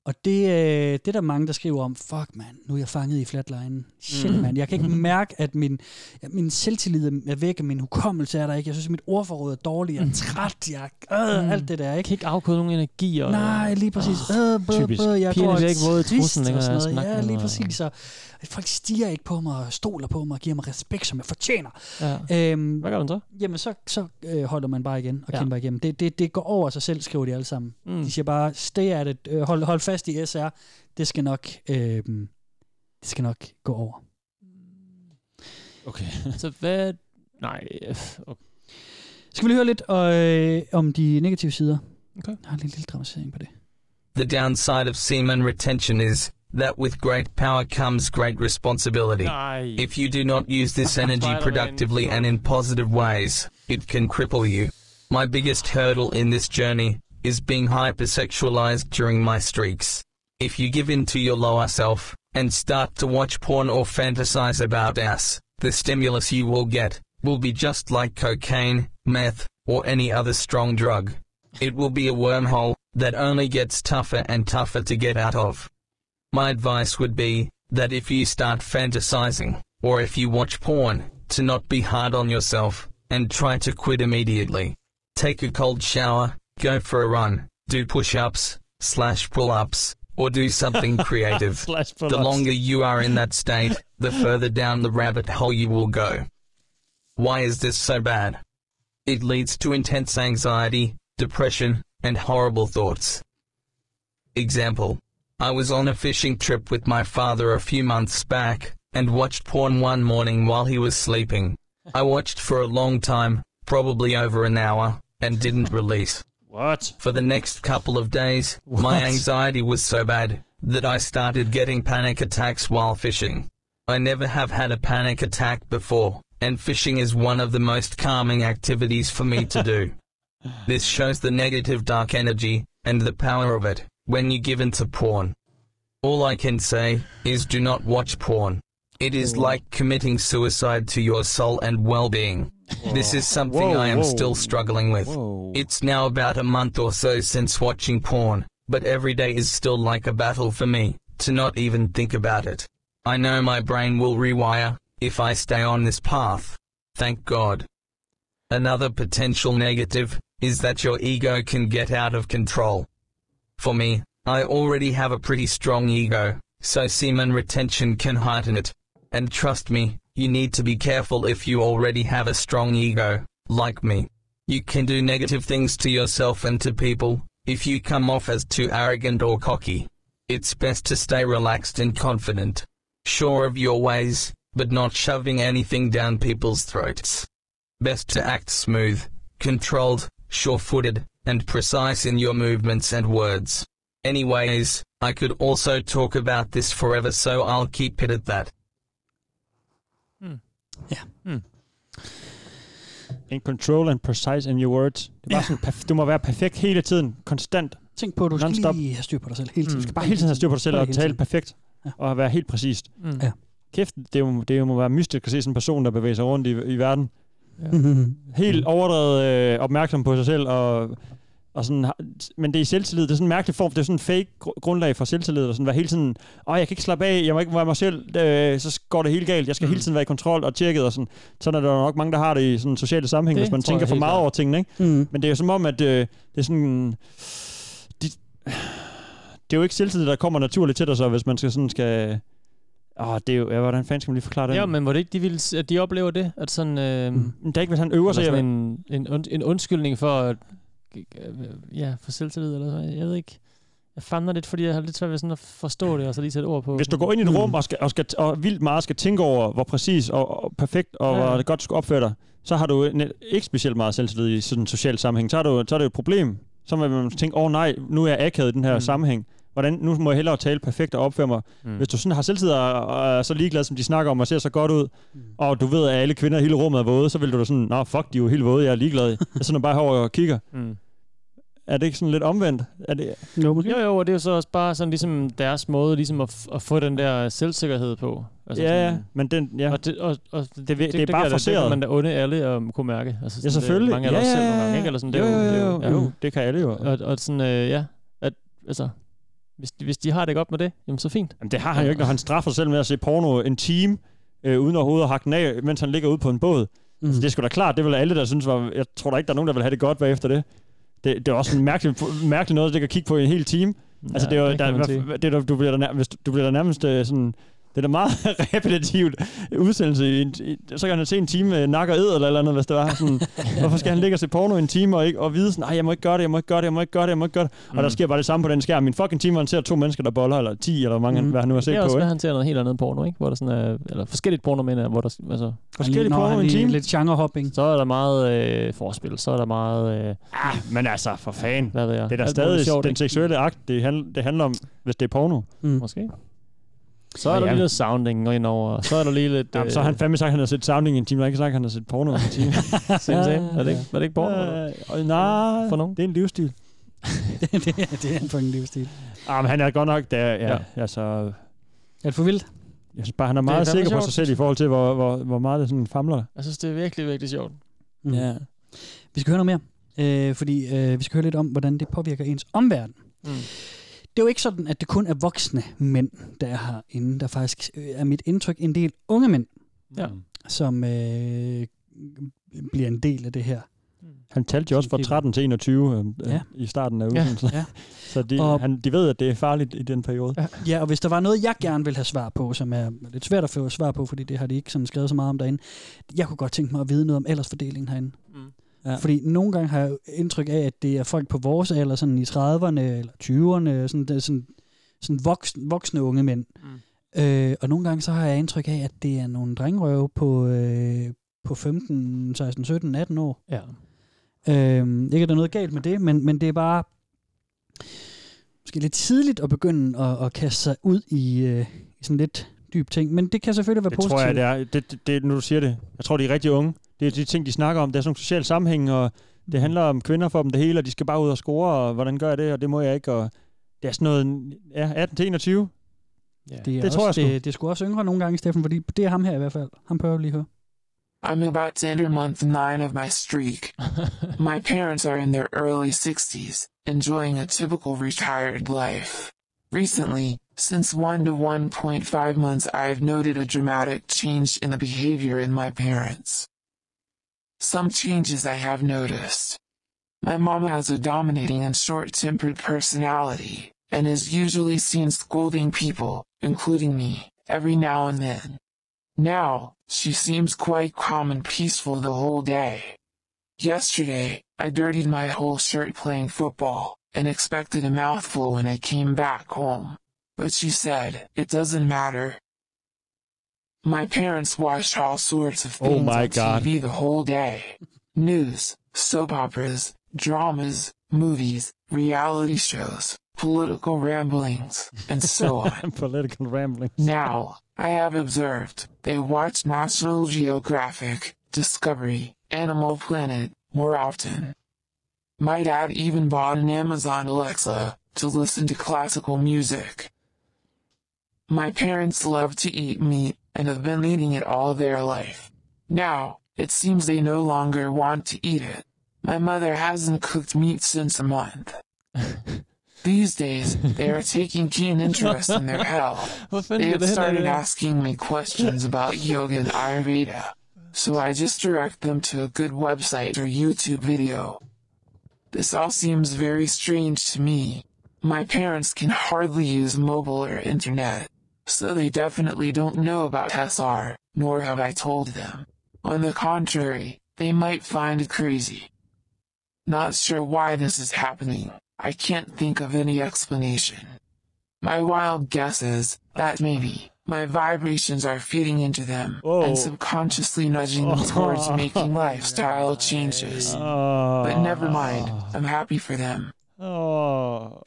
G: Og det, øh, det er der mange, der skriver om, fuck mand, nu er jeg fanget i flatlinen. Shit mm. mand, jeg kan ikke mærke, at min, at min selvtillid er væk, at min hukommelse er der ikke. Jeg synes, at mit ordforråd er dårligt, jeg er træt, jeg er øh, alt det der, ikke?
H: Mm. Kan ikke afkode nogen energi. Og,
G: Nej, lige præcis. Øh, bøh,
H: typisk.
G: bøh, jeg
H: Pigerne
G: går
H: bliver ikke våde i
G: trist
H: trussen længere
G: og
H: af at
G: sådan noget.
H: snakke
G: Ja,
H: med
G: lige
H: mig.
G: præcis. Og folk stiger ikke på mig, og stoler på mig, og giver mig respekt, som jeg fortjener.
H: Ja.
G: Øhm,
H: Hvad gør man så?
G: Jamen, så, så øh, holder man bare igen og
H: Ja.
G: ja. kæmper igennem. Det, det, det går over sig selv, skriver de alle sammen.
H: Mm.
G: Mm. De siger bare, stay at it, øh, hold, hold fast i SR, det skal nok, øh, det skal nok gå over.
F: Okay.
H: Så hvad... Nej, øh, okay.
G: Skal vi lige høre lidt øh, om de negative sider?
H: Okay.
G: Jeg har lige en lille dramatisering på det.
N: The downside of semen retention is that with great power comes great responsibility.
H: Aye.
N: If you do not use this energy
H: Spider-Man.
N: productively and in positive ways, it can cripple you. My biggest hurdle in this journey is being hypersexualized during my streaks. If you give in to your lower self and start to watch porn or fantasize about ass, the stimulus you will get will be just like cocaine, meth, or any other strong drug. It will be a wormhole that only gets tougher and tougher to get out of. My advice would be that if you start fantasizing, or if you watch porn, to not be hard on yourself and try to quit immediately. Take a cold shower, go for a run, do push ups, slash pull ups, or do something creative.
F: Slash
N: the
F: pull-ups.
N: longer you are in that state, the further down the rabbit hole you will go. Why is this so bad? It leads to intense anxiety, depression, and horrible thoughts. Example I was on a fishing trip with my father a few months back and watched porn one morning while he was sleeping. I watched for a long time, probably over an hour, and didn't release.
F: What?
N: For the next couple of days, my
F: What?
N: anxiety was so bad that I started getting panic attacks while fishing. I never have had a panic attack before, and fishing is one of the most calming activities for me to do. This shows the negative dark energy and the power of it when you give in to porn. All I can say is do not watch porn. It is like committing suicide to your soul and well being. This is something
O: Whoa,
N: I am
O: whoa.
N: still struggling with.
O: Whoa.
N: It's now about a month or so since watching porn, but every day is still like a battle for me to not even think about it. I know my brain will rewire if I stay on this path. Thank God. Another potential negative is that your ego can get out of control. For me, I already have a pretty strong ego, so semen retention can heighten it. And trust me, you need to be careful if you already have a strong ego, like me. You can do negative things to yourself and to people if you come off as too arrogant or cocky. It's best to stay relaxed and confident, sure of your ways, but not shoving anything down people's throats. Best to act smooth, controlled, sure footed, and precise in your movements and words. Anyways, I could also talk about this forever, so I'll keep it at that.
F: In control and precise in your words. Det er bare sådan, perf- du må være perfekt hele tiden. Konstant.
G: Tænk på, at du
F: Non-stop.
G: skal lige have styr på dig selv hele tiden.
F: Du skal bare hele tiden have styr på dig selv
G: Mm. Bare
F: og
G: hele
F: tale
G: tiden.
F: perfekt. Og være helt præcist.
G: Mm. Ja.
F: Kæft, det må, det må være mystisk at se sådan en person, der bevæger sig rundt i, i verden.
G: Ja. Mhm.
F: Helt overdrevet øh, opmærksom på sig selv. Og, og sådan, har- men det er selvtillid. Det er sådan en mærkelig form. Det er sådan en fake gr- grundlag for selvtillid. Og sådan være hele tiden, åh, jeg kan ikke slappe af. Jeg må ikke være mig selv. Øh, så går det helt galt. Jeg
H: Mm.
F: skal hele tiden være i kontrol og tjekket. Og sådan. Sådan er der nok mange, der har det i sådan sociale sammenhæng,
G: Det
F: hvis man
G: tror jeg
F: tænker for
G: helt
F: meget
G: klart.
F: over tingene. Ikke?
G: Mm.
F: Men det er jo som om, at øh, det er sådan... De, det er jo ikke selvtillid, der kommer naturligt til dig så, hvis man skal sådan skal... Åh, det er jo... Ja, hvordan fanden skal man lige forklare det?
H: Ja, men var det ikke, de, ville, s- at de oplever det? At sådan, øh, mm.
F: Det er ikke, hvis han øver sig,
H: Sådan en, en, und, en undskyldning for, at, øh, ja, for selvtillid eller sådan. Jeg ved ikke. Jeg famler lidt, fordi jeg har lidt svært ved sådan at forstå det, og så lige sætte ord på.
F: Hvis du går ind i et rum og, skal, og, skal, og vildt meget skal tænke over, hvor præcis og, og perfekt og
H: Ja.
F: ja. hvor godt du skal opføre dig, så har du net, ikke specielt meget selvtillid i sådan en social sammenhæng. Så er, du, så er det jo et problem. Så vil man tænke, åh oh, nej, nu er jeg akavet i den her mm. sammenhæng. Hvordan, nu må jeg hellere tale perfekt og opføre mig.
H: Mm.
F: Mm. Hvis du sådan har selvtillid og, og er så ligeglad, som de snakker om, og ser så godt ud, mm. og du ved, at alle kvinder i hele rummet er våde, så vil du da sådan, nå fuck, de er jo helt våde, jeg er ligeglad. jeg sidder bare herovre og kigger.
H: Mm.
F: Er det ikke sådan lidt omvendt? Er det,
G: Jo,
H: jo, jo, og det er jo så også bare sådan ligesom deres måde ligesom at, f- at få den der selvsikkerhed på. Altså
F: Ja,
H: sådan-
F: ja, men den, ja.
H: Og det, og, og det,
F: det er bare
H: kan- Det
F: forceret.
H: kan man da onde alle at kunne mærke. Altså,
F: Ja,
H: sådan,
F: selvfølgelig.
H: Det, mange er der
F: Ja,
H: også selv
F: ja,
H: nogle
F: ja,
H: gange,
F: ja.
H: ikke? Eller sådan,
F: Jo,
H: det, er
F: jo, jo, jo.
H: ja.
F: det kan alle jo.
H: Og, og sådan, øh, ja, at, altså, hvis, de- hvis de har det godt med det, jamen så fint.
F: Jamen, det har han jo ikke, når han straffer sig selv med at se porno en time, øh, uden overhovedet at hakke den af, mens han ligger ude på en båd.
H: Mhm.
F: Mm. Altså, det er sgu da klart, det vil alle, der synes, var, jeg tror da ikke, der er nogen, der vil have det godt bagefter det. Det, det er også en mærkelig, mærkelig noget, der kan kigge på i en hel time. Altså,
H: Ja,
F: det er jo,
H: det kan
F: der,
H: man
F: hvad-
H: sige.
F: hvad- det, er der, du bliver der, nær- hvis du, du bliver der nærmest øh, sådan... Det er da meget repetitivt udsendelse. I en, i, så kan han se en time øh, nakker ed eller et eller andet, hvis det var sådan. Hvorfor skal han ligge og se porno i en time og, ikke, og vide sådan, nej, jeg må ikke gøre det, jeg må ikke gøre det, jeg må ikke gøre det, jeg må ikke gøre det. Og der
H: Mm.
F: sker bare det samme på den skærm. Min fucking time, hvor han ser to mennesker, der boller, eller ti, eller hvor mange, mm. hvad han nu har set
H: det er
F: på.
H: også,
F: ikke?
H: hvad han ser noget helt andet porno, ikke? Hvor der sådan er, eller forskelligt porno, mener jeg, hvor der, altså...
F: Forskelligt porno i en time.
G: Lidt genrehopping.
H: Så er der meget øh, forspil, så er der meget... Øh,
F: ah, men altså, for fanden.
H: Hvad ved jeg?
F: Det er da
H: Alt muligt
F: stadig
H: sjovt,
F: den
H: ikke?
F: seksuelle akt, det, handl- det handler om, hvis det er porno.
G: Mm.
H: Måske. Så er der lige lidt sounding indover, og så er der lige lidt... øh,
F: Ah, Jamen, så har han fandme sagt, at han har set sounding i en time. Jeg har ikke sagt, at han har set porno i en time.
H: Same, same. Er det ikke- var det ikke porno?
F: Øh, nej,
H: For nogen?
F: det er en livsstil.
G: det, er, det er en fucking livsstil.
F: Ah, men han er godt nok, der, ja,
G: Ja.
F: ja. altså... Er
G: det for vildt?
F: Jeg synes bare, han er
H: Det er
F: meget
H: fandme
F: sikker på
H: sjovt.
F: sig selv i forhold til, hvor, hvor, hvor meget det sådan famler.
H: Jeg synes, det er virkelig, virkelig sjovt.
G: Mm. Ja. Vi skal høre noget mere, øh, fordi øh, vi skal høre lidt om, hvordan det påvirker ens omverden.
H: Mm.
G: Det er jo ikke sådan, at det kun er voksne mænd, der er herinde. Der er faktisk øh, er mit indtryk en del unge mænd,
H: Ja.
G: som øh, bliver en del af det her.
F: Han talte jo også fra 13 til 21 øh,
G: Ja.
F: ja. i starten af
G: Ja.
F: udsendelsen.
G: Ja.
F: Så de,
G: Og-
F: han, de ved, at det er farligt i den periode. Ja.
G: Ja, og hvis der var noget, jeg gerne ville have svar på, som er lidt svært at få svar på, fordi det har de ikke sådan skrevet så meget om derinde. Jeg kunne godt tænke mig at vide noget om aldersfordelingen herinde. Mm. Ja. Fordi nogle gange har jeg jo indtryk af, at det er folk på vores alder, sådan i 30'erne eller 20'erne, sådan, det er sådan, sådan voksne, voksne unge mænd. Mm. Øh, og nogle gange så har jeg indtryk af, at det er nogle drengrøve på, øh, på 15, 16, 17, 18 år.
F: Ja.
G: Øhm, ikke at der er noget galt med det, men, men det er bare måske lidt tidligt at begynde at, at kaste sig ud i, øh, i sådan lidt dyb ting. Men det kan selvfølgelig være
F: Det
G: positivt.
F: tror jeg, det er. Det, det, det, nu du siger det. Jeg tror, de er rigtig unge. Det er de ting, de snakker om. Der er sådan nogle sociale sammenhæng, og
G: Mhm.
F: det handler om kvinder for dem det hele, og de skal bare ud og score, og hvordan gør jeg det, og det må jeg ikke. Og det er sådan noget ja, 18-21. Ja.
G: Det, er
F: Det
G: også,
F: tror jeg sgu.
G: Det, det skulle også yngre nogle gange, Steffen, fordi det er ham her i hvert fald. Ham prøver vi lige at høre.
O: I'm about to enter month nine of my streak. my parents are in their early 60s, enjoying a typical retired life. Recently, since 1 to 1.5 months, I've noted a dramatic change in the behavior in my parents. Some changes I have noticed. My mom has a dominating and short tempered personality, and is usually seen scolding people, including me, every now and then. Now, she seems quite calm and peaceful the whole day. Yesterday, I dirtied my whole shirt playing football and expected a mouthful when I came back home. But she said, it doesn't matter. My parents watched all sorts of
F: Oh
O: things
F: my
O: on
F: God.
O: TV the whole day. News, soap operas, dramas, movies, reality shows, political ramblings, and so on.
F: Political rambling.
O: Now, I have observed they watch National Geographic, Discovery, Animal Planet more often. My dad even bought an Amazon Alexa to listen to classical music. My parents love to eat meat and have been eating it all their life. Now, it seems they no longer want to eat it. My mother hasn't cooked meat since a month. These days, they are taking keen interest in their health.
I: Well, thank
O: they
I: you,
O: have
I: then,
O: started
I: anyway.
O: asking me questions about yoga and Ayurveda, so I just direct them to a good website or YouTube video. This all seems very strange to me. My parents can hardly use mobile or internet, so they definitely don't know about SR, nor have I told them. On the contrary, they might find it crazy. Not sure why this is happening. I can't think of any explanation. My wild guess is that maybe my vibrations are feeding into them and subconsciously nudging them towards making lifestyle changes. But never mind, I'm happy for them.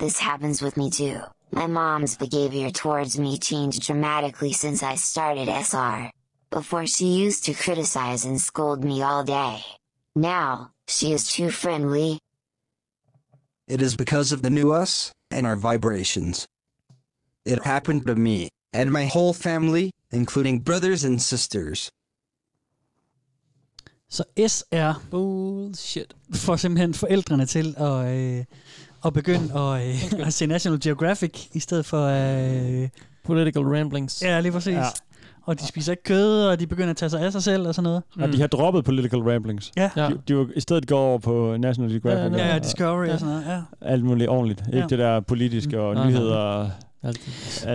P: This happens with me too. My mom's behavior towards me changed dramatically since I started SR. Before she used to criticize and scold me all day. Now, she is too friendly,
M: It is because of the new us and our vibrations. It happened to me and my whole family, including brothers and sisters.
G: Så S er bullshit. for simpelthen forældrene til at, øh, at begynde at, øh, at se National Geographic i stedet for... Øh,
H: Political ramblings.
G: ja, lige præcis. Ja.
H: Ja.
G: Og de spiser ikke kød, og de begynder at tage sig af sig selv og sådan noget.
F: Og de har droppet political ramblings.
G: Mm. Ja.
F: De, de var, I stedet går over på National
G: Ja,
F: Geographic.
G: ja, ja, Discovery og sådan noget, ja.
F: Alt muligt ordentligt. Ikke
G: Ja.
F: det der politiske og
G: Mm.
F: nyheder og alt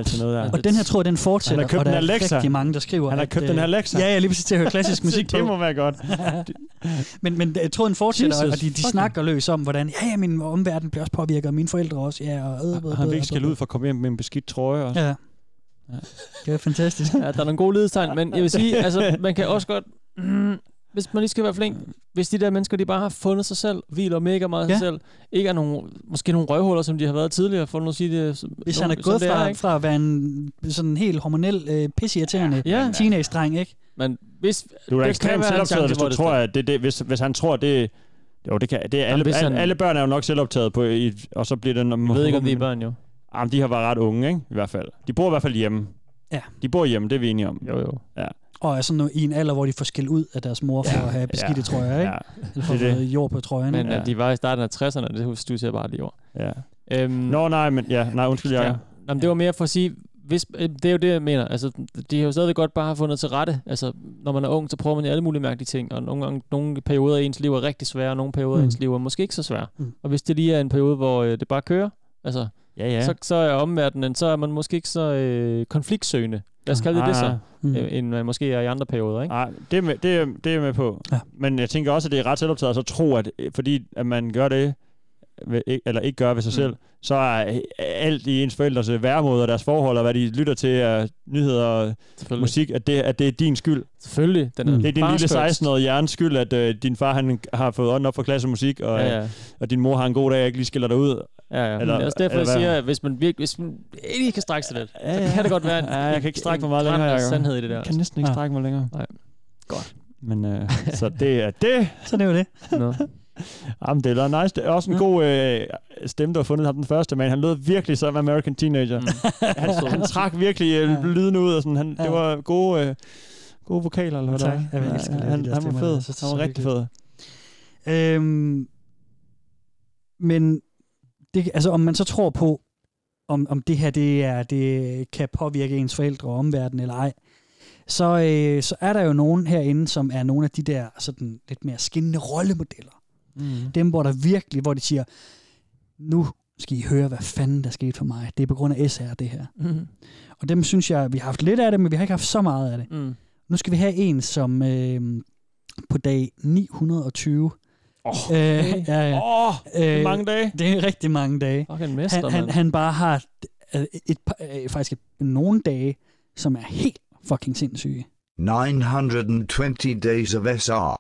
F: sådan noget der.
G: Og den her tror jeg, den fortsætter,
F: Han har købt
G: og der
F: en
G: er
F: Alexa.
G: rigtig mange, der skriver,
F: Han har
G: at,
F: købt den her
G: øh,
F: Alexa.
G: ja, ja, lige præcis til at høre klassisk
F: Så
G: musik på.
F: Det må være godt.
G: men, men jeg tror, den fortsætter,
F: Jesus
G: og de, de
F: fucking-
G: snakker løs om, hvordan ja, ja, min omverden bliver også påvirket, og mine forældre også. Ja, og, øh, øh, øh,
F: Han vil
G: øh,
F: ikke skælde ud for at komme hjem med en beskidt trøje også.
G: Ja. Det er fantastisk.
H: Ja, der er nogle gode ledestegn, men jeg vil sige, altså, man kan også godt, mm, hvis man lige skal være flink, hvis de der mennesker, de bare har fundet sig selv, hviler mega meget ja.
G: Ja.
H: sig selv, ikke er nogen, måske nogle røvhuller, som de har været tidligere, for nu at sige det. som-
G: Hvis
H: som-
G: han er
H: som
G: gået
H: det
G: fra,
H: ikke?
G: fra at være en sådan helt hormonel, øh, pisseirriterende
H: Ja.
G: ja. teenage-dreng, ikke?
H: Men hvis,
F: Du er da
H: der kan
F: ekstremt
H: være en
F: selvoptaget,
H: chance,
F: hvis
H: hvor
F: du
H: det
F: tror, at det, det, hvis, hvis han tror, det... Jo, det kan det er alle,
H: hvis
F: han,
H: han-
F: alle, alle børn er jo nok selvoptaget på, i, og så bliver det... Jeg
H: ved ikke, om de er børn, jo.
F: Jamen, de har været ret unge, ikke? I hvert fald. De bor i hvert fald hjemme.
G: Ja.
F: De bor hjemme, det er vi enige om.
H: Jo, jo.
F: Ja.
G: Og er sådan noget, i en alder, hvor de får skæld ud af deres mor for
F: Ja,
G: at have beskidte
F: ja,
G: trøjer, ikke?
F: ja.
G: Eller for at
F: Det er
G: få
F: det.
G: jord på trøjen.
H: Men
G: ikke?
H: at de var i starten af 60'erne, det studser jeg bare lige over.
F: Ja.
H: Øhm,
F: Nå, nej, men ja, nej, undskyld, jeg. Ja.
H: Nå, men det var mere for at sige, hvis, øh, det er jo det, jeg mener. Altså, de har jo stadig godt bare fundet til rette. Altså, når man er ung, så prøver man jo alle mulige mærkelige ting, og nogle, gange, nogle perioder i ens liv er rigtig svære, og nogle perioder i
F: Mm.
H: ens liv er måske ikke så svære.
F: Mm.
H: Og hvis det lige er en periode, hvor øh, det bare kører, altså,
F: Ja, ja.
H: Så, så er omverdenen, så er man måske ikke så øh, konfliktsøgende. Lad os kalde det det
F: Ah,
H: så,
F: mm.
H: mm. end uh, måske er i andre perioder, ikke?
F: Nej, Ah, det, er med- det, er- det er jeg med på. Ja. Men jeg tænker også, at det er ret selvoptaget at så tro, at øh, fordi at man gør det, ved, ikke- eller ikke gør ved sig mm. selv, så er øh, alt i ens forældres øh, væremåde og deres forhold, og hvad de lytter til af nyheder og musik, at det, at det er din skyld.
H: Selvfølgelig. Den er
F: det er din lille
H: barskørt.
F: 16-årige hjernes skyld, at øh, din far han har fået ånden op for klassemusik, og,
H: Ja,
F: ja,
H: ja.
F: ja. og din mor har en god dag, og ikke lige skiller dig ud.
H: Ja, ja. Eller, altså, det er også derfor, jeg
F: hvad?
H: siger, at hvis man, virkelig, hvis man ikke kan strække sig lidt, ja, ja. så kan det godt være, en,
F: Ja, jeg kan ikke strække
H: en
F: mig meget længere,
H: grand af
F: Jacob.
H: sandhed i det der.
F: Jeg kan næsten ikke strække mig længere.
H: Nej. Godt.
F: Men øh, så det er det.
G: så det er jo det.
H: Nå.
F: Jamen, det er nice. Det er også en god øh, stemme, du har fundet ham den første, man. Han lød virkelig som American Teenager. Mm. han, han trak virkelig øh, lyden ud, og sådan. Han, det var gode, øh, gode vokaler, eller hvad
G: Tak.
F: der er.
G: Jeg elsker
F: Ja,
G: alle de
F: han,
G: der
F: han var
G: stemmer,
F: fed.
G: jeg synes, det er
F: Han var
G: så
F: rigtig fed.
G: hyggeligt. Øhm, men det, altså, om man så tror på, om, om det her det er, det kan påvirke ens forældre og omverdenen eller ej, så, øh, så er der jo nogen herinde, som er nogle af de der sådan, lidt mere skinnende rollemodeller.
F: Mm.
G: Dem, hvor der virkelig, hvor de siger, nu skal I høre, hvad fanden der skete for mig. Det er på grund af SR, det her.
H: Mhm.
G: Og dem synes jeg, vi har haft lidt af det, men vi har ikke haft så meget af det.
H: Mm.
G: Nu skal vi have en, som øh, på dag 920...
F: Åh,
G: øh,
F: okay.
G: ja, ja.
F: Åh,
H: Øh,
F: det er mange dage.
G: Det er rigtig mange dage.
H: Fucking mester,
G: han, han,
H: mand.
G: han bare har øh, et, par- øh, faktisk et, nogle dage, som er helt fucking sindssyge.
J: 920 days of SR.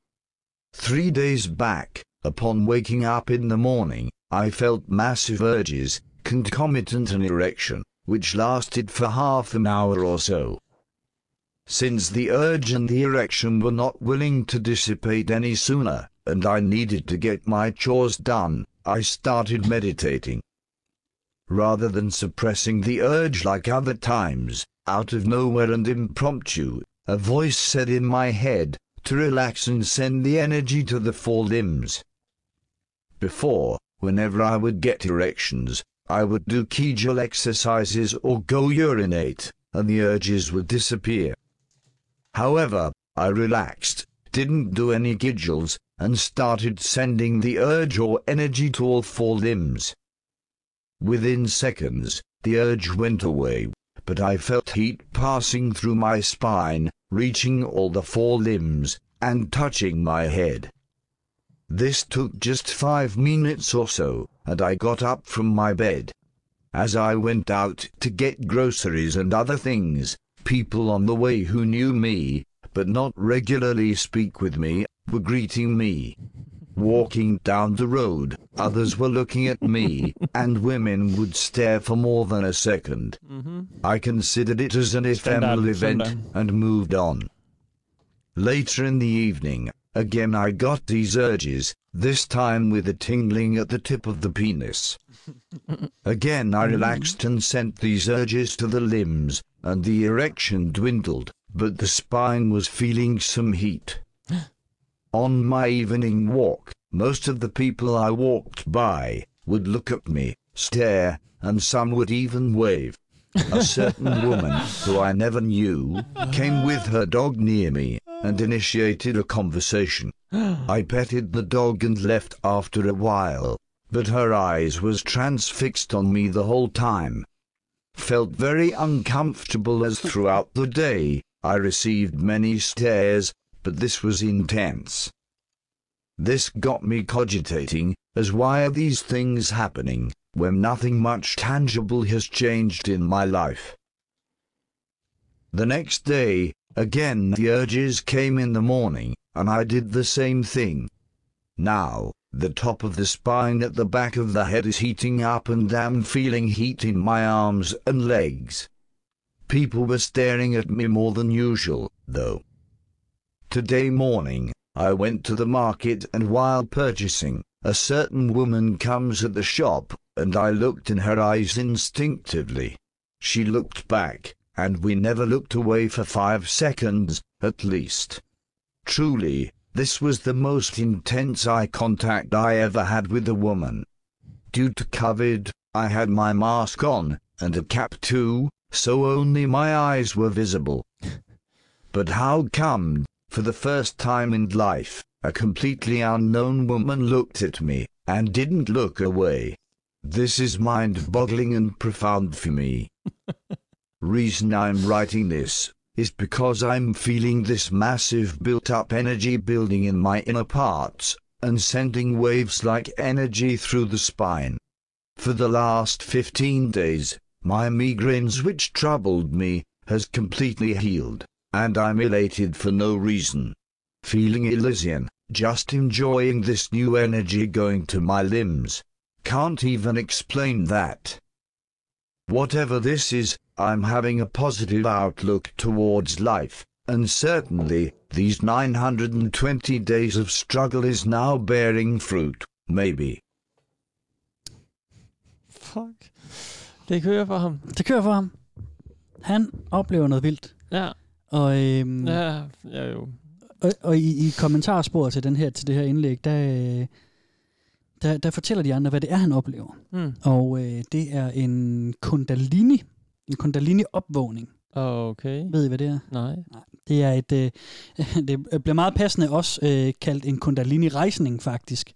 J: Three days back, upon waking up in the morning, I felt massive urges, concomitant an erection, which lasted for half an hour or so. Since the urge and the erection were not willing to dissipate any sooner, and I needed to get my chores done, I started meditating. Rather than suppressing the urge like other times, out of nowhere and impromptu, a voice said in my head, to relax and send the energy to the four limbs. Before, whenever I would get erections, I would do Kegel exercises or go urinate, and the urges would disappear. However, I relaxed, didn't do any Kegels, and started sending the urge or energy to all four limbs. Within seconds, the urge went away, but I felt heat passing through my spine, reaching all the four limbs, and touching my head. This took just five minutes or so, and I got up from my bed. As I went out to get groceries and other things, people on the way who knew me, but not regularly speak with me, were greeting me. Walking down the road, others were looking at me, and women would stare for more than a 2nd I considered it as an ephemeral
F: Standard,
J: event and moved on. Later in the evening, again I got these urges, this time with a tingling at the tip of the penis. Again I relaxed and sent these urges to the limbs, and the erection dwindled, but the spine was feeling some heat. On my evening walk, most of the people I walked by would look at me, stare, and some would even wave. A certain woman, who I never knew, came with her dog near me and initiated a conversation. I petted the dog and left after a while, but her eyes was transfixed on me the whole time. Felt very uncomfortable as throughout the day I received many stares, but this was intense. This got me cogitating as why are these things happening when nothing much tangible has changed in my life. The next day, again the urges came in the morning, and I did the same thing. Now, the top of the spine at the back of the head is heating up and I'm feeling heat in my arms and legs. People were staring at me more than usual, though. Today morning, I went to the market and while purchasing, a certain woman comes at the shop, and I looked in her eyes instinctively. She looked back, and we never looked away for five seconds, at least. Truly, this was the most intense eye contact I ever had with a woman. Due to COVID, I had my mask on, and a cap too, so only my eyes were visible. But how come, for the first time in life, a completely unknown woman looked at me and didn't look away? This is mind boggling and profound for me. Reason I'm writing this is because I'm feeling this massive built up energy building in my inner parts and sending waves like energy through the spine. For the last 15 days, my migraines which troubled me has completely healed, and I'm elated for no reason. Feeling Elysian, just enjoying this new energy going to my limbs. Can't even explain that. Whatever this is, I'm having a positive outlook towards life, and certainly, these 920 days of struggle is now bearing fruit, maybe.
H: Fuck. Det kører for ham.
G: Det kører for ham. Han oplever noget vildt.
H: Ja.
G: Og, øhm,
H: Ja, ja jo.
G: og, og i, i kommentarsporet til, den her, til det her indlæg, der, øh, der, der fortæller de andre, hvad det er, han oplever.
H: Mm.
G: Og øh, det er en kundalini. En kundalini-opvågning.
H: Okay.
G: Ved I, hvad det er?
H: Nej.
G: Det er et, øh, det bliver meget passende også øh, kaldt en kundalini-rejsning, faktisk.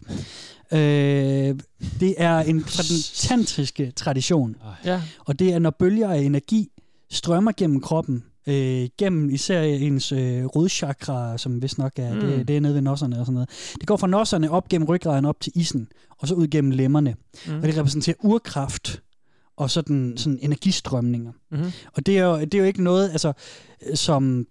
G: Øh, det er en fra den tantriske tradition.
H: Ja.
G: Og det er, når bølger af energi strømmer gennem kroppen, øh, gennem især ens øh, rodchakra, som vist nok er, mm.
H: Mm.
G: det, det er nede ved nosserne og sådan noget. Det går fra nosserne op gennem ryggraden op til isen, og så ud gennem lemmerne.
H: Mm.
G: Mm. Og det repræsenterer urkraft og sådan, sådan energistrømninger.
H: Mhm.
G: Og det er, jo, det er jo ikke noget, altså, øh, som,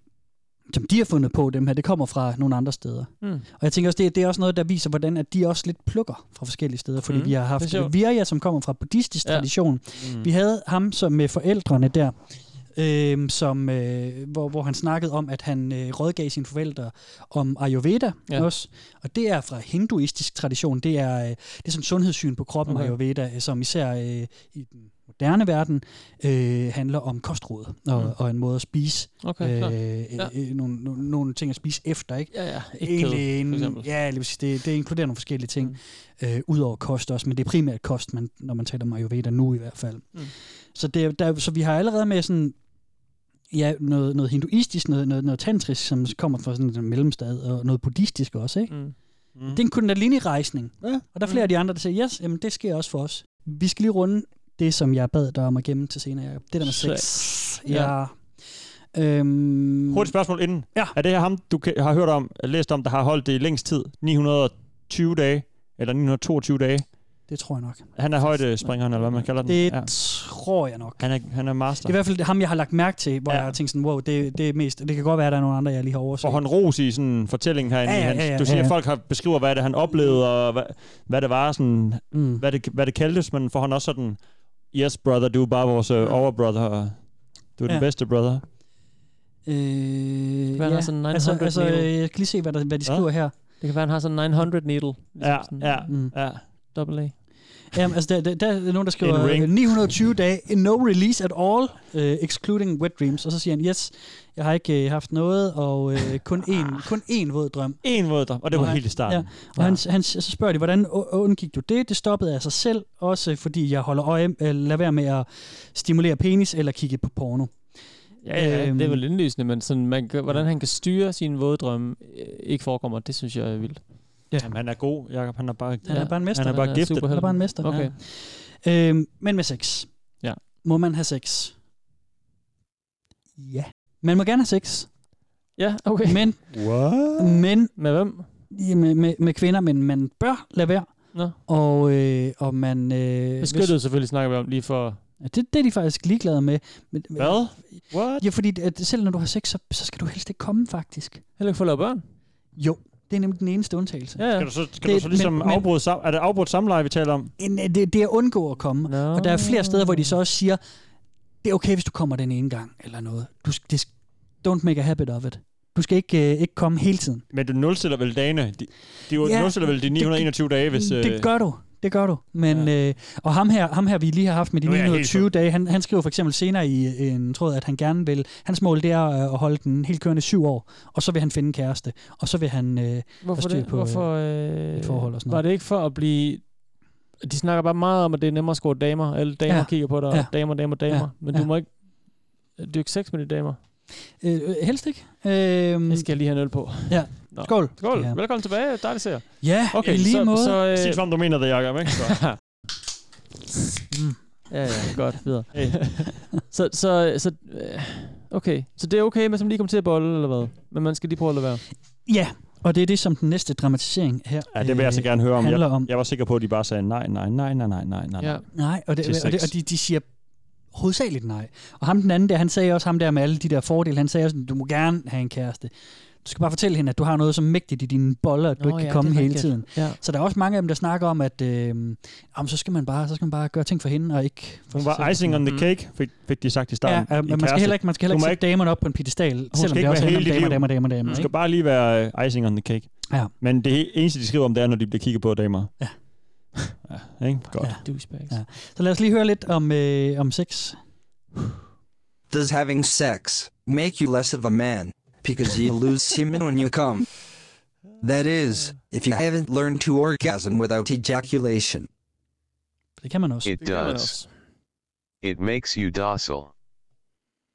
G: som de har fundet på, dem her. Det kommer fra nogle andre steder.
H: Mm.
G: Og jeg tænker også, det, er- det er også noget, der viser, hvordan at de også lidt plukker fra forskellige steder. Fordi
H: Mm.
G: mm. vi har
H: Det
G: haft
H: er sjovt.
G: Virya, som kommer fra buddhistisk
H: Ja.
G: tradition.
H: Mm.
G: Mm. Vi havde ham som med forældrene der, øhm, som, øh, hvor, hvor han snakkede om, at han øh, rådgav sine forældre om Ayurveda
H: Ja.
G: ja. også. Og det er fra hinduistisk tradition. Det er, øh, det er sådan sundhedssyn på kroppen,
H: Okay.
G: okay. Ayurveda, øh, som især øh, i den moderne verden øh, handler om kostråd og,
H: Mm.
G: mm. og en måde at spise
H: Okay, klart.
G: øh, øh, nogle, nogle, nogle ting at spise efter, ikke?
H: Ja, ja. Ikke kød,
G: Egentlig
H: for
G: en,
H: eksempel.
G: ja, lige præcis. det, det inkluderer nogle forskellige ting, mm. øh, udover kost også, men det er primært kost, man, når man taler om Ayurveda nu i hvert fald.
H: Mm.
G: Mm. Så, det, er- der, så vi har allerede med sådan, ja, noget, noget hinduistisk, noget, noget, noget tantrisk, som kommer fra sådan en mellemstad, og noget buddhistisk også, ikke?
H: Mm. Mm.
G: Det er en kundalini-rejsning, ja. og der er flere af de andre, der siger, yes, jamen det sker også for os. Vi skal lige runde det, som jeg bad dig om at gemme til senere, Jacob. Det der med sex.
H: Sex.
G: Ja. Øhm,
F: Hurtigt spørgsmål inden.
G: Ja.
F: Er det her ham, du kan- har hørt om, læst om, der har holdt det i længst tid? 920 dage? Eller 922 dage?
G: Det tror jeg nok.
F: Han er højdespringeren, eller hvad man kalder den.
G: Det tror jeg nok.
F: Han er, han er master.
G: Det er i hvert fald ham, jeg har lagt mærke til, hvor
F: Ja.
G: ja. jeg har tænkt sådan, wow, det, det er mest, det kan godt være, at der er nogle andre, jeg lige har overset.
F: Og han ros i sådan en fortælling herinde.
G: Ja,
F: i
G: ja,
F: hans-
G: ja, ja,
F: du siger,
G: ja,
F: at
G: ja.
F: folk har beskriver, hvad det han oplevede, og hvad, hvad det var, sådan,
G: mm.
F: hvad, det, hvad det kaldtes, men for han også sådan, yes brother, du er bare vores øh, overbrother, og du er ja.
G: Ja.
F: den bedste brother.
G: Øh,
H: Hvad er der sådan en
G: altså,
H: 900
G: altså,
H: needle?
G: øh, jeg skal lige se, hvad, der, hvad de skriver her.
H: Det kan være, han har sådan en 900 needle. Ligesom
F: Ja,
H: sådan,
F: ja,
G: mm.
F: ja.
H: Double A.
G: Jamen, altså, der, der, der er nogen, der skriver
H: En ring.
G: øh, 920 dage, no release at all, øh, excluding wet dreams. Og så siger han, yes, jeg har ikke øh, haft noget, og øh, kun, én, kun én våd drøm.
F: En våd drøm, og det var helt i starten.
G: Ja, og han, han, så spørger de, hvordan u- undgik du det? Det stoppede af sig selv, også fordi jeg holder øje, øh, lader være med at stimulere penis eller kigge på porno.
H: Ja, ja,
G: Øhm,
H: det er vel indlysende, men sådan, man, kan- hvordan han kan styre sine våde drømme øh, ikke forekommer, det synes jeg er vildt.
G: Ja.
F: Jamen, han er god, Jacob. Han er bare,
G: Han er bare en mester.
F: Han er bare giftet.
G: Han er bare en mester. Øh,
H: Okay.
G: Ja. Øhm, men med sex.
H: Ja.
G: Må man have sex? Ja. Man må gerne have sex.
H: Ja, okay.
G: Men,
F: What?
G: men
H: med hvem?
G: Med, med, med kvinder, men man bør lade være.
H: Nå.
G: Og, øh, og man... Øh,
H: Beskyttet selvfølgelig snakker vi om lige for...
G: Ja, det, det er de faktisk ligeglade med. Men,
H: Hvad? What?
G: Ja, fordi at selv når du har sex, så, så skal du helst ikke komme, faktisk.
H: Heller ikke få lavet børn?
G: Jo, det er nemlig den eneste undtagelse.
H: Ja, ja.
F: Skal du så, skal det, du så ligesom men,
G: men- men-
F: afbryde sam, Er det afbrudt samleje, vi taler om?
G: En- øh, Det, det er at undgå at komme.
H: No.
G: Og der er flere steder, hvor de så også siger, det er okay, hvis du kommer den ene gang eller noget. Du, sk- det, sk- don't make a habit of it. Du skal ikke, øh, ikke komme hele tiden.
F: Men du nulstiller vel dagene? De, de
G: Ja,
F: ja, nulstiller vel de
G: det-
F: 921 dage, hvis... øh,
G: Hvis, det gør du. Det gør du. Men, ja. øh, og ham her, ham her, vi lige har haft med de
F: Nu er jeg helt
G: 920 dage, han, han skriver for eksempel senere i øh, en tråd, at han gerne vil, hans mål det er øh, at holde den helt kørende syv år, og så vil han finde en kæreste, og så vil han øh, have
H: Hvorfor
G: styr
H: det?
G: på
H: Hvorfor,
G: øh, et forhold og sådan
H: Var
G: noget.
H: det ikke for at blive... De snakker bare meget om, at det er nemmere at score damer. Alle damer ja.
G: Ja.
H: kigger på dig. Ja.
G: Ja.
H: Damer, damer, damer. Ja.
G: Ja.
H: Men du
G: Ja.
H: må ikke... Du har ikke sex med de damer.
G: Øh, øh, helst ikke. Øh,
H: det skal jeg lige have en øl på.
G: Ja.
H: Nå.
G: Skål.
H: Skål. Ja.
G: Ja.
H: Velkommen tilbage. Dejligt ser.
G: Ja, i lige
H: så,
F: øh,
G: måde.
H: Så,
F: Sig som du mener det, Jacob, ikke? Så.
H: mm. Ja, ja, godt, videre. så, så, så, øh, okay. Så det er okay, men som lige kommer til at bolle, eller hvad? Men man skal lige prøve at lade være.
G: Ja, og det er det, som den næste dramatisering her øh,
F: Ja, det vil jeg så gerne høre om.
G: handler
F: Jeg, jeg var sikker på, at de bare sagde nej, nej, nej, nej, nej, nej, nej.
G: Nej, nej og,
F: Til
G: det,
F: sex.
G: og, det, og de, de siger hovedsageligt nej. Og ham den anden der, han sagde også ham der med alle de der fordele, han sagde også, du må gerne have en kæreste. Du skal bare fortælle hende, at du har noget så mægtigt i dine boller, at
H: Nå,
G: du ikke kan
H: ja,
G: komme
H: det er
G: hele
H: rigtigt.
G: tiden.
H: Ja.
G: Så der er også mange af dem, der snakker om, at øh, jamen, så, skal man bare, så skal man bare gøre ting for hende, og ikke for
F: Hun
G: sig
F: var
G: selv.
F: icing on
H: Mm.
F: the cake, fik, fik de sagt i starten.
G: Mm. Ja, ja,
F: En
G: men man skal,
F: kæreste.
G: heller ikke, man skal heller
F: Du
G: ikke
F: må
G: sætte damerne op på en pedestal,
F: Hun
G: selvom
F: skal
G: det
F: ikke
G: også
F: være
G: handler
F: hele
G: om
F: dit
G: damer,
F: liv.
G: damer, damer, damer.
F: Hun
G: ikke?
F: skal bare lige være øh, icing on the cake.
G: Ja.
F: Men det eneste, de skriver om, det er, når de bliver kigget på af damer. Ja. ja ikke? Godt. Ja.
H: Douchebags.
G: Ja. Så lad os lige høre lidt om, øh, om sex.
M: Does having sex make you less of a man because you lose semen when you come? That is, if you haven't learned to orgasm without ejaculation.
G: Det kan man også.
Q: It does. It makes you docile.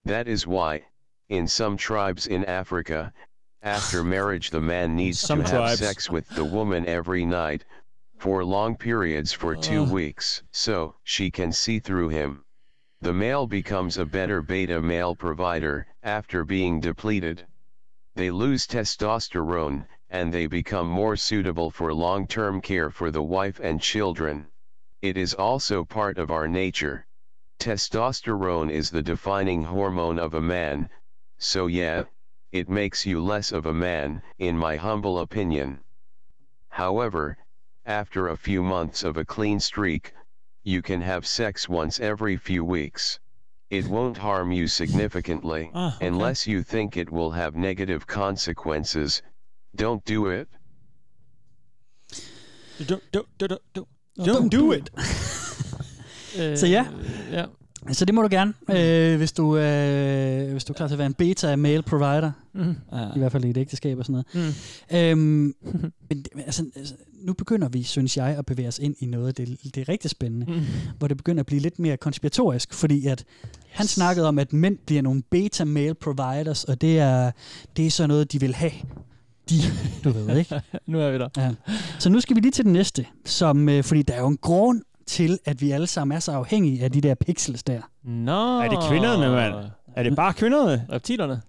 Q: That is why, in some tribes in Africa, after marriage the man needs
F: Some
Q: to
F: tribes.
Q: have sex with the woman every night, for long periods for two
F: Ugh.
Q: weeks, so she can see through him. The male becomes a better beta male provider after being depleted. They lose testosterone, and they become more suitable for long term care for the wife and children. It is also part of our nature. Testosterone is the defining hormone of a man, so yeah, it makes you less of a man, in my humble opinion. However, after a few months of a clean streak, you can have sex once every few weeks. It won't harm you significantly,
F: Ah, okay.
Q: unless you think it will have negative consequences. Don't do it.
F: Don't, don't, don't, don't,
G: Don't do
F: it. Øh,
G: Så Øh, ja.
H: ja.
G: Så det må du gerne, øh, hvis, du, øh, hvis du er klar til at være en beta-male provider.
H: Mhm.
G: Mm. I hvert fald i et ægteskab og sådan noget. Mm. Øhm, men det- men altså, altså, nu begynder vi, synes jeg, at bevæge os ind i noget af det, det er rigtig spændende.
H: Mm.
G: Mm. Hvor det begynder at blive lidt mere konspiratorisk, fordi at han snakkede om, at mænd bliver nogle beta-male providers, og det er, det er sådan noget, de vil have. De, du ved, ikke?
H: nu er vi der.
G: Ja. Så nu skal vi lige til den næste, som, øh, fordi der er jo en grund til, at vi alle sammen er så afhængige af de der pixels der.
H: Nå.
F: Er det kvinderne, mand? Er det bare kvinderne?
H: Reptilerne.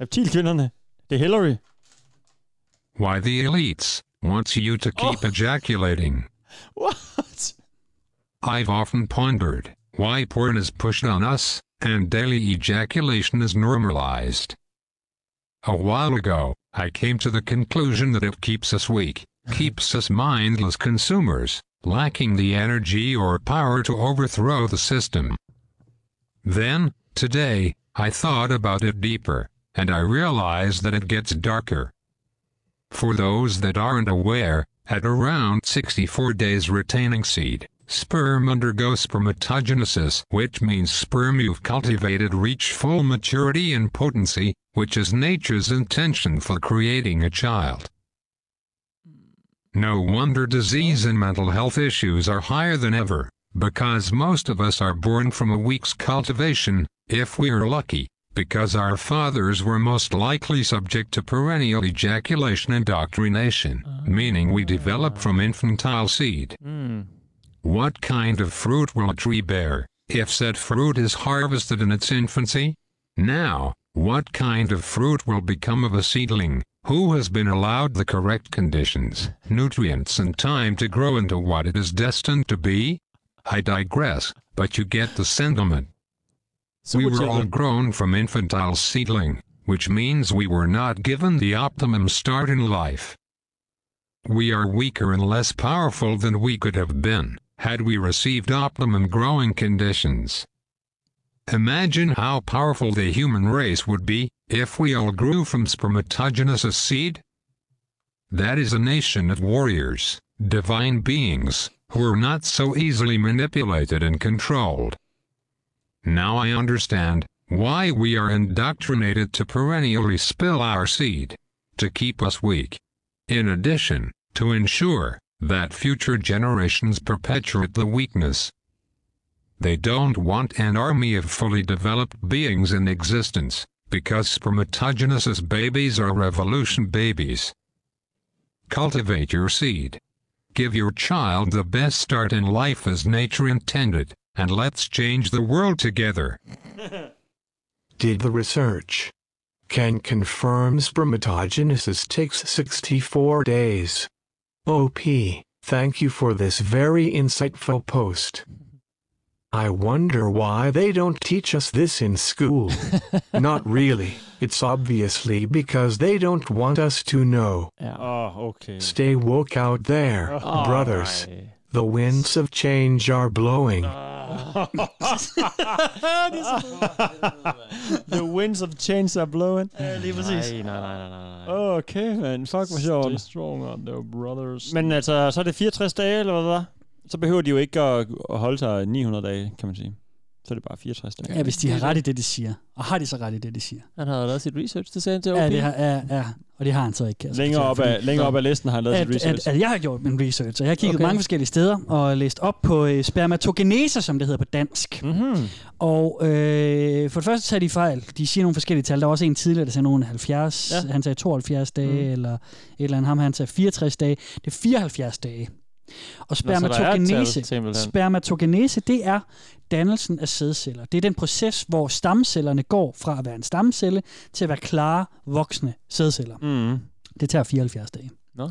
F: Reptilkvinderne. Det er Hillary.
R: Why the elites wants you to keep ejaculating.
F: What?
R: I've often pondered why porn is pushed on us and daily ejaculation is normalized. A while ago, I came to the conclusion that it keeps us weak, keeps us mindless consumers, lacking the energy or power to overthrow the system. Then, today, I thought about it deeper, and I realized that it gets darker. For those that aren't aware, at around 64 days retaining seed, sperm undergo spermatogenesis, which means sperm you've cultivated reach full maturity and potency, which is nature's intention for creating a child. No wonder disease and mental health issues are higher than ever, because most of us are born from a week's cultivation, if we are lucky, because our fathers were most likely subject to perennial ejaculation indoctrination, meaning we develop from infantile seed.
H: Mm.
R: What kind of fruit will a tree bear, if said fruit is harvested in its infancy? Now, what kind of fruit will become of a seedling, who has been allowed the correct conditions, nutrients, and time to grow into what it is destined to be? I digress, but you get the sentiment. we were all
F: children.
R: grown from infantile seedling, which means we were not given the optimum start in life. We are weaker and less powerful than we could have been had we received optimum growing conditions. Imagine how powerful the human race would be if we all grew from spermatogenesis seed. That is a nation of warriors, divine beings, who are not so easily manipulated and controlled. Now I understand why we are indoctrinated to perennially spill our seed, to keep us weak. In addition, to ensure that future generations perpetuate the weakness. They don't want an army of fully developed beings in existence, because spermatogenesis babies are revolution babies. Cultivate your seed. Give your child the best start in life as nature intended, and let's change the world together.
K: Did the research. Can confirm spermatogenesis takes 64 days. OP, thank you for this very insightful post. I wonder why they don't teach us this in school. Not really, it's obviously because they don't want us to know.
F: Oh, okay.
K: Stay woke out there,
F: Oh.
K: brothers. The winds of change are blowing.
F: The winds of change are blowing.
G: Ja, lige præcis.
H: Nej, nej, nej, nej, nej.
F: Okay, man. Fuck, hvor sjovt.
H: Stay stronger, though, brothers.
F: Men altså, så er det 64 dage, eller hvad? der? Så behøver de jo ikke at at holde sig 900 dage, kan man sige. Så er det bare 64 dage.
G: Ja, hvis de har ret i det, de siger. Og har de så ret i det, de siger?
H: Han havde lavet sit research, det sagde han til OP.
G: Ja, det har, ja, ja, og det har han så ikke. kan jeg så
F: Længere
G: fortælle,
F: op ad-
G: fordi-
F: længere op ad listen har han lavet
G: at,
F: sit research.
G: At, at jeg har gjort min research, og jeg har kigget
F: Okay.
G: okay. mange forskellige steder og læst op på øh, spermatogeneser, som det hedder på dansk.
F: Mm-hmm.
G: Og øh, for det første tager de fejl. De siger nogle forskellige tal. Der var også en tidligere, der sagde nogen 70,
F: Ja.
G: ja. han sagde 72 dage,
F: Mm.
G: mm. eller et eller andet. Ham, her, han sagde 64 dage. Det er 74 dage. Og
F: Nå, så der er et tal,
G: spermatogenese,
F: simpelthen.
G: spermatogenese, det er dannelsen af sædceller. Det er den proces, hvor stamcellerne går fra at være en stamcelle til at være klare, voksne sædceller.
F: Mm.
G: Det tager 74 dage.
F: Nå.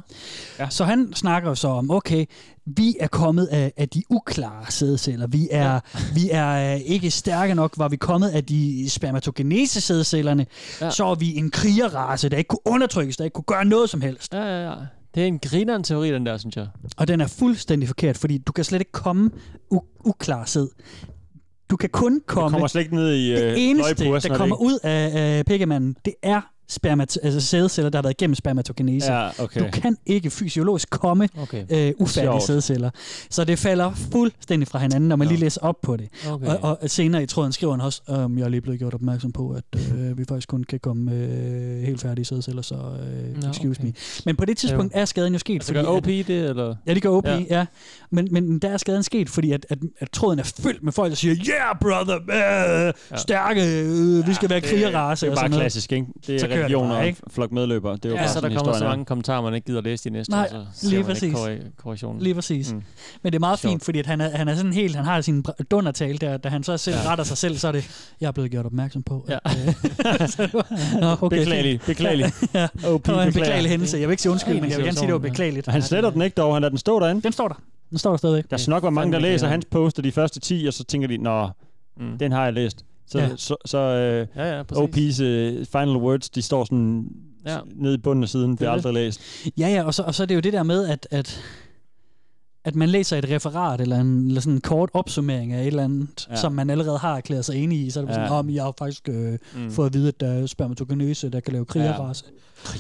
G: Ja. Så han snakker jo så om, okay, vi er kommet af, af de uklare sædceller. Vi er, ja. vi er øh, ikke stærke nok, var vi kommet af de spermatogenese sædcellerne. Ja. Så er vi en krigerrace, der ikke kunne undertrykkes, der ikke kunne gøre noget som helst.
H: Ja, ja, ja. Det er en grineren teori, den der, synes jeg.
G: Og den er fuldstændig forkert, fordi du kan slet ikke komme u- uklar sæd. Du kan kun komme...
F: kommer slet ikke ned i, øh,
G: Det eneste,
F: løgposen, er
G: der
F: det
G: kommer
F: ikke?
G: ud af øh, pikkemanden, det er spermat- altså sædceller, der har været igennem spermatogenese.
F: Ja, okay.
G: Du kan ikke fysiologisk komme
F: Okay.
G: okay. øh, ufærdige
F: Sjovt.
G: sædceller. Så det falder fuldstændig fra hinanden, når man lige læser op på det.
F: Okay.
G: Og, og senere i tråden skriver han også, om jeg er lige blevet gjort opmærksom på, at øh, vi faktisk kun kan komme øh, helt færdige sædceller, så øh,
H: Nå,
G: excuse
H: okay.
G: me. Men på det tidspunkt
H: Ja.
G: er skaden jo sket.
H: Altså,
G: fordi
H: gør OP
G: at-
H: det, eller?
G: Ja, det gør OP,
H: Ja.
G: ja. ja. Men, men der er skaden sket, fordi at, at, at tråden er fyldt med folk, der siger, yeah, brother, øh,
F: Ja.
G: stærke, øh, vi skal være krigerrace.
F: Det er
G: og
F: bare
G: sådan noget.
F: klassisk, ikke? Det
G: Så
F: er
G: kører det
F: religioner
G: bare,
F: og
G: ikke?
F: flok medløbere. Det er jo
H: Ja,
F: bare
H: så der
F: sådan,
H: kommer så
F: historien er.
H: mange kommentarer, man ikke gider læse de
F: Altså,
H: næste,
G: Nej,
H: og så ser
G: lige
H: man ikke
G: præcis.
H: korre- korrektionen.
G: Lige præcis.
H: Mm.
G: Mm. Men det er meget
H: Sjovt.
G: fint, fordi at han, er, han er sådan helt, han har sin br- dundertale der, da han så selv
H: Ja.
G: ja. retter sig selv, så er det, jeg er blevet gjort opmærksom på. øh, Ja.
F: Beklagelig, beklagelig.
G: ja.
F: OP,
G: det var en
F: beklager.
G: beklagelig hændelse. Jeg vil ikke sige undskyld,
F: Ja,
G: men jeg vil gerne sige, det var
F: situationen, ja.
G: beklageligt.
F: Han sletter den ikke dog, han lader den stå derinde.
G: Den står der. Den står der stadig.
F: Der er nok, hvor mange, der
G: Fandme
F: læser
G: grineren.
F: hans poster de første 10, og så tænker de, nå, mm. den har jeg læst. Så, ja.
G: Ja.
F: så, så øh,
H: ja, ja,
F: OP's øh, final words, de står sådan
H: ja.
F: nede i bunden af siden, det er aldrig læst.
G: Ja, ja, og så, og så er det jo det der med, at, at, at man læser et referat, eller, en, eller sådan en kort opsummering af et eller andet,
F: Ja.
G: ja. som man allerede har erklæret sig enig i, så er det ja.
F: Ja.
G: sådan, om jeg har faktisk øh,
F: Mm.
G: mm. fået at vide, at der er spermatogenese, der kan lave krigerrace.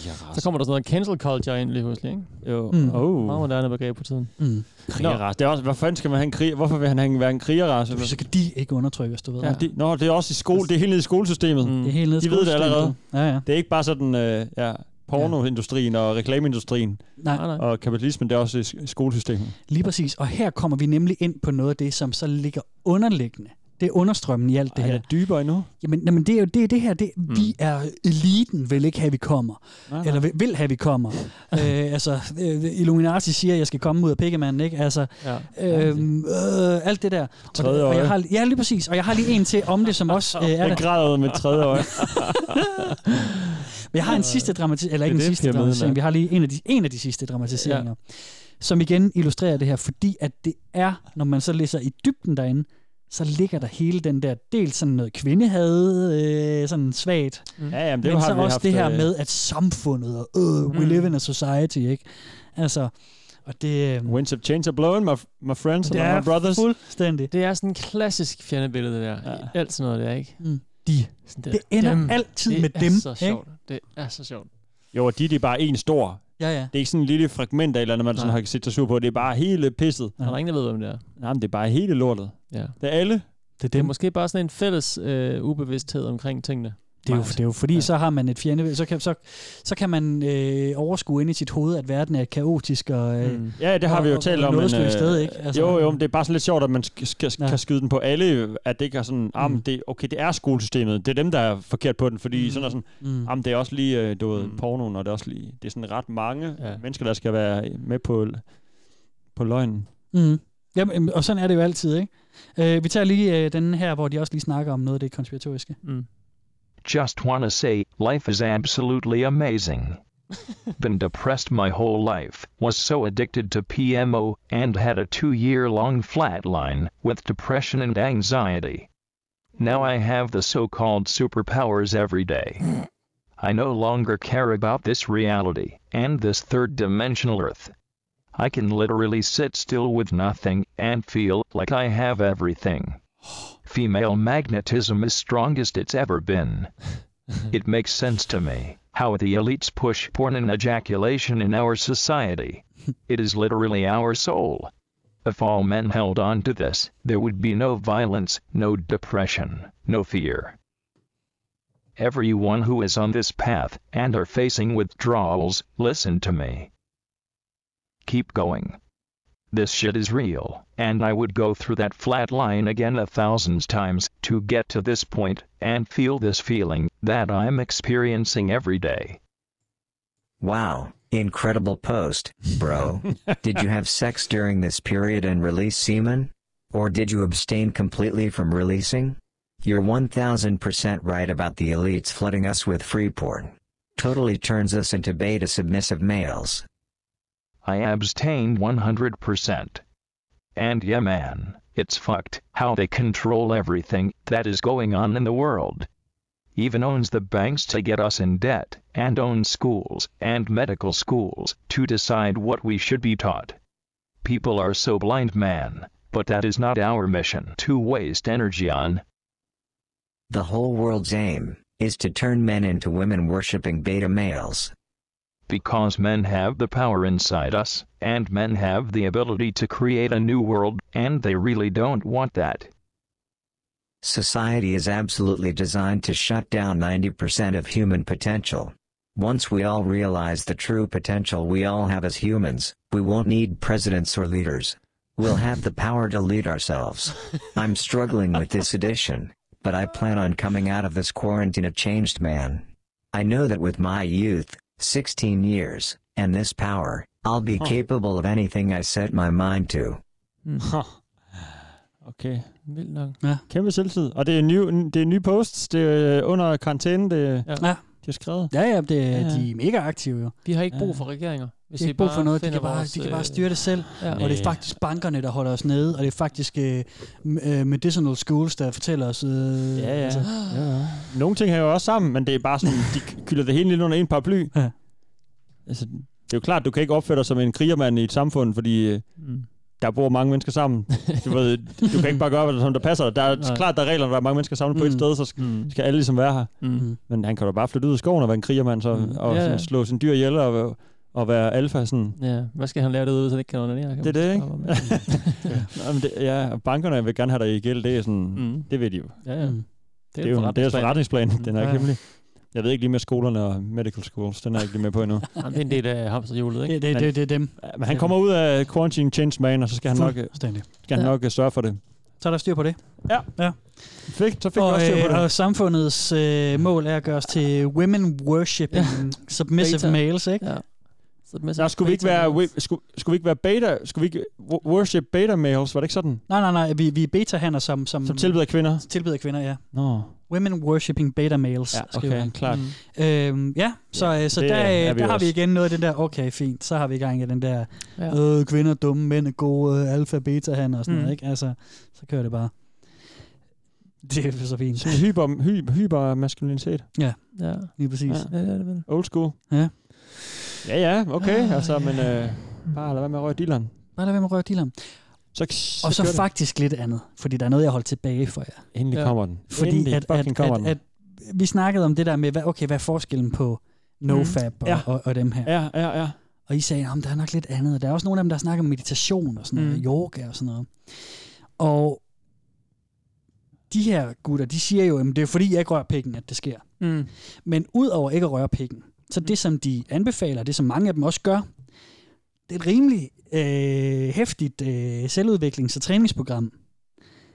G: Ja.
H: Så kommer der sådan noget cancel culture ind lige pludselig, ikke?
F: Jo.
G: Mm.
F: Oh.
H: Meget moderne begreb på tiden.
G: Mm.
F: Krigerrace. Det er også, hvorfor skal man have en krig? Hvorfor vil han have en- være en krigerrace?
G: Så kan de ikke undertrykkes, du ved.
F: Ja. De, nå, det er også i
G: Altså,
F: skole, det er helt nede i skolesystemet.
G: Det er helt nede i
F: De ved det
G: skolesystemet.
F: allerede.
G: Ja, ja.
F: Det er ikke bare sådan, øh, ja, pornoindustrien og reklameindustrien.
G: Nej. Nej, nej.
F: Og kapitalismen, det er også i sk- skolesystemet.
G: Lige præcis. Og her kommer vi nemlig ind på noget af det, som så ligger underliggende. Det er understrømmen i alt det
F: Ej,
G: her.
F: er det dybere endnu?
G: Jamen, jamen det er jo det, er det her. Det, mm. Vi er eliten, vil ikke have, vi kommer.
F: Nej, nej.
G: Eller vil, vil have, vi kommer. øh, altså, øh, Illuminati siger, at jeg skal komme ud af pikkemanden, ikke? Altså,
H: ja.
G: øhm, øh, alt det der. Og,
F: Tredje
G: og
F: øje.
G: jeg har, ja, lige præcis. Og jeg har lige en til om det, som også øh, er
F: Jeg
G: der.
F: græder med tredje øje.
G: Men jeg har en sidste dramatisering, eller
F: Det er
G: ikke en
F: det,
G: sidste
F: pyramiden er.
G: dramatisering, vi har lige en af de, en af de sidste dramatiseringer, ja. som igen illustrerer det her, fordi at det er, når man så læser i dybden derinde, så ligger der hele den der del sådan noget kvindehade, øh, sådan svagt.
F: Ja, jamen, det
G: Men
F: har
G: så
F: vi
G: også
F: haft,
G: det her
F: øh,
G: med, at samfundet og øh, we
F: Mm.
G: live in a society, ikke? Altså, og det... øh,
F: Winds of change are blowing, my, my friends and
G: Det
F: my
G: er
F: brothers.
G: fuldstændig.
H: Det er sådan en klassisk fjendebillede, det der. Ja. Alt sådan noget der, ikke?
G: Mm. De.
H: Sådan
G: Det ender
H: dem.
G: altid
H: det
G: med
H: er
G: dem,
H: Så
G: ikke?
H: sjovt. Det er så sjovt.
F: Jo, og de, de er bare en stor.
G: Ja, ja.
F: Det er ikke sådan en lille fragment af et eller andet, man sådan
H: Nej.
F: har set sig sur på. Det er bare hele pisset.
H: Der er ingen, der ved, hvem det er.
F: Nej, men det er bare hele lortet.
H: Ja.
F: Det er alle.
G: Det er,
H: Det er måske bare sådan en fælles øh, ubevidsthed omkring tingene.
G: Det er, jo, det er jo fordi, ja. så har man et fjende, så kan, så, så kan man øh, overskue ind i sit hoved, at verden er kaotisk og... Øh,
F: Mm. Ja, det har
G: og,
F: vi jo
G: og-
F: talt
G: og
F: om. men,
G: nådesløst
F: øh,
G: sted, ikke?
F: Altså, jo, jo, men det er bare sådan lidt sjovt, at man sk- skal, ja.
G: Ja. Mm.
F: kan skyde den på alle, at det ikke er sådan, ah, men det, okay, det er skolesystemet, det er dem, der er forkert på den, fordi mm. sådan er sådan,
G: Mm.
F: ah, men det er også lige, øh, du ved, pornoen, og det er også lige, det er sådan ret mange ja. mennesker, der skal være med på, på løgnen.
G: Mm. Jamen, og sådan er det jo altid, ikke? Øh, vi tager lige øh, den her, hvor de også lige snakker om noget af det konspiratoriske.
F: Mm.
S: Just wanna say, life is absolutely amazing. Been depressed my whole life, was so addicted to PMO, and had a two year long flatline with depression and anxiety. Now I have the so called superpowers every day. I no longer care about this reality and this third dimensional Earth. I can literally sit still with nothing and feel like I have everything. Female magnetism is strongest it's ever been. It makes sense to me how the elites push porn and ejaculation in our society. It is literally our soul. If all men held on to this, there would be no violence, no depression, no fear. Everyone who is on this path and are facing withdrawals, listen to me. Keep going. This shit is real, and I would go through that flat line again a thousand times to get to this point and feel this feeling that I'm experiencing every day.
T: Wow, incredible post, bro. did you have sex during this period and release semen? Or did you abstain completely from releasing? You're 1000% right about the elites flooding us with free porn. Totally turns us into beta submissive males.
S: I abstained 100%. And yeah, man, it's fucked how they control everything that is going on in the world. Even owns the banks to get us in debt, and owns schools and medical schools to decide what we should be taught. People are so blind, man, but that is not our mission to waste energy on.
T: The whole world's aim is to turn men into women worshipping beta males.
S: because men have the power inside us, and men have the ability to create a new world, and they really don't want that.
T: Society is absolutely designed to shut down 90% of human potential. Once we all realize the true potential we all have as humans, we won't need presidents or leaders. We'll have the power to lead ourselves. I'm struggling with this addiction, but I plan on coming out of this quarantine a changed man. I know that with my youth, 16 years, and this power, I'll be
F: Huh.
T: capable of anything I set my mind to.
G: Mm.
F: Okay, vildt nok. Ja. Kæmpe selvtid. Og det er nye, det er nye posts, det er under karantæne, det ja.
G: Ja.
F: de har skrevet.
G: Ja, ja, det,
F: Ja,
G: ja,
F: ja.
G: de er mega aktive jo.
F: Vi har ikke
H: brug for regeringer,
G: Hvis
H: hvis vi
G: Øh, de har ikke brug
H: bare
G: for noget, de
H: finder
G: kan, bare,
H: vores,
G: de kan bare
H: øh,
G: styre det selv.
H: ja.
G: Ja. Og det er
H: Næh.
G: faktisk bankerne, der holder os nede, og det er faktisk øh, m- øh, medicinal schools, der fortæller os... Øh,
F: Ja, ja. ja, ja. Nogle ting hænger jo også sammen, men det er bare sådan, de kylder det hele lidt under en paraply.
G: Ja.
F: Altså, det er jo klart, du kan ikke opføre dig som en krigermand i et samfund, fordi mm.
H: Mm.
F: der bor mange mennesker sammen. Du, ved, du kan ikke bare gøre, hvad som der passer dig. Der er
H: Nej.
F: klart, der er regler, når der er mange mennesker samlet mm. på et
H: Mm.
F: sted, så skal, mm. skal alle ligesom være her.
H: Mm.
F: Men han kan da bare flytte ud i skoven og være en krigermand, så, mm. og
H: Ja,
F: ja,
H: ja.
F: sådan, slå sin dyr ihjel og, og være alfa. Sådan.
H: Ja, hvad skal han lære det ud, så han ikke kan onanere?
F: Det er det, ikke? Nå, men det, ja, og bankerne vil gerne have dig i gæld, det er sådan, mm. det ved de jo.
H: Ja, ja.
F: Mm. Det er,
H: en
F: jo en- det er deres forretningsplan, den
H: Ja,
F: er ikke
H: ja.
F: hemmelig. Jeg ved ikke lige med skolerne og medical schools, den er jeg ikke lige med på endnu.
H: Jamen, det er en del af hamsterhjulet, ikke?
G: Det- det- det- det er dem.
F: Men han kommer ud af quarantine change man, og så skal han nok,
G: Fuldstændig.
F: skal han
G: Ja.
F: nok øh, sørge for det.
G: Så er der styr på det.
F: Ja.
G: ja.
F: Fik, så fik
G: og,
F: vi også styr på
G: øh,
F: det.
G: Og samfundets øh, mål er at gøre os til women worshipping submissive
F: Beta.
G: males, ikke? Ja.
F: Nå, skulle vi ikke være, wi- skulle, skulle vi ikke være beta, skulle vi ikke wo- worship beta males, var det ikke sådan?
G: Nej, nej, nej, vi, vi er beta-hanner, som, som...
F: Som tilbyder kvinder?
G: Tilbyder kvinder, ja.
F: Nå.
G: Women worshipping beta males,
F: Ja,
G: skriver
F: okay,
G: han.
F: klart.
G: Mm. Øhm, ja, så,
F: Ja,
G: ja, så
F: det
G: der, øh,
F: er
G: der
F: vi
G: har vi
F: også.
G: igen noget af den der, okay, fint, så har vi i gang i den der,
F: Ja.
G: ja. øh, kvinder er dumme, mænd er gode, øh, alfa, beta hanner og sådan
F: Mm.
G: noget, ikke? Altså, så kører det bare. Det er så fint.
F: Sådan hyper, hyper, hyper maskulinitet.
G: Ja,
H: Ja.
G: lige præcis.
F: Ja,
H: det er det vel.
F: Old school.
G: Ja.
F: Ja, ja, okay.
G: Ah,
F: altså,
G: ja.
F: men øh, bare lad være med at røre dilleren.
G: Bare lad være med at røre dealeren.
F: Så,
G: og
F: kører
G: så
F: det.
G: faktisk lidt andet, fordi der er noget, jeg holdt tilbage for jer.
F: Endelig Ja. kommer den.
G: Fordi
F: Endelig
G: at, at,
F: fucking kommer
G: at,
F: den.
G: at, vi snakkede om det der med, hvad, okay, hvad er forskellen på nofab
F: Mm.
G: mm.
F: Ja.
G: og, og, og dem her?
F: Ja, ja, ja.
G: Og I sagde, at der er nok lidt andet. Og Der er også nogle af dem, der snakker om meditation og sådan noget,
F: Mm.
G: mm. yoga og sådan noget. Og de her gutter, de siger jo, at det er fordi, jeg ikke rører pikken, at det sker.
H: Mm.
G: Men udover ikke at røre pikken, så det, som de anbefaler, det som mange af dem også gør, det er et rimelig øh, hæftigt øh, selvudviklings- og træningsprogram.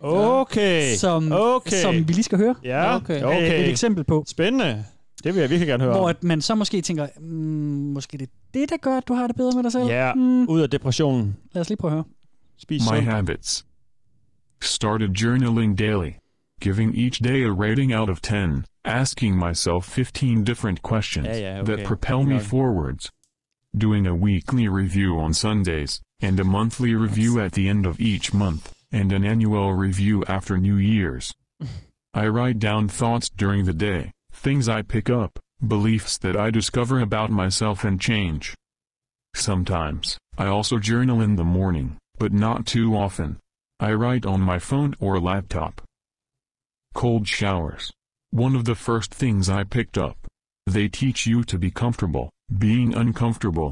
F: Okay.
G: Som,
F: okay.
G: som vi lige skal høre. Øh,
F: Ja, okay. okay.
G: Et, et eksempel på.
F: Spændende. Det vil jeg virkelig gerne høre
G: Hvor
F: om.
G: at man så måske tænker, mm, måske det er det, der gør, at du har det bedre med dig selv.
F: Ja,
G: Mm,
F: ud af depressionen.
G: lad os lige prøve at høre.
F: Spis
U: My
F: sundt.
U: habits. Started journaling daily, giving each day a rating out of 10, asking myself 15 different questions
F: Yeah, yeah, okay.
U: that propel
F: Hang
U: me
F: on.
U: forwards. Doing a weekly review on Sundays, and a monthly review at the end of each month, and an annual review after New Year's. I write down thoughts during the day, things I pick up, beliefs that I discover about myself and change. Sometimes, I also journal in the morning, but not too often. I write on my phone or laptop. Cold showers. One of the first things I picked up. They teach you to be comfortable, being uncomfortable,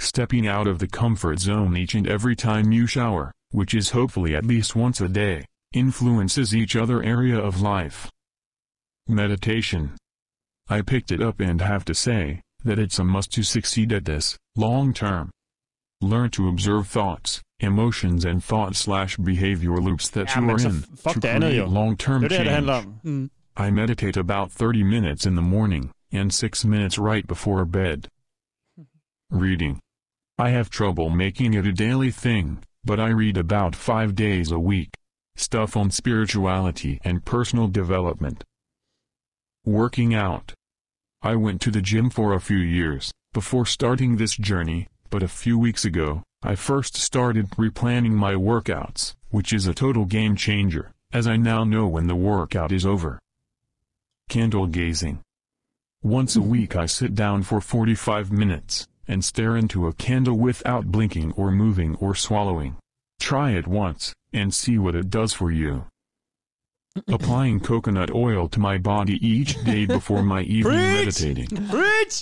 U: stepping out of the comfort zone each and every time you shower, which is hopefully at least once a day, influences each other area of life. Meditation. I picked it up and have to say that it's a must to succeed at this, long term. Learn to observe thoughts, emotions and thought slash behavior loops that
F: Ja,
U: you
F: men
U: are
F: så
U: in
F: fuck
U: to
F: det andet
U: create
F: jo.
U: long term
F: Det er det, det handler
U: change.
F: om.
G: Mm.
U: I meditate about 30 minutes in the morning and 6 minutes right before bed. Reading. I have trouble making it a daily thing, but I read about 5 days a week. Stuff on spirituality and personal development. Working out. I went to the gym for a few years before starting this journey, but a few weeks ago, I first started replanning my workouts, which is a total game changer, as I now know when the workout is over. Candle gazing. Once a week I sit down for 45 minutes and stare into a candle without blinking or moving or swallowing. Try it once and see what it does for you. Applying coconut oil to my body each day before my evening meditating.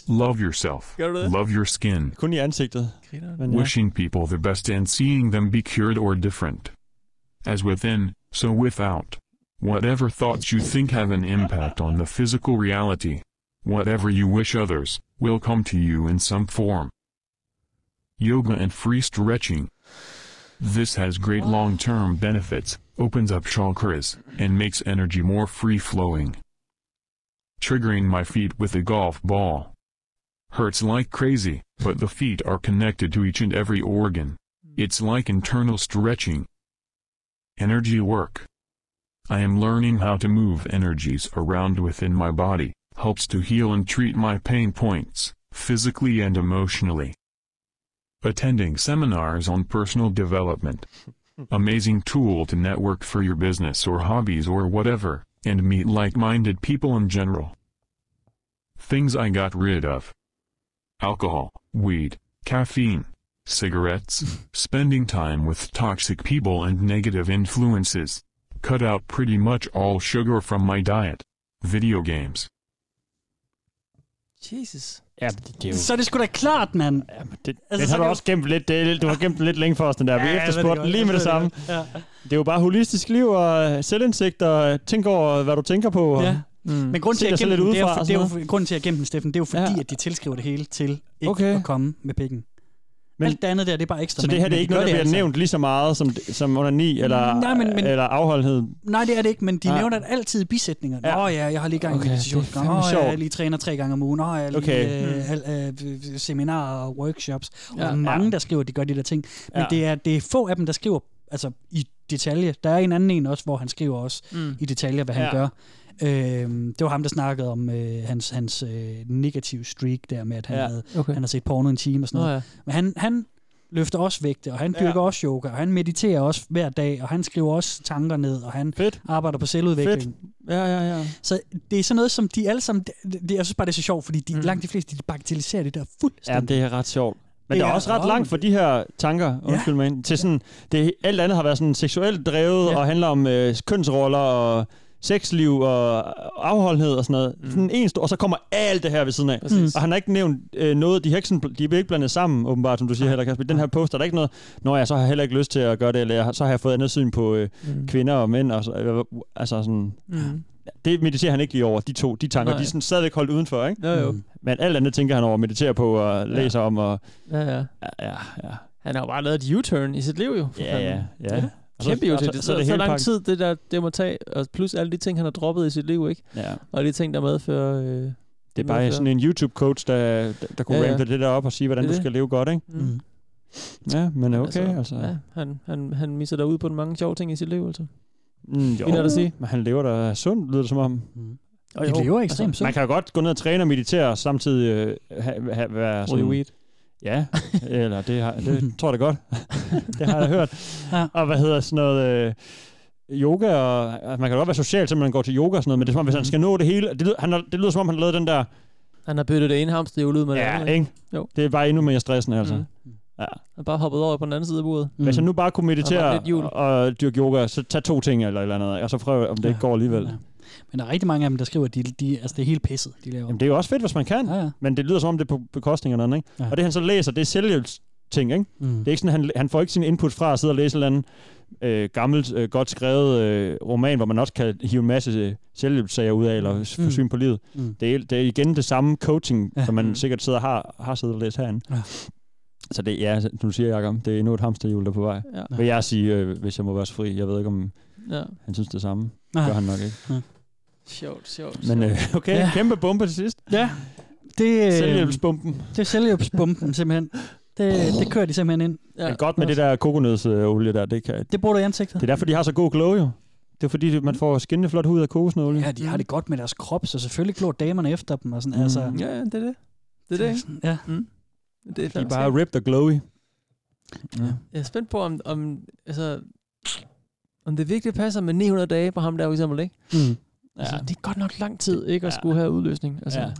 U: Love yourself.
F: Gør du det?
U: Love your skin.
F: Kun i ansigtet. Men ja.
U: Wishing people the best and seeing them be cured or different. As within, so without. Whatever thoughts you think have an impact on the physical reality, whatever you wish others, will come to you in some form. Yoga and free stretching. This has great long term benefits, opens up chakras, and makes energy more free flowing. Triggering my feet with a golf ball hurts like crazy, but the feet are connected to each and every organ. It's like internal stretching. Energy work. I am learning how to move energies around within my body, helps to heal and treat my pain points, physically and emotionally. Attending seminars on personal development. Hmm. Amazing tool to network for your business or hobbies or whatever, and meet like-minded people in general. Things I got rid of alcohol, weed, caffeine, cigarettes, spending time with toxic people and negative influences, cut out pretty much all sugar from my diet, video games.
G: Jesus.
F: Ja, men det, det er jo...
G: Så er det sgu da klart, mand. Ja,
F: men det, den har
G: Altså, så kan
F: du
G: man-
F: også gemt lidt. Det, er- du har gemt den lidt længe for os, den der. Vi
G: Ja, jeg ved det
F: efterspurgte
G: godt,
F: den lige
G: jeg
F: med det
G: ved
F: samme.
G: det godt,
F: Det er jo bare holistisk liv og øh, selvindsigt og øh, tænk over, hvad du tænker på. Og
G: Ja. Mm. Men grunden til,
F: se
G: at
F: dig
G: jeg
F: selv altså. lidt
G: gemte den, det
F: udefra
G: er, jo-
F: og sådan
G: det er jo,
F: noget.
G: grunden til, at jeg gemte den, Steffen, det er jo fordi, ja. at de tilskriver det hele til ikke okay. at komme med pikken. Men, Alt det andet der, det er bare ekstra.
F: Så det her det er ikke noget, der bliver
G: altså.
F: nævnt lige så meget som, som under ni eller,
G: Nej, men- men-
F: eller afholdenhed?
G: Nej, det er det ikke, men de
F: Nej.
G: nævner det altid i bisætninger. Nå ja, jeg har lige gang i
F: Okay,
G: okay, meditation.
F: det er
G: Nå
F: fandme
G: ja, jeg
F: sjovt.
G: lige træner tre gange om ugen. Nå, jeg lige
F: Okay. Mm.
G: okay. øh, al, øh, seminarer og workshops. Ja,
F: Ja.
G: og mange, der skriver, at de gør de der ting. Men
F: Ja.
G: ja. det, er, det er få af dem, der skriver altså, i detalje. Der er en anden en også, hvor han skriver også
F: Mm.
G: mm. i detaljer, hvad han
F: Ja.
G: ja. gør. Øhm, det var ham, der snakkede om øh, hans, hans øh, negative streak der med, at han,
F: Ja,
G: ja. havde,
F: okay.
G: okay. han havde set porno en time og sådan
F: Nå
G: noget. Men han, han løfter også vægte, og han dyrker
F: Ja.
G: også yoga, og han mediterer også hver dag, og han skriver også tanker ned, og han
F: Fedt.
G: arbejder på selvudvikling.
F: Fedt. Ja, ja, ja.
G: Så det er sådan noget, som de alle sammen... Det, det, jeg synes bare, det er så sjovt, fordi de, mm. langt de fleste, de bagatelliserer det der
F: Ja,
G: fuldstændig.
F: det er ret sjovt. Men
G: Det
F: det er
G: er
F: også ret
G: ret
F: langt fra de her tanker, undskyld mig, til sådan, det, alt andet har været sådan seksuelt drevet ja. og handler om øh, kønsroller og sexliv og afholdenhed og sådan noget. Mm. Sådan en stor, og så kommer alt det her ved siden af. Mm.
H: Præcis.
F: Og han har ikke nævnt øh, noget, de, heksen, de er ikke blandet sammen, åbenbart, som du siger heller, Kasper. I Den her post er der ikke noget, når jeg så har jeg heller ikke lyst til at gøre det, eller jeg, har- så har jeg fået andet syn på øh, mm. kvinder og mænd. Og, så- øh, altså sådan,
H: Mm.
F: det mediterer han ikke lige over, de to, de tanker.
H: Nej.
F: Nej. De er sådan stadigvæk holdt udenfor, ikke?
H: Jo, jo.
F: Mm. Men alt andet tænker han over, mediterer på og læser om. Og,
H: Ja, ja.
F: ja, ja.
H: Han har jo bare lavet et U-turn i sit liv jo. for
F: Ja,
H: fanden.
F: ja, ja. Og så-
H: Kæmpe
F: og
H: U-turn.
F: så-
H: Så,
F: så er
H: så,
F: det
H: så,
F: hele
H: lang
F: pakken.
H: tid, det der det må tage, og plus alle de ting, han har droppet i sit liv, ikke?
F: Ja.
H: Og de ting, der medfører... Øh, det
F: Det er bare sådan en YouTube-coach, der, der, der kunne
H: Ja,
F: ja,
H: ja.
F: rampe det der op og sige, hvordan
H: Det er
F: du
H: det.
F: skal leve godt, ikke?
H: Mm.
F: Ja, men okay,
H: Altså,
F: altså.
H: Ja, han, han, han misser der ud på en mange sjove ting i sit liv, altså.
F: Mm, jo,
H: Vildt at sige.
F: men han lever da sundt, lyder det som om.
G: Mm.
H: De lever ekstremt sundt.
F: Man kan jo godt gå ned og træne og meditere, og samtidig øh, ha, ha, være sådan...
H: weed.
F: Ja, eller det, har, det tror jeg da godt. det har jeg da hørt. Og hvad hedder sådan noget... Øh, yoga, og altså, man kan godt være social, så man går til yoga og sådan noget, men det er som om, hvis han skal nå det hele... Det lyder, han, har- det lyder som om, han har lavet den der...
H: Mhm. Han har byttet det ene hamsterhjul ud med det
F: Ja,
H: andet.
F: ikke?
H: Jo.
F: Det er bare endnu mere stressende, altså.
H: Mm.
F: Ja.
H: Han bare hoppet over på den anden side af bordet.
F: Mm. Hvis han nu bare kunne
H: Der var
F: meditere
H: lidt hjul.
F: og, og dyrke yoga, så tag to ting eller et eller andet, og så prøv, om det ikke går alligevel.
G: Men der er rigtig mange af dem, der skriver, at de, de, altså, det er helt pisset, de laver.
F: Jamen, det er jo også fedt, hvis man kan. Ja, ja. Men det lyder som om, det er på bekostning af noget andet, ikke?
G: Ja.
F: Ja. Og det, han så læser, det er selvhjælpsting, ikke?
G: Mm.
F: Det er ikke sådan, han, han får ikke sin input fra at sidde og læse en eller anden øh, gammelt, øh, godt skrevet øh, roman, hvor man også kan hive en masse øh, selvhjælpssager ud af, eller s- få
G: Mm.
F: syn på livet.
G: Mm.
F: Mm. Det, er, det er igen det samme coaching,
G: Ja. Mm.
F: ja. som man sikkert sidder og har, har siddet og læst herinde.
G: Ja.
F: Så det, ja, som du siger, Jacob, det er endnu et hamsterhjul, der er på vej.
H: Ja.
F: Ja. Vil jeg sige, øh, hvis jeg må være så fri. Jeg ved ikke, om
H: Ja.
F: ja. han synes det samme.
G: Nej.
F: Nej. Gør han nok ikke.
G: Ja.
H: Sjovt, sjovt.
F: Men øh, okay,
G: Ja.
F: ja. kæmpe bombe til sidst.
G: Ja. Det, øh,
F: Selvhjælpsbomben.
G: Det er selvhjælpsbomben, simpelthen. Det, det kører de simpelthen ind.
F: Ja. Men godt med det der kokonødsolie der, det kan...
G: Det bruger du i ansigtet.
F: Det er derfor, de har så god glow, jo. Det er fordi, man får skinnende flot hud af kokosnåle.
G: Ja, de har det godt med deres krop, så selvfølgelig glor damerne efter dem. Og sådan,
F: Mm.
G: altså,
H: Ja, ja, det er det. Det er det, ikke?
G: Ja.
H: Mm. Det er
F: de er
H: fandme
F: bare
H: skægt.
F: ripped og glowy.
H: Jeg er spændt på, om, om, altså, om det virkelig passer med 900 dage på ham der, for eksempel, ikke?
F: Mm.
H: Altså, det er godt nok lang tid ikke at skulle have udløsning. Altså,
F: Ja.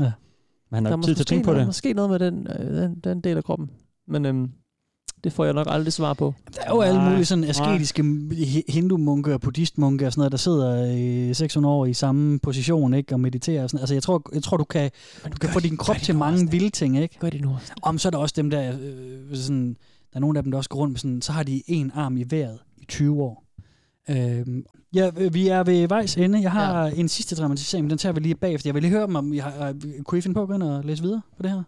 F: Men han
H: der
F: har jo
H: må
F: ikke tid til
H: måske
F: at tænke på
H: noget,
F: det.
H: Måske noget med den, øh, den, den del af kroppen. Men øhm, det får jeg nok aldrig svar på.
G: Der er jo alle mulige sådan asketiske hi- hindu-munke og buddhist-munke og sådan noget, der sidder øh, 600 år i samme position ikke, og mediterer. Og sådan. Altså, jeg tror, jeg tror du kan, du kan få din krop til mange vilde ting. Ikke?
H: Gør det nu
G: Om så er der også dem der, øh, sådan, der er nogle af dem, der også går rundt med sådan, så har de en arm i vejret i 20 år. Øhm, ja, vi er ved vejs ende. Jeg har ja. en sidste dramatisering, men den tager vi lige bagefter. Jeg vil lige høre dem, om I har, øh, kunne I finde på at gå ind og læse videre på det her?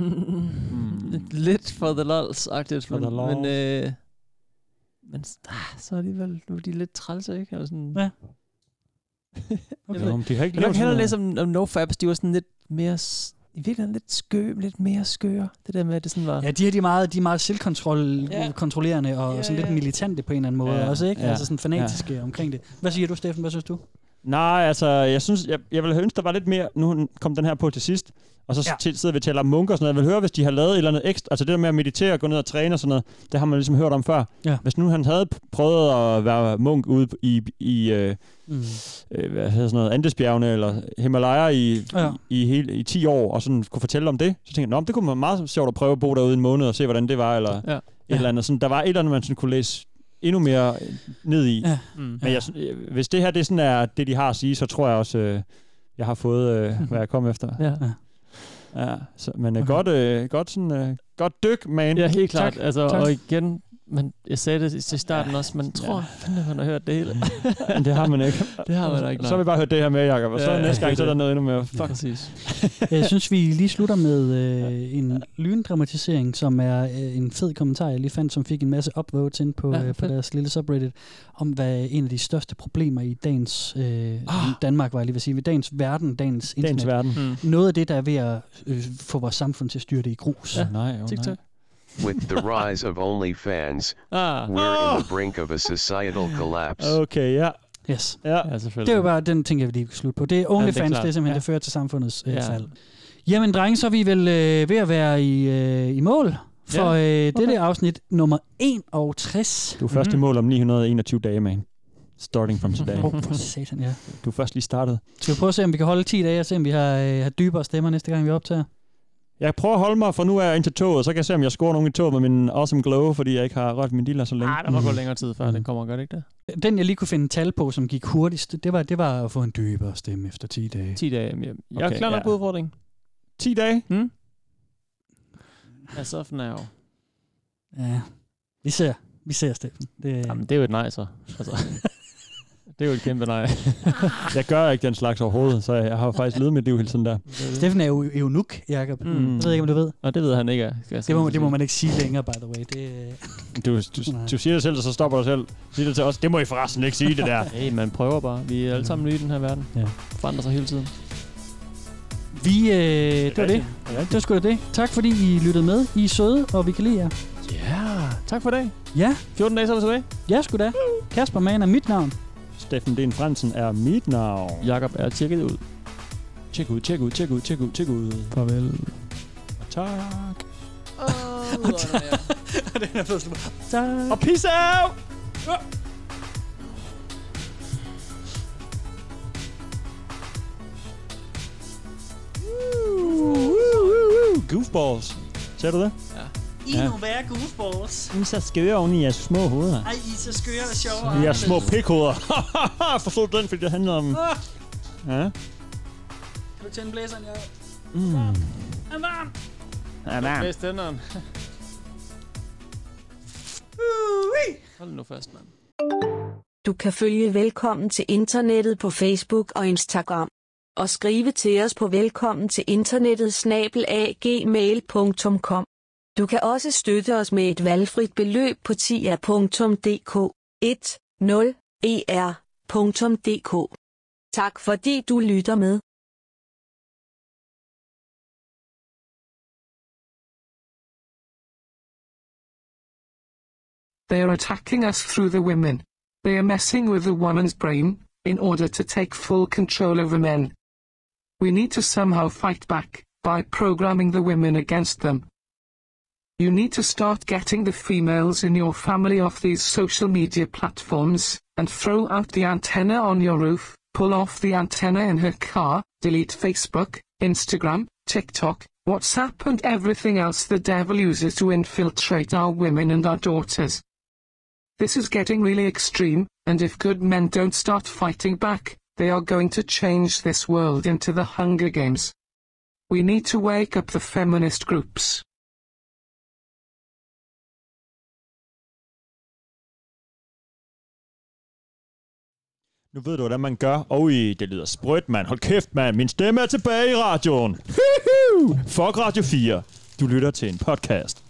H: Mm, lidt for the lols-agtigt,
G: For
H: men,
G: the lols.
H: men, øh, men ah, så alligevel, nu er de lidt trælse, ikke? Eller sådan.
G: Ja.
H: okay.
F: Nå, men de har ikke
H: jeg vil
F: lavet
H: hellere
F: sådan
H: læse om, om NoFabs, de var sådan lidt mere, s- i virkeligheden lidt skø, lidt mere skøre, det der med, at det sådan var...
G: Ja, de her de er meget, de er meget selvkontrollerende og sådan lidt militante på en eller anden måde
F: Ja.
G: også, ikke?
F: Ja.
G: Altså sådan fanatiske omkring det. Hvad siger du, Steffen? Hvad synes du?
F: Nej, altså, jeg synes, jeg, jeg ville ønske, der var lidt mere... Nu kom den her på til sidst, og så
G: Ja.
F: ja. til, sidder vi og taler om munker og sådan noget. Jeg vil høre, hvis de har lavet et eller andet ekstra... Altså det der med at meditere og gå ned og træne og sådan noget, det har man ligesom hørt om før.
G: Ja.
F: Hvis nu han havde p- prøvet at være munk ude i... i øh,
G: Mm.
F: øh, hvad hedder sådan noget, Andesbjergene eller Himalaya i,
G: Ja.
F: ja. i, i, hele, i 10 år, og sådan kunne fortælle om det, så tænkte jeg, "Nå, men det kunne være meget sjovt at prøve at bo derude en måned og se, hvordan det var, eller
H: Ja.
F: ja. et eller andet. Sådan, der var et eller andet, man sådan kunne læse endnu mere ned i.
G: Ja.
H: Mm.
F: Men jeg, synes- øh, hvis det her det sådan er det, de har at sige, så tror jeg også, øh, jeg har fået, øh, hvad jeg kom efter.
H: Ja.
F: ja så, men øh, godt, øh, godt, sådan, øh, godt dyk, man.
H: Ja, helt klart.
F: Tak.
H: Altså,
F: tak.
H: Og igen, man, jeg sagde det til starten også, man tror, ja. fandme, man har hørt det hele.
F: Men det har man ikke.
H: Det har man da ikke,
F: Så
H: nej.
F: har vi bare hørt det her med, Jacob, og så
H: Ja, ja,
F: næste
H: det er
F: gang, så er der
H: det.
F: noget endnu mere.
H: Ja, præcis.
G: Jeg synes, vi lige slutter med øh, en lyndramatisering, som er øh, en fed kommentar, jeg lige fandt, som fik en masse upvotes ind på,
H: Ja,
G: ja, øh, på
H: fedt.
G: deres lille subreddit, om hvad en af de største problemer i dagens øh,
H: Ah!
G: Danmark var, jeg lige vil sige, ved dagens verden, dagens internet.
F: verden.
H: Mm.
G: Noget af det, der er ved at øh, få vores samfund til at styre det i grus.
F: Ja. Nej, oh, TikTok.
Q: With the rise of OnlyFans,
F: Ah.
Q: we're in the brink of a societal collapse.
F: Okay, ja.
G: Yes.
F: Ja, ja selvfølgelig.
G: Det er jo bare den ting, jeg vil lige kan slutte på. Det er OnlyFans,
F: Ja, det er
G: ja, det,
F: klart.
G: det er simpelthen, ja.
F: Ja.
G: det fører til samfundets øh,
F: Ja.
G: fald. Jamen, drenge, så er vi vel øh, ved at være i, øh, i mål for
F: Ja.
G: øh, dette afsnit nummer 61.
F: Du er først i
H: Mhm.
F: mål om 921 dage, man. Starting from today.
H: Oh.
G: Åh, for satan, ja.
F: Du er først lige startet.
G: Skal vi prøve at se, om vi kan holde 10 dage, og se, om vi har, øh, har dybere stemmer næste gang, vi optager?
F: Jeg prøver at holde mig, for nu er jeg ind til toget, så kan jeg se, om jeg scorer nogen i toget med min awesome glow, fordi jeg ikke har rørt min dealer så længe. Mm.
H: Ah, der må gå længere tid, før den kommer, gør det ikke det?
G: Den, jeg lige kunne finde tal på, som gik hurtigst, det var, det var at få en dybere stemme efter 10 dage.
H: 10 dage, jamen, jeg, jeg er klar nok på udfordringen.
F: 10 dage?
H: Hmm? As of now.
G: Ja, vi ser. Vi ser, Steffen. Det,
H: Jamen, det er jo et nej, så. Altså, det er jo et kæmpe nej.
F: jeg gør ikke den slags overhovedet, så jeg har faktisk levet mit liv hele tiden der.
G: Steffen er jo eunuk, Jacob. Mm. Jeg ved ikke, om du ved.
H: Og det ved han ikke er. skal jeg
G: Det må,
H: sige.
G: det må man ikke sige længere, by the way. Det,
F: Du, du, du siger det selv, og så stopper du selv. Sig det til os. Det må I forresten ikke sige, det der.
H: Hey, man prøver bare. Vi er alle sammen nye i den her verden.
G: Ja.
H: Forandrer sig hele tiden.
G: Vi, øh, det var det.
H: rigtigt.
G: Det var sgu da det. Tak fordi I lyttede med. I er søde, og vi kan lide jer.
H: Yeah.
F: Ah, Tak for i dag.
G: Ja.
F: 14 dage, så er vi tilbage.
G: Ja, sgu da. Kasper Mann er mit navn.
F: Steffen Den Fransen er mit navn. Jakob er tjekket ud. Tjek ud, tjek ud, tjek ud, tjek ud, tjek ud. Farvel. Og tak.
G: Den er blevet slut.
F: Og peace out! Goofballs. Ser du det?
I: I er nogle værre goofballs.
F: I er så skøre oven i jeres små hoveder.
I: Ej, I er så skøre og sjove.
F: I er
I: anderledes.
F: små pikhoveder. Forstod du den, fordi det handler om...
I: Ah,
F: Ja.
I: Kan du tænde blæseren, jeg?
F: Mm.
I: Er varm.
F: Ja, man.
H: tænderen. Hold nu fast, mand.
E: Du kan følge Velkommen til Internettet på Facebook og Instagram. Og skrive til os på velkommen til internettet snabelagmail.com. Du kan også støtte os med et valgfrit beløb på tia.dk E 10er.dk. Tak fordi du lytter med.
A: They're attacking us through the women. They are messing with the woman's brain in order to take full control over men. We need to somehow fight back by programming the women against them. You need to start getting the females in your family off these social media platforms and throw out the antenna on your roof, pull off the antenna in her car, delete Facebook, Instagram, TikTok, WhatsApp, and everything else the devil uses to infiltrate our women and our daughters. This is getting really extreme, and if good men don't start fighting back, they are going to change this world into the Hunger Games. We need to wake up the feminist groups.
F: Nu ved du, hvordan man gør. Oj, det lyder sprødt, mand. Hold kæft, mand. Min stemme er tilbage i radioen. Hihi! Fuck Radio 4. Du lytter til en podcast.